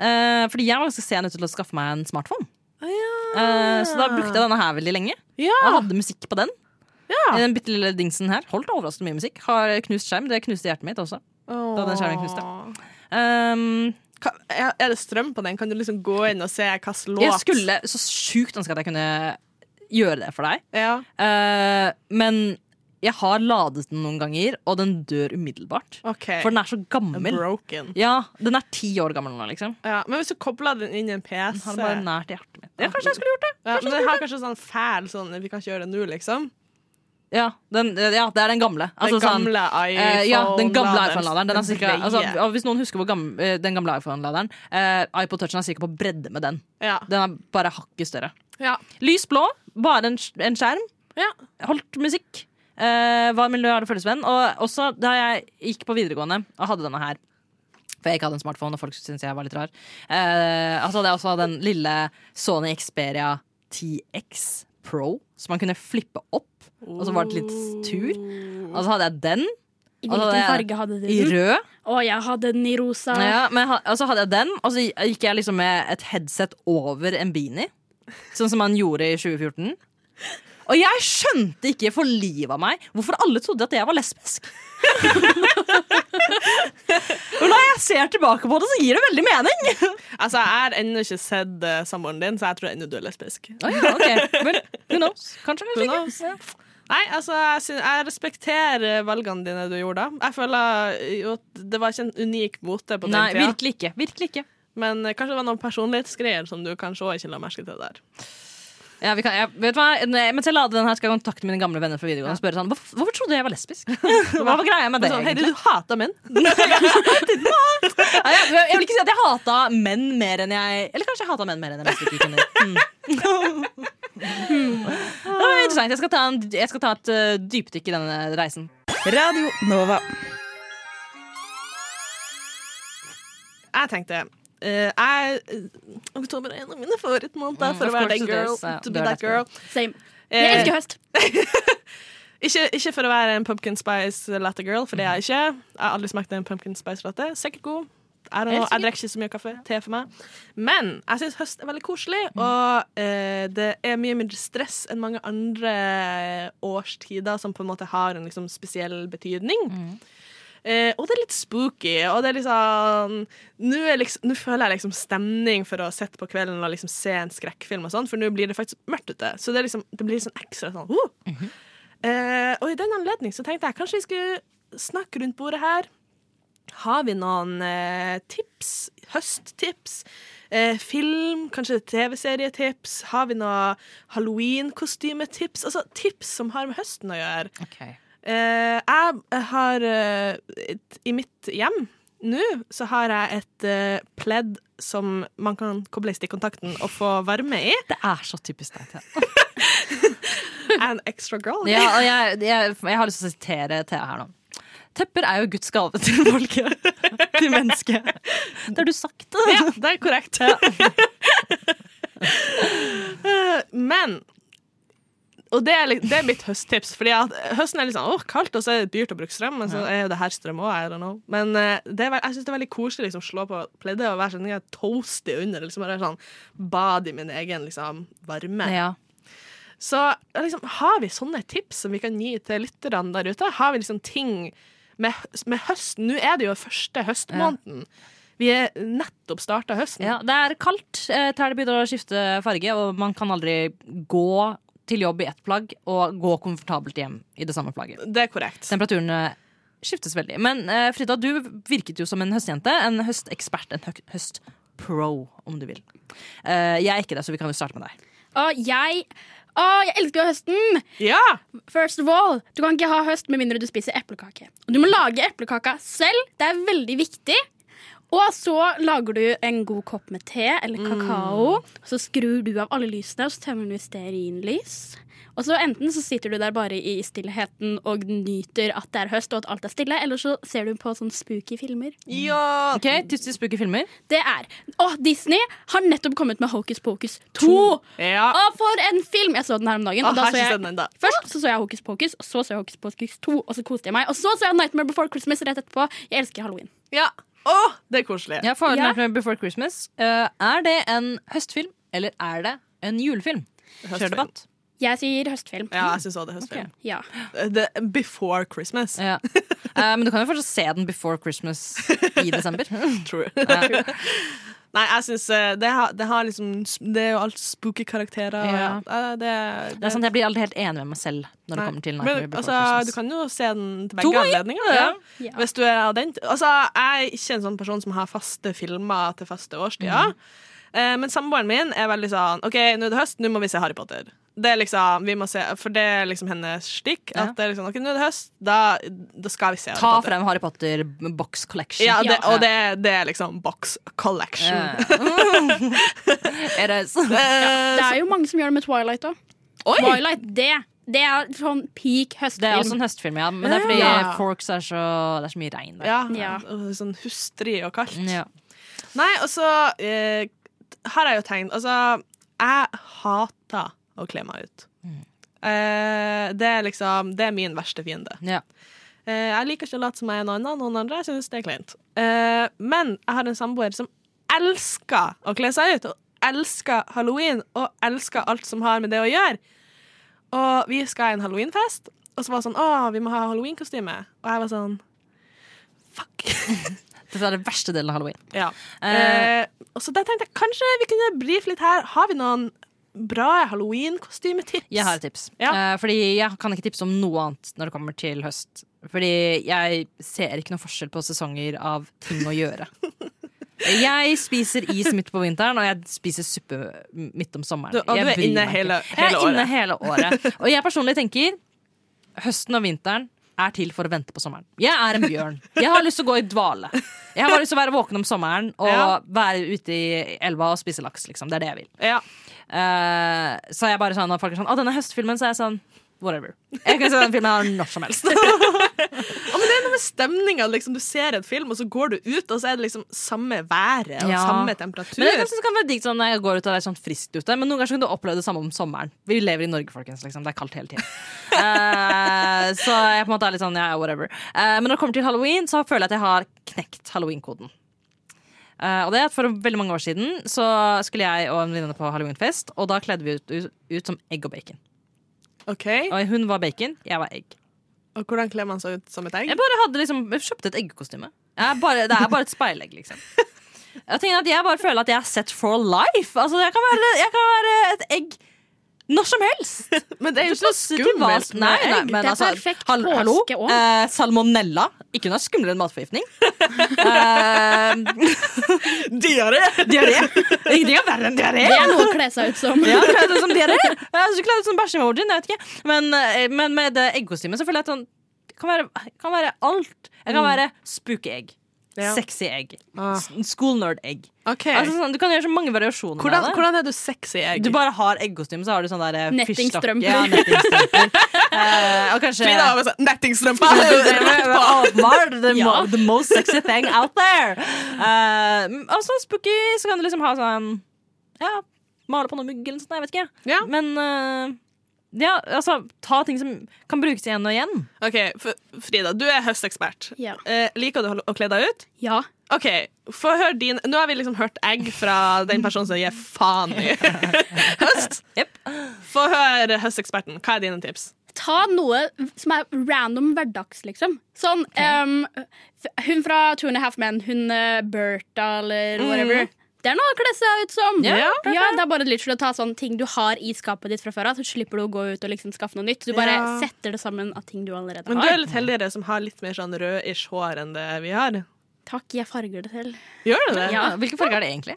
[SPEAKER 6] Eh, fordi jeg var ganske sen ute til å skaffe meg en smartphone. Eh, så da brukte jeg denne her veldig lenge. Og
[SPEAKER 5] Ja.
[SPEAKER 6] hadde musikk på den. Eh,
[SPEAKER 5] Ja.
[SPEAKER 6] Den bitte lille dingsen her holdt overraskende mye musikk. Har knust skjerm. Det knuste hjertet mitt også. Da den skjermen knuste. Um,
[SPEAKER 5] Kan, er er det strøm på den? Kan du liksom gå inn og se hvilken låt
[SPEAKER 6] jeg skulle så sjukt ønske at jeg kunne gjøre det for deg.
[SPEAKER 5] Ja.
[SPEAKER 6] Eh, men jeg har ladet den noen ganger, og den dør umiddelbart.
[SPEAKER 5] OK.
[SPEAKER 6] For den er så gammel.
[SPEAKER 5] Broken.
[SPEAKER 6] Ja, Den er ti år gammel nå, liksom.
[SPEAKER 5] Ja, men hvis du kobler den inn i en PC
[SPEAKER 6] Den har det bare
[SPEAKER 5] ja,
[SPEAKER 6] nært i hjertet mitt. Ja, kanskje jeg skulle gjort det.
[SPEAKER 5] Men den har kanskje sånn fæl sånn Vi kan ikke gjøre det nå, liksom.
[SPEAKER 6] Ja, den, ja det er den gamle.
[SPEAKER 5] Den
[SPEAKER 6] Altså, sånn-
[SPEAKER 5] gamle
[SPEAKER 6] Eh,
[SPEAKER 5] iPhone-laderen.
[SPEAKER 6] ja, den gamle iPhone-laderen. Den er
[SPEAKER 5] den
[SPEAKER 6] cirka, altså,
[SPEAKER 5] breie.
[SPEAKER 6] ja, hvis noen husker hvor gammel, eh, den gamle iPhone-laderen eh, iPod Touchen er sikkert på bredde med den.
[SPEAKER 5] ja.
[SPEAKER 6] Den er bare hakket større.
[SPEAKER 5] Ja.
[SPEAKER 6] Lys blå, bare en, sk- en skjerm.
[SPEAKER 5] Ja.
[SPEAKER 6] Holdt musikk. Eh, var en miljø- og følgesvenn. Og også da jeg gikk på videregående og hadde denne her. For jeg ikke hadde en smartphone, og folk syntes jeg var litt rar. Eh, altså hadde jeg også den lille Sony Xperia 10X Pro, som man kunne flippe opp. Og så var det litt tur. Og så hadde jeg den
[SPEAKER 8] I
[SPEAKER 6] Altså,
[SPEAKER 8] hvilken
[SPEAKER 6] det
[SPEAKER 8] farge hadde du
[SPEAKER 6] i
[SPEAKER 8] den?
[SPEAKER 6] rød.
[SPEAKER 8] Å, jeg hadde den i rosa.
[SPEAKER 6] Ja, men jeg ha- og så hadde jeg den, og så gikk jeg liksom med et headset over en beanie. Sånn som man gjorde i 2014. Og jeg skjønte ikke for livet av meg hvorfor alle trodde at jeg var lesbisk. og når jeg ser tilbake på det, så gir det veldig mening.
[SPEAKER 5] Altså, jeg har ennå ikke sett eh, samboeren din, så jeg tror ennå du er lesbisk.
[SPEAKER 6] Å ja, ok. Vel, who knows? Kanskje, kanskje
[SPEAKER 5] Who knows?
[SPEAKER 6] ikke.
[SPEAKER 5] Nei, altså, jeg, syn- jeg respekterer valgene dine du gjorde da. Jeg føler jo at det var ikke en unik mote på den
[SPEAKER 6] Nei,
[SPEAKER 5] tida.
[SPEAKER 6] virkelig ikke. Virkelig ikke.
[SPEAKER 5] Men eh, kanskje det var noen personlighetsgreier som du kanskje også ikke la merke til der.
[SPEAKER 6] Ja, vi kan, jeg, vet du hva? Nei, Mens jeg lader den her, skal jeg kontakte mine gamle venner fra videregående og spørre sånn Hvorfor, hvorfor trodde du jeg var lesbisk? Hva var greia med det?
[SPEAKER 5] Sånn, Heidi,
[SPEAKER 6] egentlig?
[SPEAKER 5] du hater menn.
[SPEAKER 6] Nei, jeg, jeg vil ikke si at jeg hata menn mer enn jeg Eller kanskje jeg hata menn mer enn jeg mest ikke kunne. Mm. Det var interessant. Jeg skal ta, en, jeg skal ta et eh, dypdykk i denne reisen.
[SPEAKER 1] Radio Nova.
[SPEAKER 5] Jeg tenkte eh, jeg, eh, Oktober er en av mine favorittmåneder
[SPEAKER 6] Mm,
[SPEAKER 5] for
[SPEAKER 6] of
[SPEAKER 5] å være
[SPEAKER 6] course
[SPEAKER 5] that
[SPEAKER 6] it
[SPEAKER 5] girl.
[SPEAKER 6] is, ja.
[SPEAKER 5] To
[SPEAKER 6] Du
[SPEAKER 5] be
[SPEAKER 6] er
[SPEAKER 5] that
[SPEAKER 6] that
[SPEAKER 5] girl.
[SPEAKER 8] Same. Jeg
[SPEAKER 5] Eh,
[SPEAKER 8] elsker høst.
[SPEAKER 5] ikke, ikke for å være en pumpkin spice latte girl, for det er jeg ikke. Jeg har aldri smakt en pumpkin spice latte. Sikkert god. I don't know. Jeg drikker ikke så mye kaffe. Te for meg. Men jeg syns høst er veldig koselig, og eh, det er mye mindre stress enn mange andre eh, årstider som på en måte har en liksom, spesiell betydning. Eh, og det er litt spooky, og det er litt sånn Nå er liksom, nå føler jeg liksom stemning for å sitte på kvelden og liksom se en skrekkfilm, og sånn, for nå blir det faktisk mørkt ute. Så det, er liksom, det blir sånn ekstra sånn «Wow!» Eh, og i den anledning så tenkte jeg kanskje vi skulle snakke rundt bordet her. Har vi noen eh, tips? Høsttips? Eh, film? Kanskje TV-serietips? Har vi noe halloween-kostymetips? Altså tips som har med høsten å gjøre. Eh, jeg har eh, et, I mitt hjem nå så har jeg et eh, pledd som man kan koble i stikkontakten og få varme i.
[SPEAKER 6] Det er så typisk deg, Thea.
[SPEAKER 5] An extra girl.
[SPEAKER 6] Ja, og jeg, jeg, jeg har lyst til å sitere Thea her nå. Tepper er jo Guds gave til folket. Til mennesket. Det har du sagt.
[SPEAKER 5] Ja, det er korrekt. Eh, Men Og det er, litt- det er mitt høsttips. Fordi at høsten er litt sånn åh, kaldt, og så er det dyrt å bruke strøm. Men så er jo det her strøm òg, I don't know. Men eh, det er, vel- jeg syns det er veldig koselig liksom, å slå på pleddet og være sånn jeg er toasty under. Liksom, bare sånn Bad i min egen liksom, varme.
[SPEAKER 6] Ja.
[SPEAKER 5] Så liksom, har vi sånne tips som vi kan gi til lytterne der ute? Har vi liksom ting med, med høsten? Nå er det jo første høstmåneden. Vi er nettopp starta høsten.
[SPEAKER 6] Ja, det er kaldt. eh, Trærne begynner å skifte farge, og man kan aldri gå til jobb i ett plagg og gå komfortabelt hjem i det samme plagget.
[SPEAKER 5] Det er korrekt.
[SPEAKER 6] Temperaturene skiftes veldig. Men eh, Frida, du virket jo som en høstjente. En høstekspert. En hø- høstpro, om du vil. Eh, jeg er ikke det, så vi kan jo starte med deg.
[SPEAKER 8] Å, jeg Å, jeg elsker jo høsten!
[SPEAKER 5] Ja!
[SPEAKER 8] First of all, Du kan ikke ha høst med mindre du spiser eplekake. Og Du må lage eplekaka selv. Det er veldig viktig. Og så lager du en god kopp med te eller kakao. Så skrur du av alle lysene, og så tømmer du i stearinlys. Og så Enten så sitter du der bare i stillheten og nyter at det er høst og at alt er stille, eller så ser du på sånn spooky filmer.
[SPEAKER 5] Ja!
[SPEAKER 6] Ok, Tips til spooky filmer.
[SPEAKER 8] Det er Å, Disney har nettopp kommet med Hocus Pocus 2!
[SPEAKER 5] ja.
[SPEAKER 8] Å, for en film! Jeg så den her om dagen.
[SPEAKER 5] Å,
[SPEAKER 8] Og da
[SPEAKER 5] Ah. har
[SPEAKER 8] så
[SPEAKER 5] ikke
[SPEAKER 8] jeg,
[SPEAKER 5] sett den enda.
[SPEAKER 8] først så, så jeg Hokus Pokus, og så så jeg Hokus Pokus 2, og så koste jeg meg. Og så så jeg Nightmare Before Christmas rett etterpå. Jeg elsker halloween.
[SPEAKER 5] ja. Å, det er koselig.
[SPEAKER 6] Ja, Faren
[SPEAKER 8] Ja.
[SPEAKER 6] Nightmare Before Christmas. Eh, er det en høstfilm, eller er det en julefilm? Skjer
[SPEAKER 5] Høstfilm.
[SPEAKER 6] debatt.
[SPEAKER 8] Jeg sier høstfilm.
[SPEAKER 5] Ja, jeg syns også det er høstfilm. Eh,
[SPEAKER 8] Ja.
[SPEAKER 5] Det er Before Christmas.
[SPEAKER 6] Ja. Eh, men du kan jo fortsatt se den before Christmas i desember.
[SPEAKER 5] True. Nei, jeg syns det, har- det har liksom Det er jo alt spooky karakterer.
[SPEAKER 6] Ja.
[SPEAKER 5] og ja, Eh, Det,
[SPEAKER 6] Det er sånn sant, Jeg blir aldri helt enig med meg selv når det
[SPEAKER 5] Nei.
[SPEAKER 6] kommer til Nightmare
[SPEAKER 5] Men
[SPEAKER 6] Before
[SPEAKER 5] altså, du
[SPEAKER 6] Christmas.
[SPEAKER 5] kan jo se den til
[SPEAKER 6] To
[SPEAKER 5] begge
[SPEAKER 6] ganger,
[SPEAKER 5] anledninger.
[SPEAKER 6] ja.
[SPEAKER 5] Ja.
[SPEAKER 8] Ja.
[SPEAKER 5] Hvis du er av den Altså, jeg er ikke en sånn person som har faste filmer til faste årstider.
[SPEAKER 6] Mhm.
[SPEAKER 5] Eh, men samboeren min er veldig sånn OK, nå er det høst, nå må vi se Harry Potter. Det er liksom, vi må se, For det er liksom hennes stikk.
[SPEAKER 6] Ja.
[SPEAKER 5] At det er liksom, OK, nå er det høst, da, da skal vi se
[SPEAKER 6] Ta
[SPEAKER 5] Harry Potter.
[SPEAKER 6] frem Harry Potter box collection.
[SPEAKER 5] Ja, det,
[SPEAKER 8] Ja.
[SPEAKER 5] og det, det er liksom box collection.
[SPEAKER 6] Ja, ja. er det så?
[SPEAKER 5] Eh,
[SPEAKER 8] Det er jo mange som gjør det med Twilight òg. Twilight, det, det er sånn peak
[SPEAKER 6] Det er også en
[SPEAKER 8] høstfilm.
[SPEAKER 6] høstfilm, ja. Men det er fordi
[SPEAKER 5] Ja.
[SPEAKER 6] Forks er så Det er så mye regn der.
[SPEAKER 5] ja,
[SPEAKER 8] Ja.
[SPEAKER 5] og Sånn hustrig og kaldt.
[SPEAKER 6] Ja.
[SPEAKER 5] Nei, og så eh, har jeg jo tenkt Altså, jeg hater å kle meg ut. Eh, det er liksom Det er min verste fiende.
[SPEAKER 6] Ja.
[SPEAKER 5] Eh, jeg liker ikke å late som jeg er noen annen. Noen andre jeg synes det er kleint. Eh, men jeg har en samboer som elsker å kle seg ut, og elsker halloween, og elsker alt som har med det å gjøre. Og vi skal i en halloweenfest, og så var det sånn Å, vi må ha halloweenkostyme. Og jeg var sånn Fuck.
[SPEAKER 6] Dette er den verste delen av halloween.
[SPEAKER 5] Ja.
[SPEAKER 6] Eh,
[SPEAKER 5] Eh, og så da tenkte jeg kanskje vi kunne brife litt her. Har vi noen bra halloween-kostymetips?
[SPEAKER 6] Jeg har et tips.
[SPEAKER 5] Ja.
[SPEAKER 6] Eh, fordi jeg kan ikke tipse om noe annet når det kommer til høst. Fordi jeg ser ikke noe forskjell på sesonger av ting å gjøre. Jeg spiser is midt på vinteren, og jeg spiser suppe midt om sommeren.
[SPEAKER 5] Du- og du
[SPEAKER 6] Jeg
[SPEAKER 5] er
[SPEAKER 6] bryr
[SPEAKER 5] inne
[SPEAKER 6] meg ikke.
[SPEAKER 5] hele-
[SPEAKER 6] jeg
[SPEAKER 5] hele
[SPEAKER 6] er inne
[SPEAKER 5] året.
[SPEAKER 6] hele året. Og jeg personlig tenker høsten og vinteren er til for å vente på sommeren. Jeg er en bjørn. Jeg har lyst til å gå i dvale. Jeg har bare lyst til å være våken om sommeren og
[SPEAKER 5] Ja.
[SPEAKER 6] være ute i elva og spise laks. Liksom. Det er det jeg vil.
[SPEAKER 5] Ja.
[SPEAKER 6] Eh, så jeg bare sånn, når folk er sånn Å, denne høstfilmen, så er jeg sånn Whatever. Jeg kan se den filmen her når som helst.
[SPEAKER 5] Med stemninga, liksom, du ser en film, og så går du ut, og så er det liksom samme været og
[SPEAKER 6] Ja.
[SPEAKER 5] samme temperatur.
[SPEAKER 6] Men det, kanskje, det kan være digg sånn når jeg går ut og det er sånn friskt ute, men noen ganger så kan du oppleve det samme om sommeren. Vi lever i Norge, folkens. Liksom. Det er kaldt hele tiden. Eh, så jeg på en måte er litt sånn ja, ja, whatever. Eh, men når det kommer til halloween, så føler jeg at jeg har knekt halloween-koden. Eh, og det er at For veldig mange år siden Så skulle jeg og en venninne på halloweenfest, og da kledde vi ut, ut, ut som egg og bacon.
[SPEAKER 5] OK,
[SPEAKER 6] Og Hun var bacon, jeg var egg.
[SPEAKER 5] Og hvordan kler man seg ut som et egg?
[SPEAKER 6] Jeg bare hadde liksom jeg kjøpte et eggekostyme. Jeg er bare, det er bare et speilegg, liksom. Jeg, tenker at jeg bare føler at jeg er set for life. Altså, jeg, kan være, jeg kan være et egg når som helst.
[SPEAKER 5] Men det er jo ikke noe
[SPEAKER 6] Passer til hva-
[SPEAKER 5] skummelt med
[SPEAKER 6] nei, nei,
[SPEAKER 5] egg.
[SPEAKER 6] men
[SPEAKER 8] Det er
[SPEAKER 6] altså,
[SPEAKER 8] perfekt
[SPEAKER 6] hall- hallo,
[SPEAKER 8] påske også.
[SPEAKER 6] eh, salmonella. Ikke noe skumlere enn matforgiftning. eh,
[SPEAKER 5] Diaré!
[SPEAKER 6] diaré. Ingenting er verre enn diaré.
[SPEAKER 8] Det er noe å kle seg ut som.
[SPEAKER 6] Ja, kledd ut som dere. Jeg er så kledd ut som bæsje-emojien, jeg vet ikke. Men, eh, men med det eggkostymet så føler jeg at sånn, det kan være, kan være alt. Jeg kan være spooky-egg.
[SPEAKER 5] Mm. Ja.
[SPEAKER 6] Sexy egg.
[SPEAKER 5] Ah.
[SPEAKER 6] s- School nerd-egg.
[SPEAKER 5] OK.
[SPEAKER 6] Altså, sånn, du kan gjøre så mange variasjoner
[SPEAKER 5] hvordan,
[SPEAKER 6] med det.
[SPEAKER 5] hvordan er du sexy egg?
[SPEAKER 6] Du bare har eggkostyme, så har du sånn der eh, fyrstakke-
[SPEAKER 8] Nettingstrømper.
[SPEAKER 6] Ja, nettingstrømper. Eh, og kanskje
[SPEAKER 5] Frida har sånn nettingstrømpe!
[SPEAKER 6] det var åpenbart the,
[SPEAKER 8] Ja.
[SPEAKER 6] mo the most sexy thing out there. Eh, og så spooky, så kan du liksom ha sånn Ja, male på noe mugg eller noe sånt. Jeg vet ikke.
[SPEAKER 5] Ja.
[SPEAKER 6] Men eh, ja, altså, ta ting som kan brukes igjen og igjen.
[SPEAKER 5] OK, F- Frida, du er høstekspert.
[SPEAKER 8] Ja.
[SPEAKER 5] Eh, liker du å kle deg ut?
[SPEAKER 8] Ja.
[SPEAKER 5] OK, få høre din Nå har vi liksom hørt egg fra den personen som gir faen i høst.
[SPEAKER 6] Jepp.
[SPEAKER 5] Få høre høsteksperten. Hva er dine tips?
[SPEAKER 8] Ta noe som er random hverdags, liksom. Sånn ehm, f- Hun fra Two and a Half Men, hun eh, Bertha eller whatever. Det er noe å kle seg ut som.
[SPEAKER 6] Ja,
[SPEAKER 8] ja,
[SPEAKER 6] klart
[SPEAKER 8] Det er bare litt for å ta sånne ting du har i skapet ditt fra før av. Så slipper du å gå ut og liksom skaffe noe nytt. Du bare
[SPEAKER 5] Ja.
[SPEAKER 8] setter det sammen av ting du allerede
[SPEAKER 5] Men du
[SPEAKER 8] har.
[SPEAKER 5] er litt heldigere som har litt mer sånn rød-ish hår enn det vi har.
[SPEAKER 8] Takk, jeg farger det selv.
[SPEAKER 5] Gjør du det?
[SPEAKER 8] Ja.
[SPEAKER 6] Hvilken farge er det egentlig?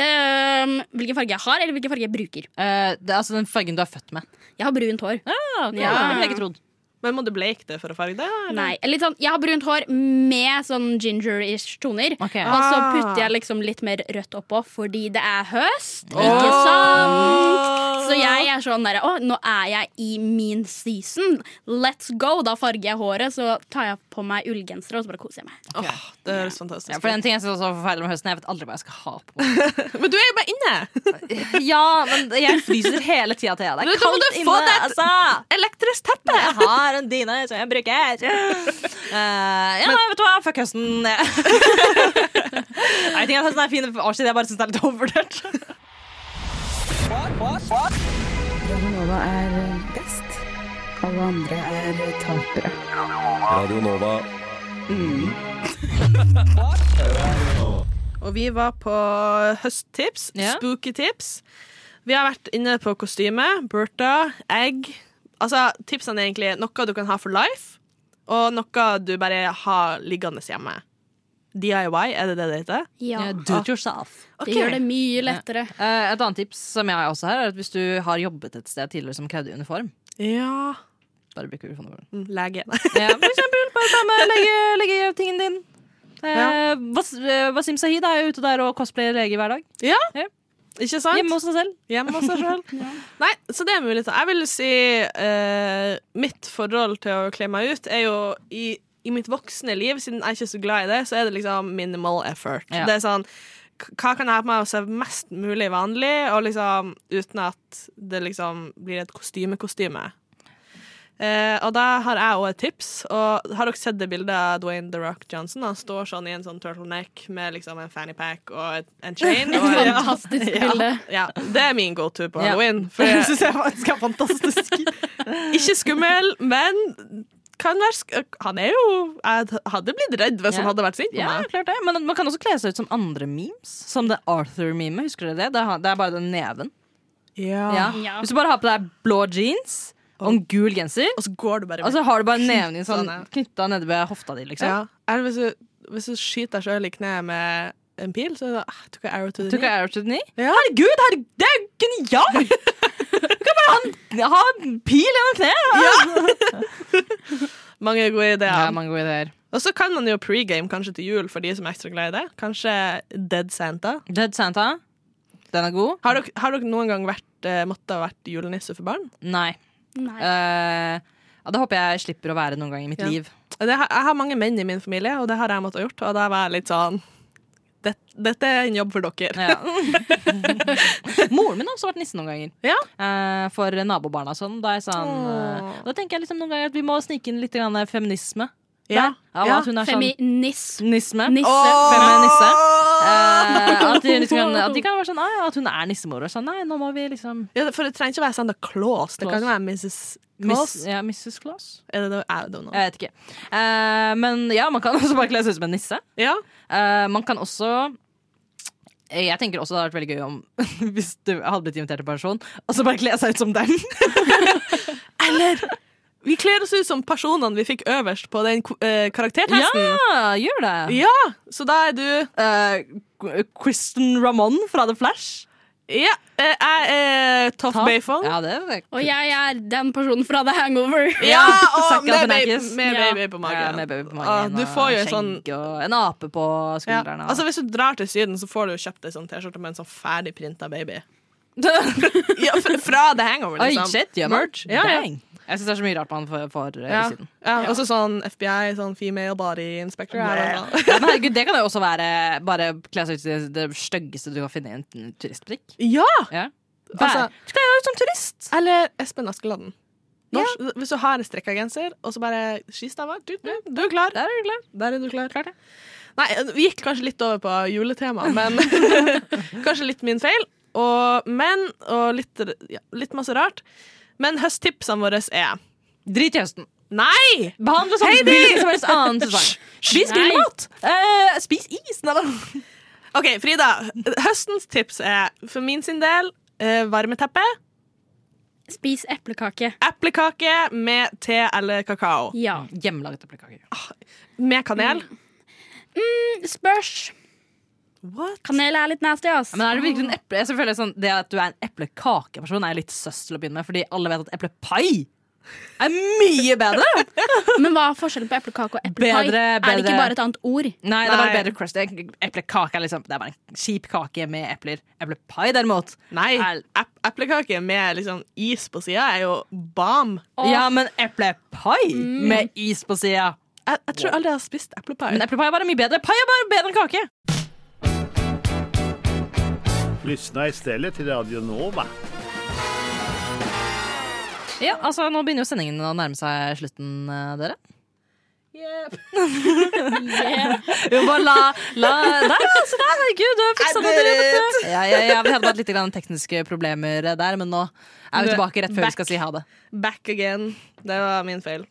[SPEAKER 8] Ehm, hvilken farge jeg har, eller hvilken farge jeg bruker.
[SPEAKER 6] Eh, det er altså den fargen du er født med.
[SPEAKER 8] Jeg har brunt hår.
[SPEAKER 6] Ah, Det
[SPEAKER 8] Ja.
[SPEAKER 6] ville jeg ikke trodd.
[SPEAKER 5] Men må du bleike det for å farge det? eller?
[SPEAKER 8] Nei, eller litt sånn, Jeg har brunt hår med sånn ginger-ish toner.
[SPEAKER 6] Ok.
[SPEAKER 8] Og så
[SPEAKER 5] Ah.
[SPEAKER 8] putter jeg liksom litt mer rødt oppå fordi det er høst.
[SPEAKER 5] Åh!
[SPEAKER 8] Ikke sant? Så jeg er sånn der, Å, nå er jeg i min season. Let's go! Da farger jeg håret, så tar jeg på meg ullgenser og så bare koser jeg meg.
[SPEAKER 5] Åh, det høres fantastisk
[SPEAKER 6] Ja,
[SPEAKER 5] ut.
[SPEAKER 6] for en ting jeg synes også var forferdelig med høsten, jeg vet aldri hva jeg skal ha på.
[SPEAKER 5] Men du er jo bare inne!
[SPEAKER 6] Ja, men jeg fryser hele tida til jeg. Det er
[SPEAKER 5] Da må du
[SPEAKER 6] kaldt
[SPEAKER 5] få
[SPEAKER 6] inne,
[SPEAKER 5] deg et-
[SPEAKER 6] altså.
[SPEAKER 5] Elektrisk teppe!
[SPEAKER 6] Jeg har en dyne som jeg bruker. Eh, ja, nei, vet du hva, fuck høsten. jeg. Nei, Jeg tenker at høsten er en fin årstid, jeg bare syns det er litt overvurdert.
[SPEAKER 7] Radio Nova.
[SPEAKER 5] Og vi var på høsttips,
[SPEAKER 6] Ja.
[SPEAKER 5] spooky tips. Vi har vært inne på kostyme, Bertha, egg. Altså, tipsene er egentlig noe du kan ha for life, og noe du bare har liggende hjemme. DIY, er det det det heter?
[SPEAKER 8] Ja,
[SPEAKER 6] Eh,
[SPEAKER 8] Det
[SPEAKER 6] do it yourself.
[SPEAKER 5] Ok.
[SPEAKER 8] gjør det mye lettere.
[SPEAKER 6] Eh, et annet tips som jeg har også her, er at hvis du har jobbet et sted tidligere som krevde uniform
[SPEAKER 5] Ja
[SPEAKER 6] Bare bruk uniformen.
[SPEAKER 5] Mm, Lege.
[SPEAKER 6] Eh, for eksempel, bare ta med legge, legge tingen din. Eh,
[SPEAKER 5] Ja.
[SPEAKER 6] Vas- eh, Wasim Sahid er jo ute der og cosplayer lege hver dag.
[SPEAKER 5] Ikke sant?
[SPEAKER 6] Hjemme hos seg selv.
[SPEAKER 5] Hjemme hos seg sjøl. Nei, så det er mulig. Jeg vil si eh, mitt forhold til å kle meg ut er jo i, i mitt voksne liv, siden jeg er ikke er så glad i det, så er det liksom minimal effort.
[SPEAKER 6] Ja.
[SPEAKER 5] Det er sånn k- hva kan jeg ha på meg og se mest mulig vanlig, og liksom uten at det liksom blir et kostyme-kostyme? Eh, og da har jeg òg et tips. Og har dere sett det bildet av Dwayne The Rock Johnson? Han står sånn i en sånn turtleneck med liksom en fanny pack og et, en chain.
[SPEAKER 8] Et
[SPEAKER 5] Og,
[SPEAKER 8] fantastisk bilde.
[SPEAKER 5] ja, det er min go-to på
[SPEAKER 6] Ja.
[SPEAKER 5] halloween. For jeg syns jeg faktisk er fantastisk. Ikke skummel, men kan være sk Han er jo Jeg hadde blitt redd hvis
[SPEAKER 6] Ja.
[SPEAKER 5] han hadde vært sint på
[SPEAKER 6] Ja,
[SPEAKER 5] meg.
[SPEAKER 6] klart det. Men man kan også kle seg ut som andre memes. Som det Arthur-memet. Husker dere det? Det er han- Det er bare den neven.
[SPEAKER 5] Ah.
[SPEAKER 6] Ja.
[SPEAKER 8] Ja.
[SPEAKER 6] Hvis du bare har på deg blå jeans og en gul genser,
[SPEAKER 5] Og så går du bare
[SPEAKER 6] og så har du bare neven din sånn
[SPEAKER 5] Sånn,
[SPEAKER 6] knytta nede ved hofta di, liksom.
[SPEAKER 5] ja. Eller hvis du, hvis du skyter deg sjøl i kneet med en pil, så er det ah, Took an arrow to the
[SPEAKER 6] Tok jeg
[SPEAKER 5] knee.
[SPEAKER 6] Arrow to the knee?
[SPEAKER 5] Ja.
[SPEAKER 6] Herregud, herre- det er jo genialt! Du kan bare ha en, ha en pil gjennom kneet!
[SPEAKER 5] Mange gode
[SPEAKER 6] Ja,
[SPEAKER 5] ideer.
[SPEAKER 6] mange gode ideer.
[SPEAKER 5] og så kan man jo pregame kanskje til jul for de som er ekstra glad i det. Kanskje Dead Santa.
[SPEAKER 6] Dead Santa. Den er god.
[SPEAKER 5] Har dere, har dere noen gang vært, eh, måttet ha vært julenisse for barn?
[SPEAKER 6] Nei.
[SPEAKER 8] Nei.
[SPEAKER 6] Eh, ja, det håper jeg slipper å være noen gang i mitt
[SPEAKER 5] Ja.
[SPEAKER 6] liv.
[SPEAKER 5] det har, jeg har mange menn i min familie, og det har jeg måttet ha gjort. Og da var jeg litt sånn det, Dette er en jobb for dere.
[SPEAKER 6] Ja. Moren min har også vært nisse noen ganger.
[SPEAKER 5] Ja.
[SPEAKER 6] Eh, for nabobarna og sånn. Da, er jeg sånn eh, da tenker jeg liksom noen ganger at vi må snike inn litt grann feminisme.
[SPEAKER 5] Ja.
[SPEAKER 6] Der. Ja,
[SPEAKER 5] Ja.
[SPEAKER 6] At hun er sånn
[SPEAKER 8] Feminisme.
[SPEAKER 6] Nisme.
[SPEAKER 8] Nisse.
[SPEAKER 6] Feminisse. Eh, at, de liksom kan, at de kan være sånn ah, ja, At hun er nissemor. Og sånn, nei, nå må vi liksom
[SPEAKER 5] Ja, for det trenger ikke å være Santa Claus. Det kan
[SPEAKER 6] Claus.
[SPEAKER 5] jo være Mrs. Claus.
[SPEAKER 6] Miss, ja, Mrs. Claus?
[SPEAKER 5] Er det noe? I don't know.
[SPEAKER 6] Jeg vet ikke. Eh, men ja, man kan også bare kle seg ut som en nisse.
[SPEAKER 5] Ja.
[SPEAKER 6] Eh, man kan også jeg tenker også det hadde vært veldig gøy om hvis du hadde blitt invitert til person, og så bare kle seg ut som den.
[SPEAKER 5] Vi kler oss ut som personene vi fikk øverst på den ko- eh, karaktertesten.
[SPEAKER 6] Ja, gjør det.
[SPEAKER 5] Ja, Så da er du
[SPEAKER 6] Eh, Qu- Kristen Ramon fra The Flash.
[SPEAKER 5] Ja, eh, jeg er Toff
[SPEAKER 6] Ta-
[SPEAKER 5] Bayfong.
[SPEAKER 6] Ja, det er
[SPEAKER 8] Og jeg er den personen fra The Hangover.
[SPEAKER 5] Ja, og
[SPEAKER 6] Zac
[SPEAKER 5] med, baby,
[SPEAKER 6] Galifianakis.
[SPEAKER 5] med
[SPEAKER 8] Ja.
[SPEAKER 5] baby på magen.
[SPEAKER 6] Ja, med baby på
[SPEAKER 5] Ah,
[SPEAKER 6] magen
[SPEAKER 5] du
[SPEAKER 6] og
[SPEAKER 5] får jo en
[SPEAKER 6] skjegg
[SPEAKER 5] sånn
[SPEAKER 6] og en ape på
[SPEAKER 5] ja.
[SPEAKER 6] skuldrene. og-
[SPEAKER 5] Altså Hvis du drar til Syden, så får du jo kjøpt ei sånn T-skjorte med en sånn ferdig printa baby. Ja, f- fra The Hangover,
[SPEAKER 6] Oi,
[SPEAKER 5] liksom.
[SPEAKER 6] shit, gjør man?
[SPEAKER 5] Ja, ja.
[SPEAKER 6] Dang. Jeg syns det er så mye rart man får, får eh,
[SPEAKER 5] Ja.
[SPEAKER 6] i Syden.
[SPEAKER 5] Ja, og så sånn FBI, sånn female body inspector. eller noe sånt.
[SPEAKER 6] Ja, men herregud, det kan jo også være bare kle seg ut i det styggeste du kan finne i en t- turistbutikk.
[SPEAKER 5] Ja!
[SPEAKER 6] Ja.
[SPEAKER 5] Altså-
[SPEAKER 6] Bare, kle deg ut som turist!
[SPEAKER 5] Eller Espen Askeladden. Norsk, Hvis du har en strekka genser, og så bare skistaver, du, du, du er klar.
[SPEAKER 6] Der er du glad.
[SPEAKER 5] Der er du klar.
[SPEAKER 6] Klart det.
[SPEAKER 5] Nei, vi gikk kanskje litt over på juletema, men kanskje litt min feil. Og, men, og litt, ja, litt masse rart. Men høsttipsene våre er
[SPEAKER 6] Drit i høsten.
[SPEAKER 5] Nei!
[SPEAKER 6] Behandle som hvilken som helst annen sesong. Spis
[SPEAKER 8] Nei.
[SPEAKER 6] grillmat! Eh, spis is! Nei da.
[SPEAKER 5] OK, Frida. Høstens tips er for min sin del eh, varmeteppe,
[SPEAKER 8] Spis eplekake.
[SPEAKER 5] eplekake med te eller kakao.
[SPEAKER 8] Ja.
[SPEAKER 6] Hjemmelaget eplekake.
[SPEAKER 5] Med kanel.
[SPEAKER 8] Spørs.
[SPEAKER 5] What?
[SPEAKER 8] Kanel er litt nasty, ass.
[SPEAKER 6] Men er det virkelig en eple? Jeg føler sånn, det at du er en eplekakeperson, er litt søs til å begynne med, fordi alle vet at eplepai er mye bedre.
[SPEAKER 8] Men hva er forskjellen på eplekake og eplepai?
[SPEAKER 6] Bedre-
[SPEAKER 8] Er det
[SPEAKER 6] bedre.
[SPEAKER 8] ikke bare et annet ord?
[SPEAKER 6] Nei, det er bare
[SPEAKER 5] Nei.
[SPEAKER 6] bedre crust. Det er- Eplekake er liksom Det er bare en kjip kake med epler. Eplepai, derimot
[SPEAKER 5] Nei,
[SPEAKER 6] Er-
[SPEAKER 5] ep eplekake med liksom is på sida er jo bam.
[SPEAKER 6] Ja, men eplepai med is på sida.
[SPEAKER 5] Jeg, jeg tror aldri jeg har spist eplepai.
[SPEAKER 6] Men eplepai er bare mye bedre. Pai er bare bedre enn kake.
[SPEAKER 9] Lyssna istället till Radio Nova.
[SPEAKER 6] Ja, altså Nå begynner jo sendingen å nærme seg slutten, eh, dere. Jo, bare la, la Der, ja, se der! Herregud, du har fiksa det, dere. vet du. Ja, ja, ja, vi hadde bare litt grann tekniske problemer eh, der, men nå er vi
[SPEAKER 5] Nå-
[SPEAKER 6] tilbake rett før
[SPEAKER 5] back.
[SPEAKER 6] vi skal si ha det.
[SPEAKER 5] Back again. Det var min feil.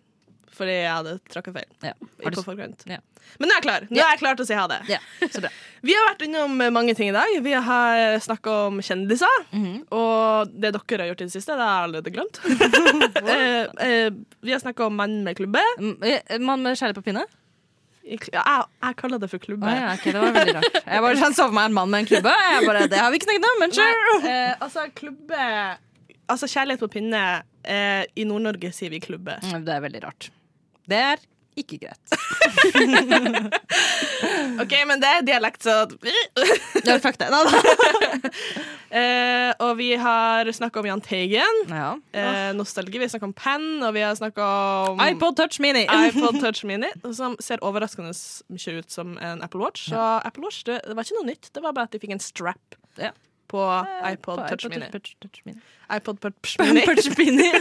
[SPEAKER 5] Fordi jeg hadde tråkka feil.
[SPEAKER 6] Ja. Har du-
[SPEAKER 5] På forkant.
[SPEAKER 6] Ja.
[SPEAKER 5] Men nå er jeg klar. Nå er jeg klar til å si ha det.
[SPEAKER 6] Ja, så bra.
[SPEAKER 5] Vi har vært innom mange ting i dag. Vi har snakka om kjendiser.
[SPEAKER 6] Mhm.
[SPEAKER 5] Og det dere har gjort i det siste, det har jeg allerede glemt. Eh, eh, vi har snakka om mann med klubbe.
[SPEAKER 6] Mm, eh, Mann med skjære på pinne?
[SPEAKER 5] I kl- Ja, jeg, jeg kaller det for klubbe.
[SPEAKER 6] Å, ja, ok, det var veldig rart. Jeg bare sånn, så for meg en mann med en klubbe. Jeg bare, det har vi ikke snakket om, men sure.
[SPEAKER 5] Eh, altså, klubbe Altså, kjærlighet på pinne. Eh, I Nord-Norge sier vi klubbe.
[SPEAKER 6] Mm, Det er veldig rart. Det er ikke greit.
[SPEAKER 5] OK, men det er dialekt, så
[SPEAKER 6] Ja, fuck det. Nei, da.
[SPEAKER 5] Eh, og vi har snakka om Jahn Teigen.
[SPEAKER 6] Ja.
[SPEAKER 5] Eh, nostalgi. Vi har snakka om Penn, og vi har snakka om
[SPEAKER 6] Mm. iPod Touch Mini.
[SPEAKER 5] iPod Touch Mini, som ser overraskende mye ut som en Apple Watch. Så Apple Watch, det, det var ikke noe nytt, det var bare at de fikk en strap
[SPEAKER 6] Ja. Eh,
[SPEAKER 5] på
[SPEAKER 6] På
[SPEAKER 5] iPod Touch Mini.
[SPEAKER 6] Touch, touch Mini.
[SPEAKER 5] iPod Touch Mini.
[SPEAKER 6] Touch Mini.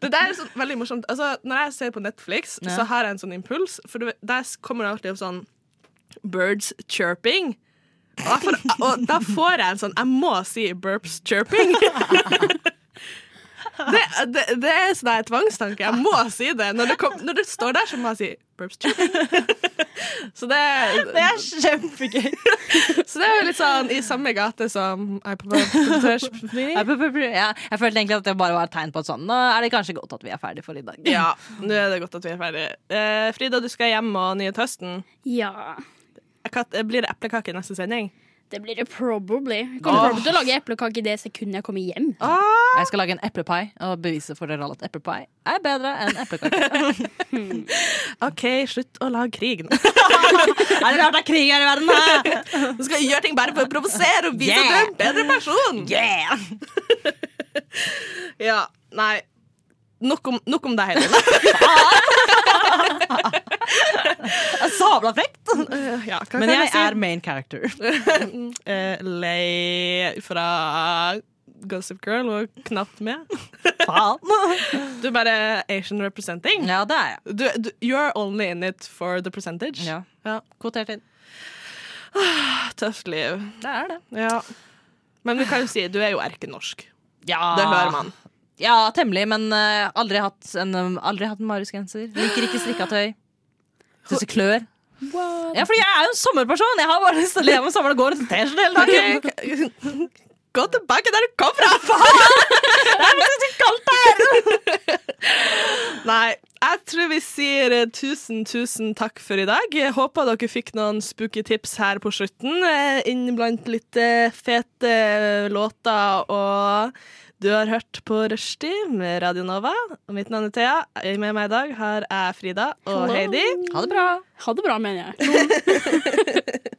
[SPEAKER 5] Det der er sånn veldig morsomt. Altså, når jeg ser på Netflix,
[SPEAKER 6] Ja.
[SPEAKER 5] så har jeg en sånn impuls, for du, vet, der kommer det alltid opp sånn birds chirping. Og, jeg får, og da får jeg en sånn Jeg må si burps chirping. Det, det, det er sånn der tvangstanke. Jeg må si det. Når det, kom, når det står der, så må jeg si burps chirping. Så det,
[SPEAKER 6] Det er kjempegøy.
[SPEAKER 5] så det er jo litt sånn i samme gate som iPod Touch Mini.
[SPEAKER 6] Ja, jeg følte egentlig at det bare var et tegn på at sånn, nå er det kanskje godt at vi er ferdig for i dag.
[SPEAKER 5] Ja, nå er det godt at vi er ferdige. Eh, Frida, du skal hjem og nyte høsten.
[SPEAKER 8] Ja.
[SPEAKER 5] Kat- Blir det eplekake i neste sending?
[SPEAKER 8] Det blir det probably. Jeg kommer
[SPEAKER 5] Åh.
[SPEAKER 8] probably til å lage eplekake i det sekundet jeg kommer hjem.
[SPEAKER 6] Jeg skal lage en eplepai og bevise for dere alle at eplepai er bedre enn eplekake.
[SPEAKER 5] OK, slutt å lage krig nå.
[SPEAKER 6] er det rart det er krig her i verden? da?
[SPEAKER 5] Du skal gjøre ting bare for å provosere og vise at du er en bedre person.
[SPEAKER 6] Yeah!
[SPEAKER 5] Ja, nei Nok om, nok om deg, Helene.
[SPEAKER 6] Sabla frekt!
[SPEAKER 5] Eh, ja, hva
[SPEAKER 6] Men
[SPEAKER 5] kan
[SPEAKER 6] jeg
[SPEAKER 5] si?
[SPEAKER 6] er main character.
[SPEAKER 5] Eh, lei fra Gossip Girl og knapt med.
[SPEAKER 6] Faen.
[SPEAKER 5] Du er bare Asian representing.
[SPEAKER 6] Ja, det er jeg.
[SPEAKER 5] Du, du, you're only in it for the percentage. Ah,
[SPEAKER 6] Ja. Kvotert inn.
[SPEAKER 5] Tøft liv.
[SPEAKER 6] Det er det.
[SPEAKER 5] Ja. Men vi kan jo si du er jo erkenorsk.
[SPEAKER 6] Ja,
[SPEAKER 5] Det hører man.
[SPEAKER 6] Ja, temmelig, men eh, aldri hatt en, eh, aldri hatt en Marius-genser. Liker ikke strikka tøy. Syns det klør. Ja, fordi jeg er jo en sommerperson! Jeg har bare lyst til å leve med sommeren og gå rundt i T-skjorte hele dagen.
[SPEAKER 5] Gå tilbake der du kom fra! Nei, jeg tror vi sier eh, tusen, tusen takk for i dag. Jeg håper dere fikk noen spooky tips her på slutten. eh, Innblant litt eh, fete eh, låter og du har hørt på Rushdie med Radio Nova. Og Mitt navn er Thea. Med meg i dag har jeg Frida og Heidi.
[SPEAKER 6] Ha det bra.
[SPEAKER 8] Ha det bra, mener jeg.